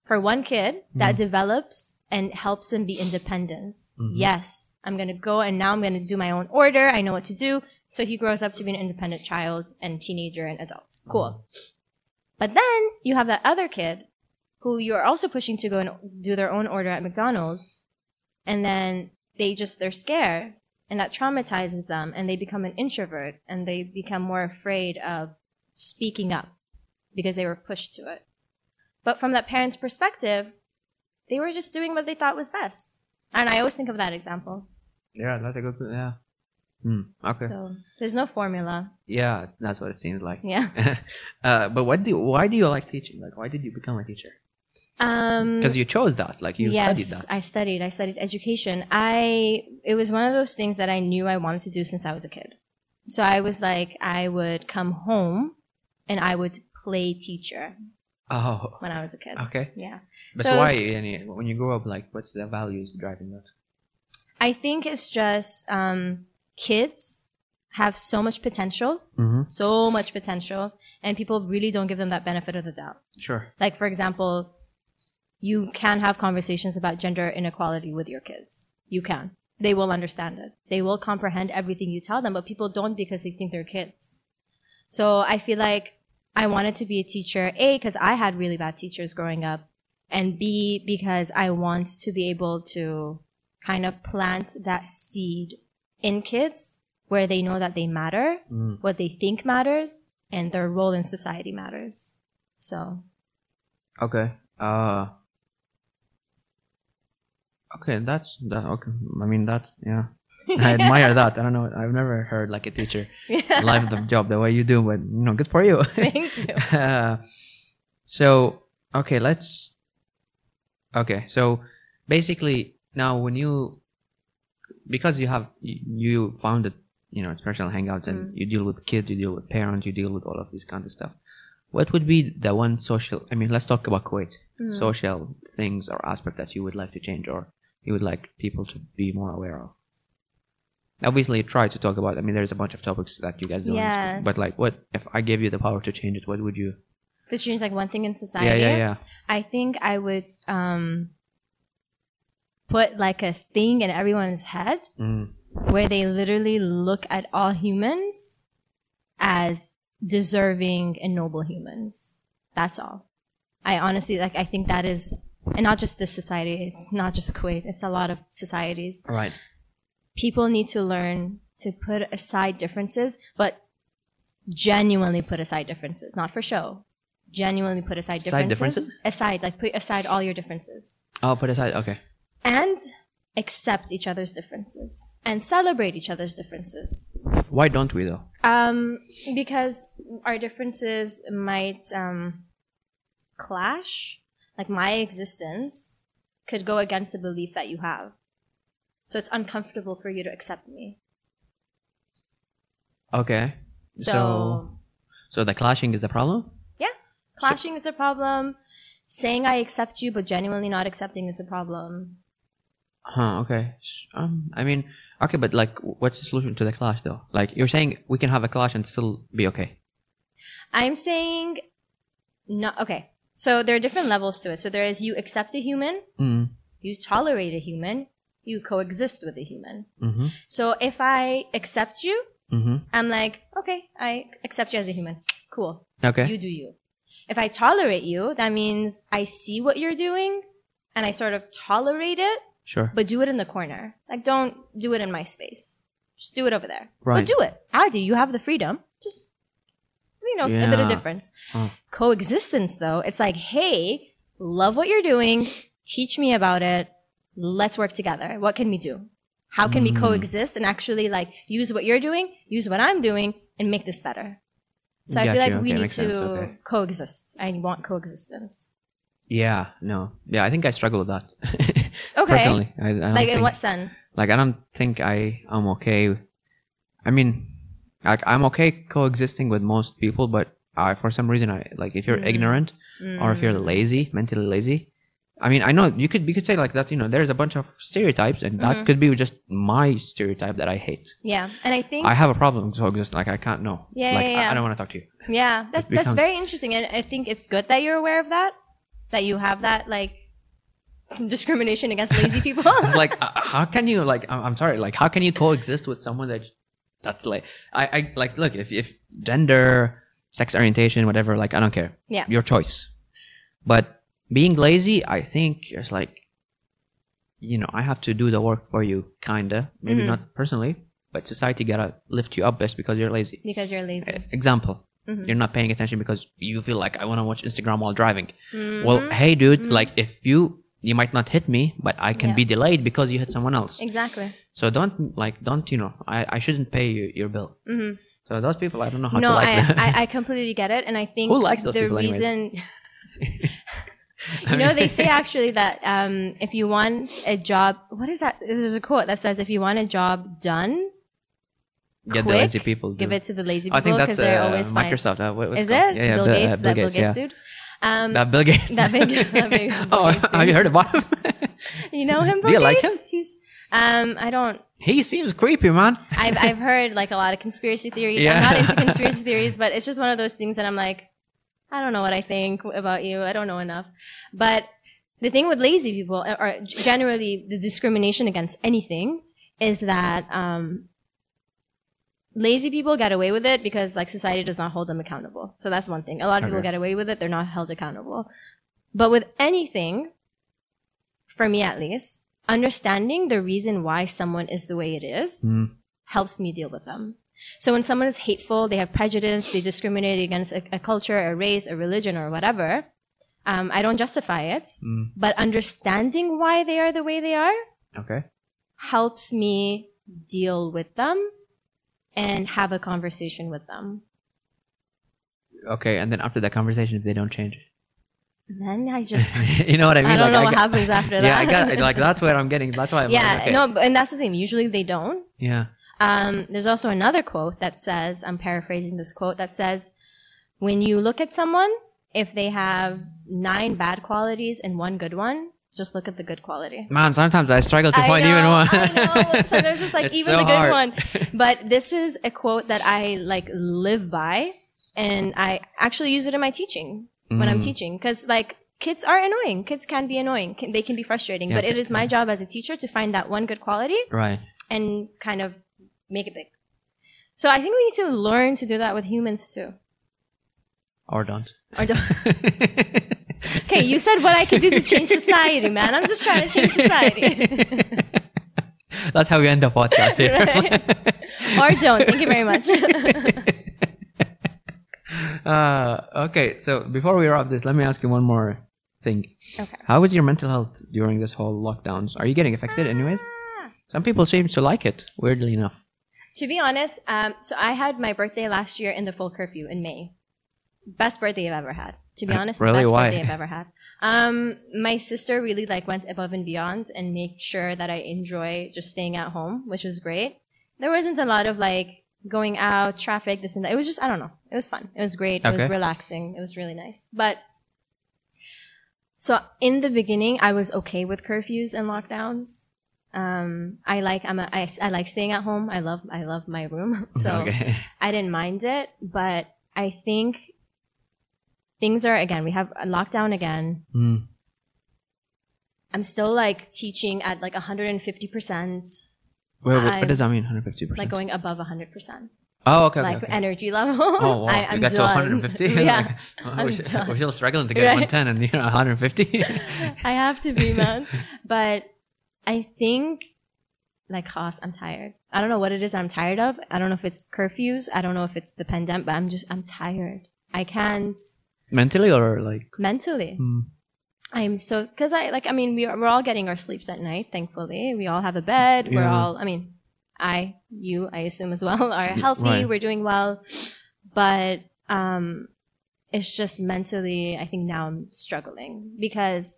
[SPEAKER 2] for one kid that develops and helps them be independent.
[SPEAKER 1] Mhm.
[SPEAKER 2] Yes, I'm going to go and now I'm going to do my own order. I know what to do. So he grows up to be an independent child and teenager and adult. Cool.
[SPEAKER 1] Uh-huh.
[SPEAKER 2] But then you have that other kid who you're also pushing to go and do their own order at McDonald's. And then they just, they're scared and that traumatizes them and they become an introvert and they become more afraid of speaking up because they were pushed to it. But from that parent's perspective, they were just doing what they thought was best. And I always think of that example.
[SPEAKER 1] Yeah, that's a good. Yeah. Hmm. Okay.
[SPEAKER 2] So there's no formula.
[SPEAKER 1] yeah, that's what it seems like.
[SPEAKER 2] Yeah.
[SPEAKER 1] *laughs* uh, but what do why do you like teaching? Like, why did you become a teacher?
[SPEAKER 2] Um,
[SPEAKER 1] Because you chose that. Like, you studied that.
[SPEAKER 2] Mm. I studied. I studied education. I it was one of those things that I knew I wanted to do since I was a kid. So I was like, I would come home and I would play teacher
[SPEAKER 1] Oh.
[SPEAKER 2] when I was a kid.
[SPEAKER 1] Okay.
[SPEAKER 2] Yeah.
[SPEAKER 1] But
[SPEAKER 2] So
[SPEAKER 1] why?
[SPEAKER 2] it's-
[SPEAKER 1] any- when you grow up, like, what's the values driving that?
[SPEAKER 2] I think it's just um, kids have so much potential,
[SPEAKER 1] Mm-hmm.
[SPEAKER 2] so much potential, and people really don't give them that benefit of the doubt.
[SPEAKER 1] Sure.
[SPEAKER 2] Like, for example, you can have conversations about gender inequality with your kids. You can. They will understand it. They will comprehend everything you tell them, but people don't because they think they're kids. So I feel like I wanted to be a teacher, A, because I had really bad teachers growing up, and B, because I want to be able to kind of plant that seed in kids where they know that they matter,
[SPEAKER 1] Mm.
[SPEAKER 2] what they think matters, and their role in society matters. So
[SPEAKER 1] Okay. Uh. Okay, that's that. Okay, I mean that's yeah. I admire that. I don't know. I've never heard like a teacher
[SPEAKER 2] *laughs* Yeah.
[SPEAKER 1] life of the job the way you do, but you know, good for you. *laughs*
[SPEAKER 2] Thank you.
[SPEAKER 1] Uh, *laughs* so okay, let's. Okay, so basically now when you, because you have you, you founded you know special hangouts and you deal with kids, you deal with parents, you deal with all of this kind of stuff. What would be the one social? I mean, let's talk about Kuwait.
[SPEAKER 2] Mhm.
[SPEAKER 1] social things or aspect that you would like to change or you would like people to be more aware of? Obviously, try to talk about. I mean, there's a bunch of topics that you guys do, on this podcast,
[SPEAKER 2] Yes.
[SPEAKER 1] but like, what if I gave you the power to change it? What would you?
[SPEAKER 2] to change like one thing in society.
[SPEAKER 1] Yeah, yeah, yeah.
[SPEAKER 2] I think I would um, put like a thing in everyone's head
[SPEAKER 1] Mm.
[SPEAKER 2] where they literally look at all humans as deserving and noble humans. That's all. I honestly like. I think that is, and not just this society. It's not just Kuwait. It's a lot of societies.
[SPEAKER 1] Right.
[SPEAKER 2] People need to learn to put aside differences, but genuinely put aside differences, not for show. Genuinely put aside differences.
[SPEAKER 1] Side differences?
[SPEAKER 2] Aside, like put aside all your differences
[SPEAKER 1] I'll put aside. Okay.
[SPEAKER 2] and accept each other's differences and celebrate each other's differences.
[SPEAKER 1] Why don't we though?
[SPEAKER 2] Um, because our differences might um, clash. Like my existence could go against a belief that you have. So it's uncomfortable for you to accept me.
[SPEAKER 1] Okay.
[SPEAKER 2] So,
[SPEAKER 1] so the clashing is the problem.
[SPEAKER 2] clashing is a problem. Saying I accept you but genuinely not accepting is a problem.
[SPEAKER 1] Huh. Okay. Um. I mean, okay, but like, what's the solution to the clash though? Like, you're saying we can have a clash and still be okay.
[SPEAKER 2] I'm saying not okay. So there are different levels to it. So there is you accept a human,
[SPEAKER 1] Mm.
[SPEAKER 2] you tolerate a human, you coexist with a human.
[SPEAKER 1] Hmm.
[SPEAKER 2] So if I accept you,
[SPEAKER 1] Hmm.
[SPEAKER 2] I'm like, okay, I accept you as a human. Cool.
[SPEAKER 1] Okay.
[SPEAKER 2] You do you. If I tolerate you, that means I see what you're doing and I sort of tolerate it,
[SPEAKER 1] sure.
[SPEAKER 2] but do it in the corner. Like, don't do it in my space. Just do it over there.
[SPEAKER 1] Right.
[SPEAKER 2] But do it. I do. You have the freedom. Just, you know, a bit
[SPEAKER 1] Yeah.
[SPEAKER 2] of difference.
[SPEAKER 1] Huh.
[SPEAKER 2] Coexistence, though, it's like, hey, love what you're doing. Teach me about it. Let's work together. What can we do? How can we
[SPEAKER 1] Mm.
[SPEAKER 2] coexist and actually like use what you're doing, use what I'm doing, and make this better? So I
[SPEAKER 1] Got
[SPEAKER 2] feel like
[SPEAKER 1] you.
[SPEAKER 2] we
[SPEAKER 1] Okay,
[SPEAKER 2] need
[SPEAKER 1] makes
[SPEAKER 2] to
[SPEAKER 1] sense. Okay.
[SPEAKER 2] coexist. I want coexistence.
[SPEAKER 1] Yeah. No. Yeah. I think I struggle with that. *laughs*
[SPEAKER 2] Okay.
[SPEAKER 1] Personally, I, I don't
[SPEAKER 2] like
[SPEAKER 1] think,
[SPEAKER 2] in what sense?
[SPEAKER 1] like I don't think I am okay. I mean, like I'm okay coexisting with most people, but I for some reason I like if you're
[SPEAKER 2] Mm.
[SPEAKER 1] ignorant or if you're
[SPEAKER 2] Mm.
[SPEAKER 1] lazy, mentally lazy. I mean, I know you could you could say like that. You know, there's a bunch of stereotypes, and that
[SPEAKER 2] Mhm.
[SPEAKER 1] could be just my stereotype that I hate.
[SPEAKER 2] Yeah, and I think
[SPEAKER 1] I have a problem so I'm just Like I can't know.
[SPEAKER 2] Yeah,
[SPEAKER 1] like, I,
[SPEAKER 2] yeah,
[SPEAKER 1] I
[SPEAKER 2] yeah.
[SPEAKER 1] don't want to talk to you.
[SPEAKER 2] Yeah, that's that's
[SPEAKER 1] becomes-
[SPEAKER 2] very interesting, and I think it's good that you're aware of that, that you have that like *laughs* discrimination against
[SPEAKER 1] *laughs*
[SPEAKER 2] lazy people. *laughs*
[SPEAKER 1] It's like uh, how can you like? I'm, I'm sorry. Like how can you coexist with someone that that's like I, I like look if if gender, sex orientation, whatever. Like I don't care.
[SPEAKER 2] Yeah.
[SPEAKER 1] your choice. But being lazy, I think it's like you know I have to do the work for you, kinda. Maybe
[SPEAKER 2] Mhm.
[SPEAKER 1] not personally, but society gotta lift you up best because you're lazy.
[SPEAKER 2] because you're lazy.
[SPEAKER 1] E- Example.
[SPEAKER 2] Mhm.
[SPEAKER 1] You're not paying attention because you feel like I want to watch Instagram while driving. Well,
[SPEAKER 2] Mhm.
[SPEAKER 1] hey, dude,
[SPEAKER 2] Mhm.
[SPEAKER 1] like if you you might not hit me, but I can
[SPEAKER 2] Yeah.
[SPEAKER 1] be delayed because you hit someone else.
[SPEAKER 2] exactly.
[SPEAKER 1] So don't like don't you know I, I shouldn't pay you your bill.
[SPEAKER 2] hmm
[SPEAKER 1] So those people I don't know how
[SPEAKER 2] No,
[SPEAKER 1] to like
[SPEAKER 2] I,
[SPEAKER 1] them. *laughs*
[SPEAKER 2] I I completely get it, and I think
[SPEAKER 1] Who likes those
[SPEAKER 2] the
[SPEAKER 1] people anyways?
[SPEAKER 2] reason
[SPEAKER 1] *laughs*
[SPEAKER 2] *laughs*
[SPEAKER 1] I
[SPEAKER 2] you know
[SPEAKER 1] mean- *laughs*
[SPEAKER 2] they say actually that um, if you want a job, what is that? There's a quote that says if you want a job done,
[SPEAKER 1] yeah the
[SPEAKER 2] quick,
[SPEAKER 1] lazy people do.
[SPEAKER 2] give it to the
[SPEAKER 1] I
[SPEAKER 2] lazy people
[SPEAKER 1] think
[SPEAKER 2] because
[SPEAKER 1] that's
[SPEAKER 2] they're
[SPEAKER 1] uh,
[SPEAKER 2] always fine.
[SPEAKER 1] Microsoft. Uh, what, what's
[SPEAKER 2] Is
[SPEAKER 1] called?
[SPEAKER 2] it
[SPEAKER 1] Yeah, yeah,
[SPEAKER 2] Bill
[SPEAKER 1] Bi- uh,
[SPEAKER 2] Gates?
[SPEAKER 1] Bill
[SPEAKER 2] that Bill Gates
[SPEAKER 1] yeah.
[SPEAKER 2] dude. Um,
[SPEAKER 1] That Bill Gates.
[SPEAKER 2] that big-
[SPEAKER 1] *laughs*
[SPEAKER 2] that big Bill
[SPEAKER 1] oh,
[SPEAKER 2] Gates
[SPEAKER 1] have you
[SPEAKER 2] dude.
[SPEAKER 1] heard about him? *laughs*
[SPEAKER 2] You know him?
[SPEAKER 1] Do you
[SPEAKER 2] Bill
[SPEAKER 1] like
[SPEAKER 2] Gates? He's um I don't
[SPEAKER 1] he seems creepy, man.
[SPEAKER 2] *laughs* I've I've heard like a lot of conspiracy theories.
[SPEAKER 1] Yeah.
[SPEAKER 2] I'm not into
[SPEAKER 1] *laughs*
[SPEAKER 2] conspiracy theories, but it's just one of those things that I'm like, I don't know what I think about you. I don't know enough. But the thing with lazy people uh, or g- generally the discrimination against anything is that um Lazy people get away with it because like society does not hold them accountable. So that's one thing. A lot of people
[SPEAKER 1] Okay.
[SPEAKER 2] get away with it. They're not held accountable. But with anything, for me at least, understanding the reason why someone is the way it is
[SPEAKER 1] Mm,
[SPEAKER 2] helps me deal with them. So when someone is hateful, they have prejudice, they discriminate against a, a culture, a race, a religion, or whatever, um, I don't justify it.
[SPEAKER 1] mm,
[SPEAKER 2] But understanding why they are the way they are
[SPEAKER 1] okay.
[SPEAKER 2] helps me deal with them and have a conversation with them.
[SPEAKER 1] Okay. And then after that conversation, if they don't change,
[SPEAKER 2] Then I just,
[SPEAKER 1] you know what *laughs* I mean?
[SPEAKER 2] I
[SPEAKER 1] like,
[SPEAKER 2] don't know
[SPEAKER 1] I
[SPEAKER 2] what
[SPEAKER 1] got-
[SPEAKER 2] happens
[SPEAKER 1] *laughs*
[SPEAKER 2] after
[SPEAKER 1] yeah,
[SPEAKER 2] that.
[SPEAKER 1] I
[SPEAKER 2] *laughs*
[SPEAKER 1] got like that's where I'm getting. That's why I'm
[SPEAKER 2] yeah,
[SPEAKER 1] like, okay.
[SPEAKER 2] no, but- and that's the thing. Usually they don't.
[SPEAKER 1] Yeah.
[SPEAKER 2] Um, there's also another quote that says, I'm paraphrasing this quote, that says, when you look at someone, if they have nine bad qualities and one good one, just look at the good quality.
[SPEAKER 1] Man, sometimes I struggle to
[SPEAKER 2] I
[SPEAKER 1] find
[SPEAKER 2] know,
[SPEAKER 1] even one.
[SPEAKER 2] I know. Sometimes
[SPEAKER 1] *laughs*
[SPEAKER 2] it's like, even
[SPEAKER 1] so
[SPEAKER 2] the good
[SPEAKER 1] hard.
[SPEAKER 2] one. But this is a quote that I like live by, and I actually use it in my teaching when I'm
[SPEAKER 1] Mm.
[SPEAKER 2] teaching because like kids are annoying. Kids can be annoying. Can, they can be frustrating.
[SPEAKER 1] Yeah,
[SPEAKER 2] but it
[SPEAKER 1] they-
[SPEAKER 2] is my job as a teacher to find that one good quality
[SPEAKER 1] Right.
[SPEAKER 2] and kind of make it big. So I think we need to learn to do that with humans too.
[SPEAKER 1] Or don't.
[SPEAKER 2] Or
[SPEAKER 1] *laughs*
[SPEAKER 2] don't. Okay, you said what I could do to change society, man. I'm just trying to change society.
[SPEAKER 1] *laughs* That's how we end the podcast
[SPEAKER 2] *laughs*
[SPEAKER 1] here.
[SPEAKER 2] or don't. Thank you very much.
[SPEAKER 1] *laughs* uh, okay, so before we wrap this, let me ask you one more thing.
[SPEAKER 2] Okay.
[SPEAKER 1] How is your mental health during this whole lockdowns? Are you getting affected anyways?
[SPEAKER 2] Ah.
[SPEAKER 1] Some people seem to like it, weirdly enough.
[SPEAKER 2] To be honest, um, so I had my birthday last year in the full curfew in May. Best birthday I've ever had. To be
[SPEAKER 1] Uh,
[SPEAKER 2] honest,
[SPEAKER 1] really?
[SPEAKER 2] best
[SPEAKER 1] Why?
[SPEAKER 2] birthday I've ever had. Um, my sister really like went above and beyond and made sure that I enjoy just staying at home, which was great. There wasn't a lot of like going out, traffic, this and that. It was just I don't know. It was fun. It was great. It was
[SPEAKER 1] Okay.
[SPEAKER 2] relaxing. It was really nice. But so in the beginning, I was okay with curfews and lockdowns. Um, I like I'm a, I, I like staying at home. I love I love my room, *laughs* so
[SPEAKER 1] *laughs* okay.
[SPEAKER 2] I didn't mind it. But I think things are again we have a lockdown again.
[SPEAKER 1] Hmm.
[SPEAKER 2] I'm still like teaching at like 150 percent,
[SPEAKER 1] Wait, wait, what
[SPEAKER 2] I'm-
[SPEAKER 1] does that mean? 150%?
[SPEAKER 2] like going above 100 percent,
[SPEAKER 1] oh, okay. okay,
[SPEAKER 2] like
[SPEAKER 1] okay.
[SPEAKER 2] energy level.
[SPEAKER 1] Oh, wow.
[SPEAKER 2] *laughs* I,
[SPEAKER 1] we
[SPEAKER 2] I'm
[SPEAKER 1] got to
[SPEAKER 2] done.
[SPEAKER 1] 150.
[SPEAKER 2] *laughs*
[SPEAKER 1] *laughs*
[SPEAKER 2] yeah,
[SPEAKER 1] Like, we're,
[SPEAKER 2] I'm
[SPEAKER 1] s-
[SPEAKER 2] done.
[SPEAKER 1] we're still struggling to get
[SPEAKER 2] Right.
[SPEAKER 1] 110 and you're
[SPEAKER 2] *laughs*
[SPEAKER 1] 150.
[SPEAKER 2] I have to be man. but I think like Haas, I'm tired. I don't know what it is I'm tired of. I don't know if it's curfews. I don't know if it's the pandemic, but I'm just I'm tired. I can't
[SPEAKER 1] Mentally or like.
[SPEAKER 2] mentally.
[SPEAKER 1] hmm.
[SPEAKER 2] I'm so because I like I mean we are, we're all getting our sleeps at night. Thankfully, we all have a bed. We're
[SPEAKER 1] Yeah.
[SPEAKER 2] all I mean, I you I assume as well *laughs* are healthy.
[SPEAKER 1] right.
[SPEAKER 2] We're doing well, but um, it's just mentally. I think now I'm struggling because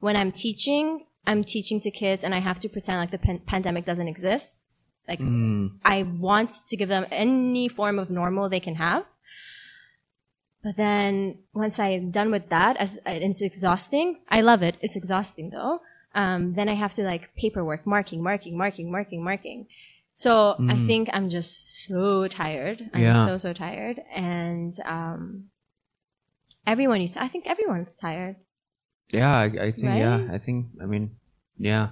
[SPEAKER 2] when I'm teaching, I'm teaching to kids, and I have to pretend like the pan- pandemic doesn't exist. Like
[SPEAKER 1] Hmm.
[SPEAKER 2] I want to give them any form of normal they can have. But then once I'm done with that, as and it's exhausting. I love it. It's exhausting though. Um, then I have to like paperwork, marking, marking, marking, marking, marking. So I
[SPEAKER 1] Mm.
[SPEAKER 2] think I'm just so tired. I'm
[SPEAKER 1] Yeah.
[SPEAKER 2] so so tired, and um, everyone. Used to, I think everyone's tired.
[SPEAKER 1] Yeah, I, I think. Yeah,
[SPEAKER 2] Right?
[SPEAKER 1] I think. I mean, yeah.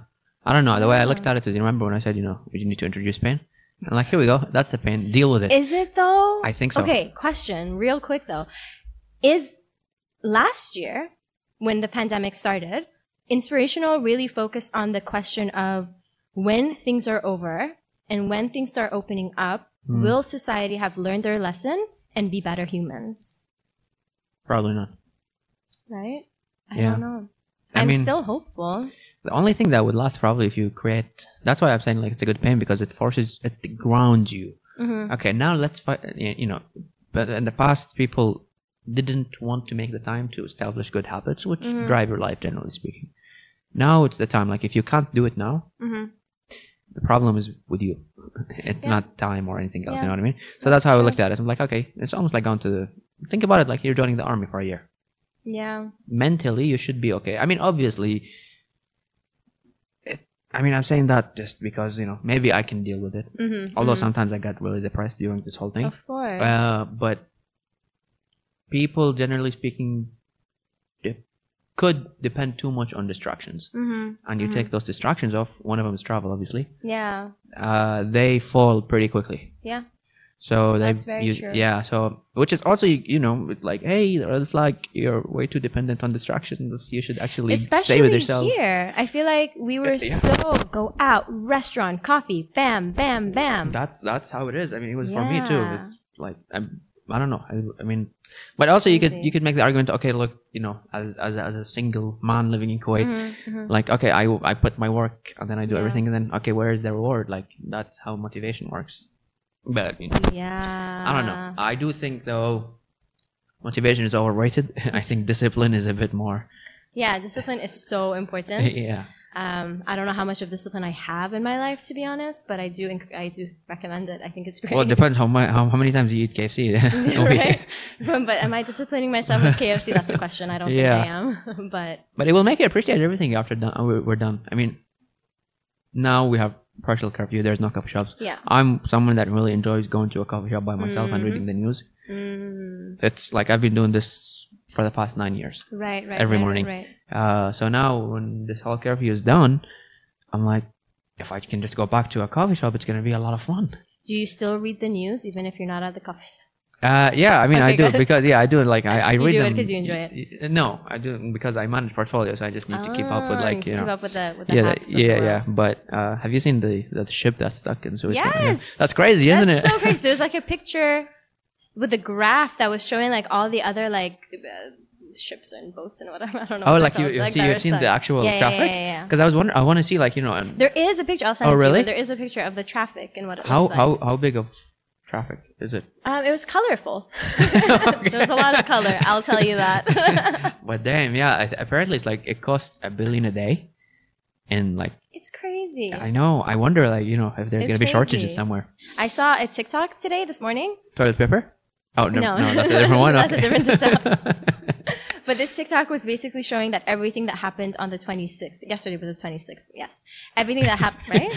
[SPEAKER 1] I don't know. The way I looked
[SPEAKER 2] Yeah.
[SPEAKER 1] at it is, you remember when I said, you know, you need to introduce pain? I'm like, here we go. That's the pain. Deal with it.
[SPEAKER 2] Is it though?
[SPEAKER 1] I think so.
[SPEAKER 2] Okay, question, real quick though. Is last year, when the pandemic started, Inspirational really focused on the question of when things are over and when things start opening up,
[SPEAKER 1] Hmm,
[SPEAKER 2] will society have learned their lesson and be better humans?
[SPEAKER 1] Probably not.
[SPEAKER 2] Right? I
[SPEAKER 1] Yeah.
[SPEAKER 2] don't know.
[SPEAKER 1] I
[SPEAKER 2] I'm
[SPEAKER 1] mean,
[SPEAKER 2] still hopeful.
[SPEAKER 1] the only thing that would last probably if you create. That's why I'm saying like it's a good pain because it forces it to ground you.
[SPEAKER 2] Mhm.
[SPEAKER 1] Okay, now let's fight. You know, but in the past, people didn't want to make the time to establish good habits, which
[SPEAKER 2] Mhm.
[SPEAKER 1] drive your life, generally speaking. Now it's the time. Like if you can't do it now,
[SPEAKER 2] Mhm.
[SPEAKER 1] the problem is with you. *laughs* It's
[SPEAKER 2] Yeah.
[SPEAKER 1] not time or anything else.
[SPEAKER 2] Yeah.
[SPEAKER 1] You know what I mean? So
[SPEAKER 2] That's
[SPEAKER 1] that's, how I
[SPEAKER 2] true.
[SPEAKER 1] looked at it. I'm like, okay, it's almost like going to the. Think about it like you're joining the army for a year.
[SPEAKER 2] Yeah.
[SPEAKER 1] Mentally, you should be okay. I mean, obviously. It, I mean, I'm saying that just because you know maybe I can deal with it.
[SPEAKER 2] Mhm.
[SPEAKER 1] Although
[SPEAKER 2] Mhm.
[SPEAKER 1] sometimes I got really depressed during this whole thing.
[SPEAKER 2] Of course.
[SPEAKER 1] Uh, but people, generally speaking, de- could depend too much on distractions.
[SPEAKER 2] Mhm.
[SPEAKER 1] And you
[SPEAKER 2] Mhm.
[SPEAKER 1] take those distractions off. One of them is travel, obviously.
[SPEAKER 2] Yeah.
[SPEAKER 1] Uh, they fall pretty quickly.
[SPEAKER 2] Yeah.
[SPEAKER 1] So they
[SPEAKER 2] That's very
[SPEAKER 1] you-
[SPEAKER 2] true.
[SPEAKER 1] Yeah. So which is also you know it's like hey the red flag you're way too dependent on distractions. You should actually
[SPEAKER 2] especially
[SPEAKER 1] stay with yourself.
[SPEAKER 2] here. I feel like we were
[SPEAKER 1] Yeah.
[SPEAKER 2] so go out, restaurant, coffee, bam, bam, bam.
[SPEAKER 1] That's that's how it is. I mean, it was for me too.
[SPEAKER 2] Yeah.
[SPEAKER 1] It's Like I'm, I don't know. I, I mean, but also you could
[SPEAKER 2] crazy.
[SPEAKER 1] you could make the argument. Okay, look, you know, as as, as a single man living in Kuwait,
[SPEAKER 2] Mhm, mhm.
[SPEAKER 1] like okay, I I put my work and then I do
[SPEAKER 2] Yeah.
[SPEAKER 1] everything and then okay, where is the reward? Like that's how motivation works. But I mean,
[SPEAKER 2] Yeah.
[SPEAKER 1] I don't know. I do think though, motivation *laughs* is overrated. I think discipline is a bit more.
[SPEAKER 2] Yeah, discipline is so important.
[SPEAKER 1] *laughs* yeah.
[SPEAKER 2] Um, I don't know how much of discipline I have in my life, to be honest, but I do enc- I do recommend it. I think it's great.
[SPEAKER 1] Well, it depends how, my, how how many times you eat KFC. *laughs* a week.
[SPEAKER 2] *laughs* Right? *laughs* but am I disciplining myself with KFC? That's the question. I don't
[SPEAKER 1] Yeah.
[SPEAKER 2] think I am. *laughs* but
[SPEAKER 1] But it will make you appreciate everything after done, we're we're done. I mean, now we have partial curfew. There's no coffee shops.
[SPEAKER 2] yeah.
[SPEAKER 1] I'm someone that really enjoys going to a coffee shop by myself and
[SPEAKER 2] Mhm.
[SPEAKER 1] reading the news.
[SPEAKER 2] Mm,
[SPEAKER 1] It's like I've been doing this for the past nine years.
[SPEAKER 2] right, right.
[SPEAKER 1] Every
[SPEAKER 2] right,
[SPEAKER 1] morning.
[SPEAKER 2] Right.
[SPEAKER 1] Uh, so now when this whole curfew is done, I'm like, if I can just go back to a coffee shop, it's gonna be a lot of fun.
[SPEAKER 2] Do you still read the news even if you're not at the coffee?
[SPEAKER 1] Uh, yeah, I mean,
[SPEAKER 2] Okay,
[SPEAKER 1] I do
[SPEAKER 2] good.
[SPEAKER 1] because yeah, I do it like I, I
[SPEAKER 2] You
[SPEAKER 1] read
[SPEAKER 2] do it
[SPEAKER 1] them
[SPEAKER 2] 'cause you enjoy
[SPEAKER 1] it. No, I do it because I manage portfolios. I just need to keep up with
[SPEAKER 2] Ah,
[SPEAKER 1] like
[SPEAKER 2] to
[SPEAKER 1] you know.
[SPEAKER 2] keep up with the with the
[SPEAKER 1] yeah,
[SPEAKER 2] haps of the
[SPEAKER 1] yeah,
[SPEAKER 2] world.
[SPEAKER 1] yeah. But uh, have you seen the the ship that's stuck in Suez? Canal? Yeah.
[SPEAKER 2] Yes!
[SPEAKER 1] that's crazy, isn't
[SPEAKER 2] That's
[SPEAKER 1] it?
[SPEAKER 2] so crazy. There was like a picture with a graph that was showing like all the other like uh, ships and boats and whatever. *laughs* I don't know.
[SPEAKER 1] *laughs* oh,
[SPEAKER 2] what
[SPEAKER 1] like
[SPEAKER 2] they're
[SPEAKER 1] you
[SPEAKER 2] called,
[SPEAKER 1] you see
[SPEAKER 2] that
[SPEAKER 1] you've
[SPEAKER 2] are
[SPEAKER 1] seen
[SPEAKER 2] stuck.
[SPEAKER 1] the actual
[SPEAKER 2] yeah, yeah,
[SPEAKER 1] traffic.
[SPEAKER 2] Yeah, yeah, yeah.
[SPEAKER 1] Because I was wondering, I want to see like you know, um,
[SPEAKER 2] There is a picture. I'll send
[SPEAKER 1] Oh,
[SPEAKER 2] it to you,
[SPEAKER 1] really?
[SPEAKER 2] but There is a picture of the traffic and what it
[SPEAKER 1] how
[SPEAKER 2] looks like.
[SPEAKER 1] how how big of traffic is
[SPEAKER 2] *laughs*
[SPEAKER 1] it?
[SPEAKER 2] Um, it was colorful.
[SPEAKER 1] Okay.
[SPEAKER 2] There was a lot of color. I'll tell you that. *laughs*
[SPEAKER 1] but damn, yeah. I- Apparently, it's like it costs a billion a day, and like
[SPEAKER 2] it's crazy.
[SPEAKER 1] I know, I wonder, like you know, if there's
[SPEAKER 2] It's
[SPEAKER 1] gonna be shortages
[SPEAKER 2] crazy.
[SPEAKER 1] somewhere.
[SPEAKER 2] I saw a TikTok today, this morning,
[SPEAKER 1] Toilet paper? Oh no,
[SPEAKER 2] No.
[SPEAKER 1] no, that's a different one.
[SPEAKER 2] *laughs* That's a
[SPEAKER 1] Okay. *laughs*
[SPEAKER 2] different TikTok. but this TikTok was basically showing that everything that happened on the 26th, yesterday was the 26th, yes. Everything that happened, *laughs* right?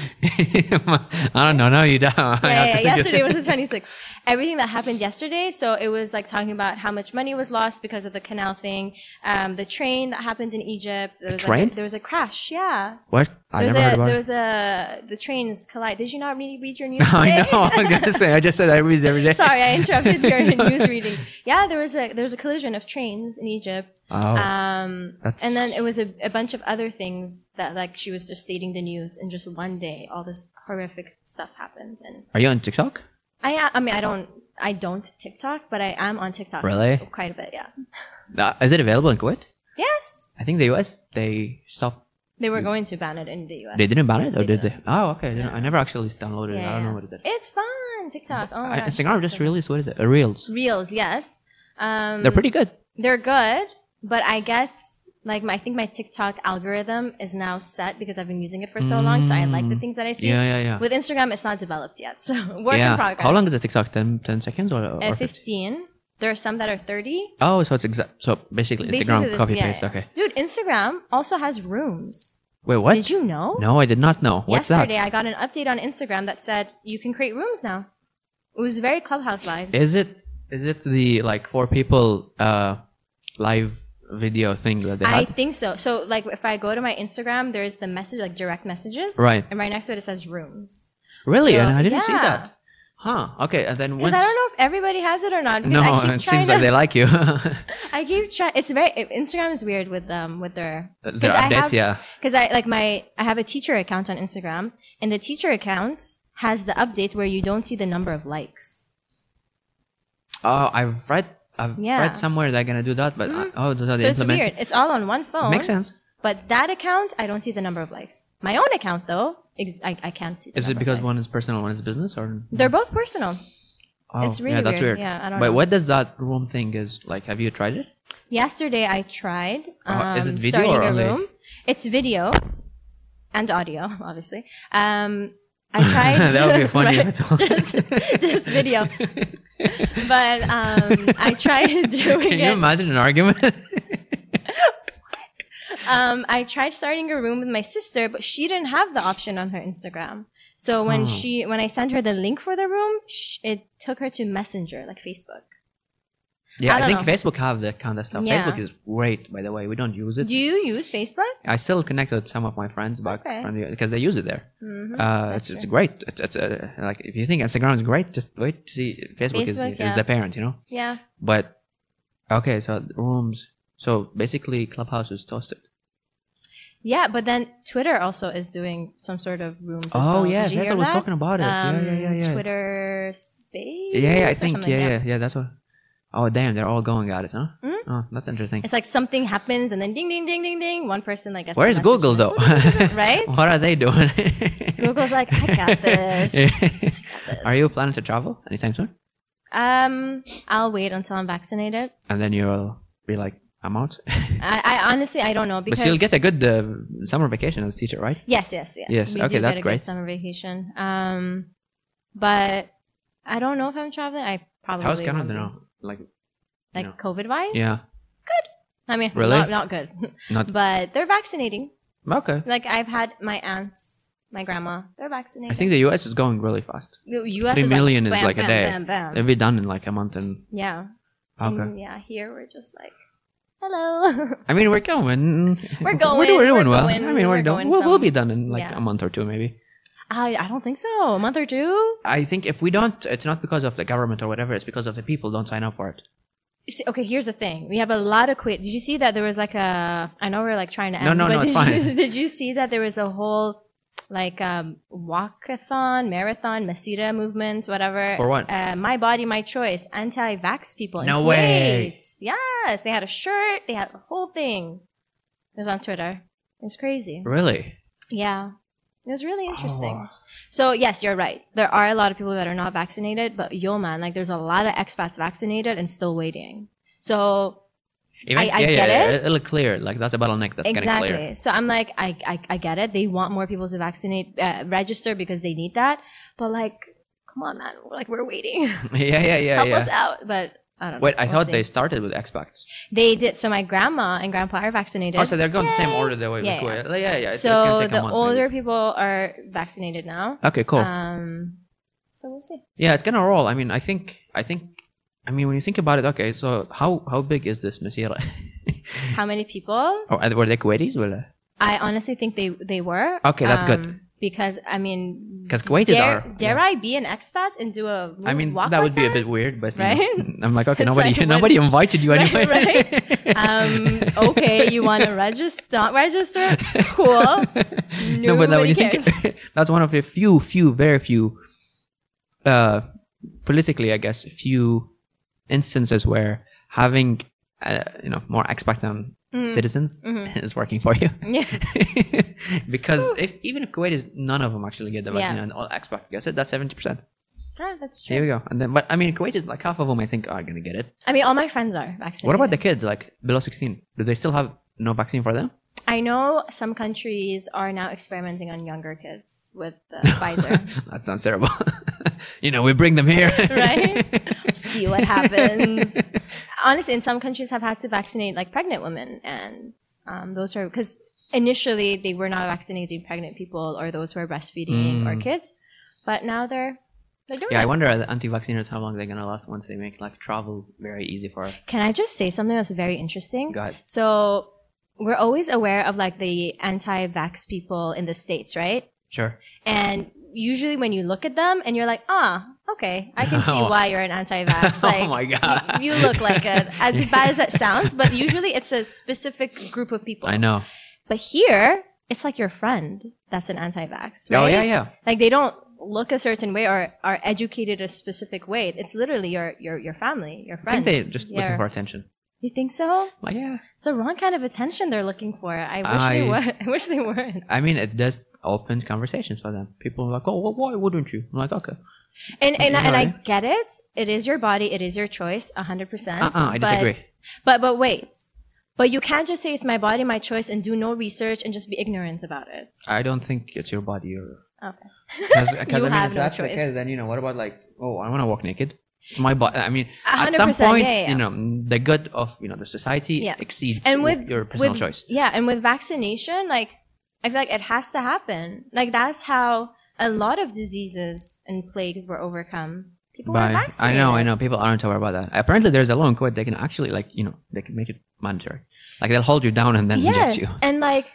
[SPEAKER 1] I don't know. No, you don't. *laughs* I
[SPEAKER 2] yeah,
[SPEAKER 1] have
[SPEAKER 2] yeah,
[SPEAKER 1] to
[SPEAKER 2] yeah.
[SPEAKER 1] do-
[SPEAKER 2] yesterday was the 26th. Everything that happened yesterday, so it was like talking about how much money was lost because of the canal thing, um, the train that happened in Egypt. There was Like
[SPEAKER 1] train?
[SPEAKER 2] a, there was a crash, yeah.
[SPEAKER 1] *laughs* What? I
[SPEAKER 2] there was
[SPEAKER 1] never heard
[SPEAKER 2] a,
[SPEAKER 1] about
[SPEAKER 2] there
[SPEAKER 1] it.
[SPEAKER 2] was a the trains collide. Did you not really read your news?
[SPEAKER 1] *laughs* I
[SPEAKER 2] today?
[SPEAKER 1] know. I
[SPEAKER 2] *laughs*
[SPEAKER 1] was gonna say. I just said I read every day.
[SPEAKER 2] Sorry, I interrupted
[SPEAKER 1] *laughs*
[SPEAKER 2] your news reading. Yeah, there was a there was a collision of trains in Egypt.
[SPEAKER 1] Oh,
[SPEAKER 2] Um,
[SPEAKER 1] that's
[SPEAKER 2] and then it was a, a bunch of other things that like she was just stating the news in just one day. All this horrific stuff happens, and
[SPEAKER 1] Are you on TikTok?
[SPEAKER 2] I I mean I don't I don't TikTok, but I am on TikTok
[SPEAKER 1] Really?
[SPEAKER 2] quite a bit. Yeah.
[SPEAKER 1] Uh, is it available in Kuwait?
[SPEAKER 2] Yes,
[SPEAKER 1] I think the US they stopped.
[SPEAKER 2] they were going to ban it in the U.S.
[SPEAKER 1] They didn't ban it, or did
[SPEAKER 2] didn't.
[SPEAKER 1] they? Oh, okay. I didn't- I
[SPEAKER 2] Yeah.
[SPEAKER 1] never actually downloaded it. I don't
[SPEAKER 2] Yeah.
[SPEAKER 1] know what is it.
[SPEAKER 2] It's fun TikTok. Oh my
[SPEAKER 1] Uh,
[SPEAKER 2] gosh.
[SPEAKER 1] Instagram
[SPEAKER 2] it's
[SPEAKER 1] just
[SPEAKER 2] so-
[SPEAKER 1] released what is it? Uh, Reels.
[SPEAKER 2] reels. Yes. Um,
[SPEAKER 1] They're pretty good.
[SPEAKER 2] they're good, but I get like my, I think my TikTok algorithm is now set because I've been using it for so long, so I like the
[SPEAKER 1] Mm.
[SPEAKER 2] things that I see.
[SPEAKER 1] Yeah, yeah, yeah.
[SPEAKER 2] With Instagram, it's not developed yet, *laughs* so work
[SPEAKER 1] yeah.
[SPEAKER 2] in progress. Uh,
[SPEAKER 1] How long is the TikTok? 10, 10 seconds or, or
[SPEAKER 2] At
[SPEAKER 1] 15?
[SPEAKER 2] fifteen, there are some that are thirty.
[SPEAKER 1] Oh, so it's exact. So basically, Instagram
[SPEAKER 2] Basically this-
[SPEAKER 1] copy
[SPEAKER 2] yeah,
[SPEAKER 1] paste.
[SPEAKER 2] yeah.
[SPEAKER 1] Okay.
[SPEAKER 2] Dude, Instagram also has rooms.
[SPEAKER 1] Wait, what?
[SPEAKER 2] Did you know?
[SPEAKER 1] No, I did not know. What's that?
[SPEAKER 2] Yesterday, I got an update on Instagram that said you can create rooms now. It was very Clubhouse vibes.
[SPEAKER 1] Is it is it the like four people uh live video thing that they
[SPEAKER 2] I
[SPEAKER 1] had?
[SPEAKER 2] think so. So, like, if I go to my Instagram, there's the message, like direct messages,
[SPEAKER 1] Right.
[SPEAKER 2] and right next to it, it says rooms.
[SPEAKER 1] Really?
[SPEAKER 2] So,
[SPEAKER 1] and I didn't see
[SPEAKER 2] yeah.
[SPEAKER 1] that. Huh. Okay. And then
[SPEAKER 2] Because
[SPEAKER 1] once.
[SPEAKER 2] I don't know if everybody has it or not. because
[SPEAKER 1] *laughs* No,
[SPEAKER 2] I keep
[SPEAKER 1] it
[SPEAKER 2] trying
[SPEAKER 1] seems like
[SPEAKER 2] to-
[SPEAKER 1] they like you. *laughs*
[SPEAKER 2] I keep trying. It's very Instagram is weird with um with their
[SPEAKER 1] Their
[SPEAKER 2] I
[SPEAKER 1] updates,
[SPEAKER 2] have-
[SPEAKER 1] yeah.
[SPEAKER 2] because I like my I have a teacher account on Instagram, and the teacher account has the update where you don't see the number of likes.
[SPEAKER 1] Oh, I've read, I've
[SPEAKER 2] Yeah.
[SPEAKER 1] read somewhere they're gonna do that, but I,
[SPEAKER 2] Mhm.
[SPEAKER 1] oh, that's how they
[SPEAKER 2] so it's
[SPEAKER 1] implement
[SPEAKER 2] weird. It's all on one
[SPEAKER 1] it.
[SPEAKER 2] phone.
[SPEAKER 1] Makes sense.
[SPEAKER 2] But that account, I don't see the number of likes. My own account though, ex- I I can't see. The
[SPEAKER 1] Is it
[SPEAKER 2] number of
[SPEAKER 1] because
[SPEAKER 2] likes.
[SPEAKER 1] one is personal, one is business, or
[SPEAKER 2] They're both personal.
[SPEAKER 1] Oh,
[SPEAKER 2] it's really
[SPEAKER 1] yeah, that's weird.
[SPEAKER 2] Yeah, I don't
[SPEAKER 1] But
[SPEAKER 2] know.
[SPEAKER 1] what does that room thing is like? Have you tried it?
[SPEAKER 2] Yesterday I tried
[SPEAKER 1] Uh,
[SPEAKER 2] um,
[SPEAKER 1] is it video
[SPEAKER 2] starting
[SPEAKER 1] or
[SPEAKER 2] a
[SPEAKER 1] only-
[SPEAKER 2] room. It's video and audio, *laughs* obviously. Um, I tried.
[SPEAKER 1] *laughs* that would be funny.
[SPEAKER 2] *laughs* Right.
[SPEAKER 1] if it's all-
[SPEAKER 2] just, just
[SPEAKER 1] *laughs*
[SPEAKER 2] video. But um, I tried *laughs* doing
[SPEAKER 1] Can you
[SPEAKER 2] it.
[SPEAKER 1] imagine an argument? *laughs*
[SPEAKER 2] Um, I tried starting a room with my sister, but she didn't have the option on her Instagram. So when
[SPEAKER 1] Oh.
[SPEAKER 2] she when I sent her the link for the room, sh it took her to Messenger, like Facebook.
[SPEAKER 1] yeah,
[SPEAKER 2] I
[SPEAKER 1] I,
[SPEAKER 2] don't
[SPEAKER 1] think
[SPEAKER 2] know.
[SPEAKER 1] Facebook have that kind of stuff.
[SPEAKER 2] Yeah.
[SPEAKER 1] Facebook is great, by the way. We don't use it.
[SPEAKER 2] Do you use Facebook?
[SPEAKER 1] I still connect with some of my friends back
[SPEAKER 2] Okay.
[SPEAKER 1] from the, because they use it there.
[SPEAKER 2] hmm
[SPEAKER 1] Uh,
[SPEAKER 2] That's
[SPEAKER 1] it's, it's great. It's, it's uh, like if you think Instagram is great, just wait to see Facebook, is,
[SPEAKER 2] Facebook,
[SPEAKER 1] is
[SPEAKER 2] yeah.
[SPEAKER 1] the parent, you know.
[SPEAKER 2] Yeah.
[SPEAKER 1] But okay, so rooms. So basically, Clubhouse is toasted.
[SPEAKER 2] Yeah, but then Twitter also is doing some sort of rooms. As
[SPEAKER 1] oh
[SPEAKER 2] well.
[SPEAKER 1] yeah,
[SPEAKER 2] Did you
[SPEAKER 1] yes,
[SPEAKER 2] hear
[SPEAKER 1] I was
[SPEAKER 2] that?
[SPEAKER 1] talking about it.
[SPEAKER 2] Um,
[SPEAKER 1] yeah, yeah, yeah, yeah.
[SPEAKER 2] Twitter Space.
[SPEAKER 1] yeah, yeah, I
[SPEAKER 2] or
[SPEAKER 1] think
[SPEAKER 2] something,
[SPEAKER 1] yeah, yeah, yeah. That's what. Oh damn, they're all going at it, huh?
[SPEAKER 2] Hmm?
[SPEAKER 1] Oh, that's interesting.
[SPEAKER 2] It's like something happens and then ding, ding, ding, ding, ding. One person like gets a
[SPEAKER 1] Where's
[SPEAKER 2] message,
[SPEAKER 1] Google
[SPEAKER 2] like,
[SPEAKER 1] though? *laughs*
[SPEAKER 2] right?
[SPEAKER 1] what are they doing? *laughs*
[SPEAKER 2] Google's like, I got this. I got this.
[SPEAKER 1] *laughs* Are you planning to travel anytime soon?
[SPEAKER 2] Um, I'll wait until I'm vaccinated.
[SPEAKER 1] And then you'll be like, *laughs* amount.
[SPEAKER 2] I, I honestly I don't know
[SPEAKER 1] but
[SPEAKER 2] because
[SPEAKER 1] you'll get a good uh, summer vacation as a teacher, right?
[SPEAKER 2] Yes, yes, yes.
[SPEAKER 1] Yes,
[SPEAKER 2] we
[SPEAKER 1] okay,
[SPEAKER 2] do
[SPEAKER 1] that's
[SPEAKER 2] get a
[SPEAKER 1] great.
[SPEAKER 2] Good summer vacation. Um, but I don't know if I'm traveling. I probably
[SPEAKER 1] How's
[SPEAKER 2] won't
[SPEAKER 1] Canada
[SPEAKER 2] be.
[SPEAKER 1] now? Like
[SPEAKER 2] Like
[SPEAKER 1] No.
[SPEAKER 2] COVID wise?
[SPEAKER 1] Yeah.
[SPEAKER 2] Good. I mean,
[SPEAKER 1] Really?
[SPEAKER 2] not, not good, *laughs*
[SPEAKER 1] not
[SPEAKER 2] but they're vaccinating.
[SPEAKER 1] okay.
[SPEAKER 2] Like I've had my aunts, my grandma, they're vaccinating.
[SPEAKER 1] I think the U.S. is going really fast.
[SPEAKER 2] the U.S.
[SPEAKER 1] three
[SPEAKER 2] is
[SPEAKER 1] million
[SPEAKER 2] like,
[SPEAKER 1] is
[SPEAKER 2] bam,
[SPEAKER 1] like a
[SPEAKER 2] bam,
[SPEAKER 1] day.
[SPEAKER 2] Bam, bam.
[SPEAKER 1] It'll be done in like a month and
[SPEAKER 2] yeah.
[SPEAKER 1] okay.
[SPEAKER 2] And yeah. Here we're just like, hello. *laughs*
[SPEAKER 1] I mean, we're going.
[SPEAKER 2] We're
[SPEAKER 1] We're,
[SPEAKER 2] going,
[SPEAKER 1] doing- we're doing
[SPEAKER 2] we're
[SPEAKER 1] well.
[SPEAKER 2] going,
[SPEAKER 1] I mean, we're,
[SPEAKER 2] we're
[SPEAKER 1] doing.
[SPEAKER 2] going
[SPEAKER 1] We'll, we'll
[SPEAKER 2] some-
[SPEAKER 1] be done in like
[SPEAKER 2] Yeah.
[SPEAKER 1] a month or two, maybe.
[SPEAKER 2] I I don't think so. A month or two.
[SPEAKER 1] I think if we don't, it's not because of the government or whatever. It's because of the people don't sign up for it.
[SPEAKER 2] See, okay, here's the thing. We have a lot of quit. Did you see that there was like a? I know we're like trying to end.
[SPEAKER 1] No, no,
[SPEAKER 2] but
[SPEAKER 1] no,
[SPEAKER 2] did
[SPEAKER 1] it's
[SPEAKER 2] You,
[SPEAKER 1] fine.
[SPEAKER 2] *laughs* did you see that there was a whole like um, walkathon, marathon, Masita movements, whatever?
[SPEAKER 1] For what?
[SPEAKER 2] Uh, my body, my choice. Anti-vax people. in
[SPEAKER 1] No way.
[SPEAKER 2] Kuwait. Yes, they had a shirt. They had a whole thing. It was on Twitter. It's crazy.
[SPEAKER 1] Really
[SPEAKER 2] Yeah, it was really interesting.
[SPEAKER 1] Oh.
[SPEAKER 2] So yes, you're right. There are a lot of people that are not vaccinated, but yo man, like there's a lot of expats vaccinated and still waiting. So
[SPEAKER 1] Even-
[SPEAKER 2] I- I
[SPEAKER 1] yeah,
[SPEAKER 2] get
[SPEAKER 1] yeah,
[SPEAKER 2] it.
[SPEAKER 1] yeah, It'll clear. Like that's a bottleneck that's gonna clear.
[SPEAKER 2] exactly. So I'm like, I, I I get it. They want more people to vaccinate, uh, register because they need that. But like, come on, man, we're, like we're waiting.
[SPEAKER 1] *laughs* yeah, yeah, yeah,
[SPEAKER 2] *laughs* Help
[SPEAKER 1] yeah.
[SPEAKER 2] us out. But I don't.
[SPEAKER 1] Wait,
[SPEAKER 2] know.
[SPEAKER 1] I
[SPEAKER 2] We'll
[SPEAKER 1] thought
[SPEAKER 2] see.
[SPEAKER 1] they started with expats.
[SPEAKER 2] they did. So my grandma and grandpa are vaccinated.
[SPEAKER 1] Oh, so they're going the same
[SPEAKER 2] Yay.
[SPEAKER 1] order the way
[SPEAKER 2] Yeah,
[SPEAKER 1] yeah, yeah, yeah. yeah, It's, it's
[SPEAKER 2] So
[SPEAKER 1] gonna take a
[SPEAKER 2] the
[SPEAKER 1] month,
[SPEAKER 2] older
[SPEAKER 1] maybe.
[SPEAKER 2] people are vaccinated now.
[SPEAKER 1] Okay, cool.
[SPEAKER 2] Um, so we'll see.
[SPEAKER 1] yeah, it's gonna roll. I mean, I think, I think, I mean, when you think about it, okay, so how how big is this *laughs* Nasira?
[SPEAKER 2] How many people?
[SPEAKER 1] or were they Kuwaitis? Well, uh,
[SPEAKER 2] I honestly think they they were. Um,
[SPEAKER 1] Okay, that's good.
[SPEAKER 2] Because I mean,
[SPEAKER 1] because Kuwaitis
[SPEAKER 2] dare,
[SPEAKER 1] are.
[SPEAKER 2] dare
[SPEAKER 1] yeah.
[SPEAKER 2] I be an expat and do a
[SPEAKER 1] I mean,
[SPEAKER 2] walk
[SPEAKER 1] that
[SPEAKER 2] like
[SPEAKER 1] would be a bit weird, but you know,
[SPEAKER 2] Right?
[SPEAKER 1] I'm like, okay,
[SPEAKER 2] *laughs* It's
[SPEAKER 1] nobody,
[SPEAKER 2] like, what-
[SPEAKER 1] *laughs* nobody invited you
[SPEAKER 2] Right,
[SPEAKER 1] anyway. *laughs*
[SPEAKER 2] Um, okay, you want to register? Not register? Cool.
[SPEAKER 1] *laughs* no, but like, when
[SPEAKER 2] Nobody
[SPEAKER 1] you think *laughs* that's one of the few, few, very few, uh, politically, I guess, few instances where having, uh, you know, more expats than
[SPEAKER 2] Mm,
[SPEAKER 1] citizens
[SPEAKER 2] mhm.
[SPEAKER 1] is working for you. *laughs*
[SPEAKER 2] *laughs* Yeah.
[SPEAKER 1] because if even if Kuwait is none of them actually get the
[SPEAKER 2] Yeah.
[SPEAKER 1] vaccine and all expats get it, that's seventy percent.
[SPEAKER 2] Yeah, that's
[SPEAKER 1] There
[SPEAKER 2] true.
[SPEAKER 1] you go. And then, but I mean, Kuwait is like half of them I think are gonna get it.
[SPEAKER 2] I mean, all my friends are vaccinated.
[SPEAKER 1] What about the kids like below sixteen? Do they still have no vaccine for them?
[SPEAKER 2] I know some countries are now experimenting on younger kids with
[SPEAKER 1] *laughs*
[SPEAKER 2] the *laughs* Pfizer.
[SPEAKER 1] that sounds terrible. *laughs* you know, we bring them here,
[SPEAKER 2] *laughs* Right? See what
[SPEAKER 1] *laughs*
[SPEAKER 2] happens. honestly, in some countries have had to vaccinate like pregnant women, and um, those are because initially they were not vaccinating pregnant people or those who are breastfeeding or
[SPEAKER 1] Mm.
[SPEAKER 2] kids, but now they're they're
[SPEAKER 1] *laughs*
[SPEAKER 2] doing
[SPEAKER 1] yeah, I
[SPEAKER 2] it.
[SPEAKER 1] wonder are the anti-vacciners how long they're gonna last once they make like travel very easy for.
[SPEAKER 2] Can I just say something that's very interesting?
[SPEAKER 1] God,
[SPEAKER 2] So we're always aware of like the anti-vax people in the states, right?
[SPEAKER 1] sure.
[SPEAKER 2] And usually when you look at them and you're like, ah, okay,
[SPEAKER 1] *laughs*
[SPEAKER 2] I can see why you're an anti-vax. Like,
[SPEAKER 1] oh my god,
[SPEAKER 2] *laughs* You, you look like it.
[SPEAKER 1] *laughs*
[SPEAKER 2] As bad as it sounds, but usually it's a specific group of people.
[SPEAKER 1] I know.
[SPEAKER 2] But here, it's like your friend that's an anti-vax. Right?
[SPEAKER 1] Oh yeah, yeah.
[SPEAKER 2] Like they don't look a certain way or are educated a specific way. It's literally your your your family, your
[SPEAKER 1] I think
[SPEAKER 2] friends.
[SPEAKER 1] they're just
[SPEAKER 2] your-
[SPEAKER 1] looking for attention.
[SPEAKER 2] You think so?
[SPEAKER 1] Like yeah.
[SPEAKER 2] It's the wrong kind of attention they're looking for. I wish
[SPEAKER 1] I-
[SPEAKER 2] they were. *laughs* I wish they weren't.
[SPEAKER 1] I mean, it does open conversations for them. People are like, oh, well, why wouldn't you? I'm like, okay.
[SPEAKER 2] And and, and I
[SPEAKER 1] Sorry.
[SPEAKER 2] get it. It is your body. It is your choice. hundred percent.
[SPEAKER 1] Uh-uh, I disagree.
[SPEAKER 2] But but wait. But you can't just say it's my body, my choice, and do no research and just be ignorant about it.
[SPEAKER 1] I don't think it's your body. Or...
[SPEAKER 2] Okay.
[SPEAKER 1] Because I
[SPEAKER 2] *laughs* You
[SPEAKER 1] mean,
[SPEAKER 2] have
[SPEAKER 1] if
[SPEAKER 2] no
[SPEAKER 1] that's the
[SPEAKER 2] choice.
[SPEAKER 1] case, then, you know, what about like, oh, I want to walk naked? It's my body. I mean,
[SPEAKER 2] A
[SPEAKER 1] at
[SPEAKER 2] hundred
[SPEAKER 1] some
[SPEAKER 2] percent,
[SPEAKER 1] point,
[SPEAKER 2] yeah, yeah.
[SPEAKER 1] you know, the good of, you know, the society
[SPEAKER 2] Yeah.
[SPEAKER 1] exceeds
[SPEAKER 2] And
[SPEAKER 1] and
[SPEAKER 2] with-
[SPEAKER 1] your personal
[SPEAKER 2] with,
[SPEAKER 1] choice.
[SPEAKER 2] Yeah, and with vaccination, like I feel like it has to happen. Like that's how a lot of diseases and plagues were overcome. People were
[SPEAKER 1] By, I
[SPEAKER 2] vaccinated.
[SPEAKER 1] know, I know. People aren't aware about that. Apparently, there's a law in Kuwait they can actually, like, you know, they can make it mandatory. Like, they'll hold you down and then
[SPEAKER 2] yes,
[SPEAKER 1] inject you.
[SPEAKER 2] and like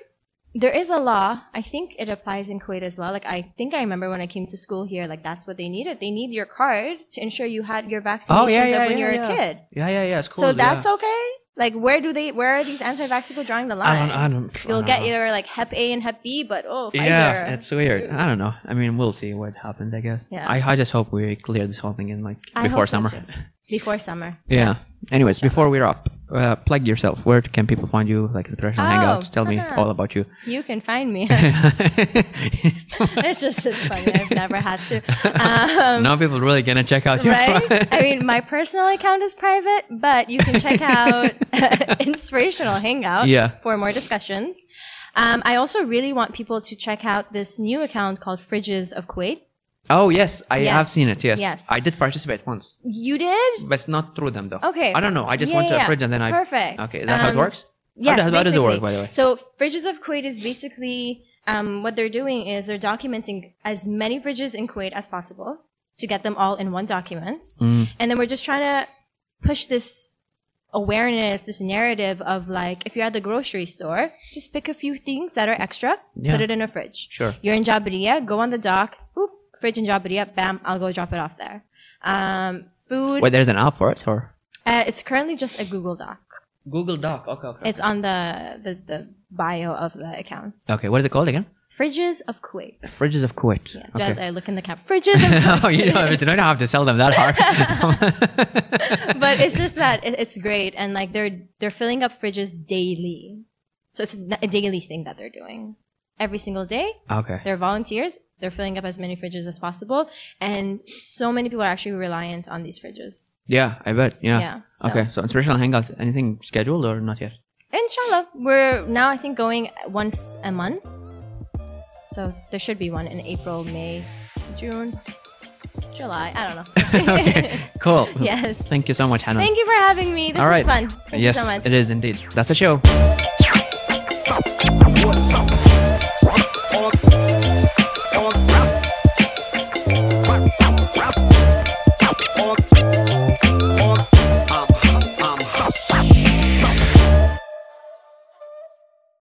[SPEAKER 2] there is a law. I think it applies in Kuwait as well. Like I think I remember when I came to school here, like that's what they needed. They need your card to ensure you had your vaccinations
[SPEAKER 1] Oh, yeah,
[SPEAKER 2] of
[SPEAKER 1] yeah,
[SPEAKER 2] when you're a
[SPEAKER 1] yeah.
[SPEAKER 2] kid.
[SPEAKER 1] Yeah, yeah, yeah. It's cool.
[SPEAKER 2] so that's okay. Like where do they? Where are these anti-vax people drawing the line?
[SPEAKER 1] I don't, I don't, I
[SPEAKER 2] You'll
[SPEAKER 1] don't
[SPEAKER 2] get
[SPEAKER 1] know.
[SPEAKER 2] either like Hep A and Hep B, but oh, Pfizer.
[SPEAKER 1] Yeah, it's weird.
[SPEAKER 2] Ooh.
[SPEAKER 1] I don't know. I mean, we'll see what happens. I guess.
[SPEAKER 2] Yeah.
[SPEAKER 1] I, I just hope we clear this whole thing in like
[SPEAKER 2] I
[SPEAKER 1] before *laughs*
[SPEAKER 2] hope so
[SPEAKER 1] summer.
[SPEAKER 2] too. before summer.
[SPEAKER 1] yeah. Anyways, before we're up, uh, plug yourself. Where can people find you? Like inspirational
[SPEAKER 2] Oh,
[SPEAKER 1] hangouts. Tell me
[SPEAKER 2] uh-huh.
[SPEAKER 1] all about you.
[SPEAKER 2] You can find
[SPEAKER 1] *laughs*
[SPEAKER 2] me. it's just it's funny. I've never had to. Um,
[SPEAKER 1] now people really gonna check out your *laughs*
[SPEAKER 2] right? I mean, my personal account is private, but you can check out *laughs* Inspirational Hangout
[SPEAKER 1] Yeah.
[SPEAKER 2] for more discussions. Um, I also really want people to check out this new account called Fridges of Kuwait.
[SPEAKER 1] Oh yes, I have
[SPEAKER 2] Yes.
[SPEAKER 1] seen it. Yes.
[SPEAKER 2] Yes.
[SPEAKER 1] I did participate once,
[SPEAKER 2] You did?
[SPEAKER 1] but not through them though.
[SPEAKER 2] Okay.
[SPEAKER 1] I don't know. I just
[SPEAKER 2] Yeah,
[SPEAKER 1] went to
[SPEAKER 2] yeah,
[SPEAKER 1] a fridge and then I.
[SPEAKER 2] Perfect.
[SPEAKER 1] Okay, is that how it
[SPEAKER 2] Um,
[SPEAKER 1] works?
[SPEAKER 2] Yes,
[SPEAKER 1] does- how does it work,
[SPEAKER 2] basically.
[SPEAKER 1] by the way?
[SPEAKER 2] So Bridges of Kuwait is basically um, what they're doing is they're documenting as many bridges in Kuwait as possible to get them all in one document,
[SPEAKER 1] Mm.
[SPEAKER 2] and then we're just trying to push this awareness, this narrative of like if you're at the grocery store, just pick a few things that are extra,
[SPEAKER 1] Yeah.
[SPEAKER 2] put it in a fridge.
[SPEAKER 1] Sure.
[SPEAKER 2] You're in Jabiria, go on the dock, oop, fridge in Jabiria, bam, I'll go drop it off there. Um, food,
[SPEAKER 1] Wait, there's an app for it or?
[SPEAKER 2] uh, it's currently just a Google Doc.
[SPEAKER 1] Google Doc. Okay. Okay. Oh.
[SPEAKER 2] It's on the, the, the bio of the account.
[SPEAKER 1] okay. What is it called again?
[SPEAKER 2] Fridges of Kuwait.
[SPEAKER 1] Fridges of Kuwait.
[SPEAKER 2] Yeah,
[SPEAKER 1] okay.
[SPEAKER 2] just-
[SPEAKER 1] *laughs*
[SPEAKER 2] I look in the cap. Fridges of
[SPEAKER 1] oh, you *laughs*
[SPEAKER 2] Kuwait.
[SPEAKER 1] don't, you don't have to sell them that hard.
[SPEAKER 2] *laughs* but it's just that it, it's great, and like they're they're filling up fridges daily, so it's a daily thing that they're doing. Every single day,
[SPEAKER 1] *laughs* okay.
[SPEAKER 2] they're volunteers. They're filling up as many fridges as possible, and so many people are actually reliant on these fridges.
[SPEAKER 1] Yeah, I bet. Yeah.
[SPEAKER 2] Yeah. so.
[SPEAKER 1] Okay. So inspirational hangouts. Anything scheduled or not
[SPEAKER 2] *laughs*
[SPEAKER 1] yet? *laughs*
[SPEAKER 2] Inshallah, we're now I think going once a month, so there should be one in April, May, June, July. I don't know.
[SPEAKER 1] *laughs* okay. Cool.
[SPEAKER 2] *laughs* yes.
[SPEAKER 1] Thank you so much, Hannah.
[SPEAKER 2] Thank you for having me. This
[SPEAKER 1] All
[SPEAKER 2] was
[SPEAKER 1] right.
[SPEAKER 2] fun. Thank
[SPEAKER 1] yes,
[SPEAKER 2] you so much.
[SPEAKER 1] it is indeed. That's a show.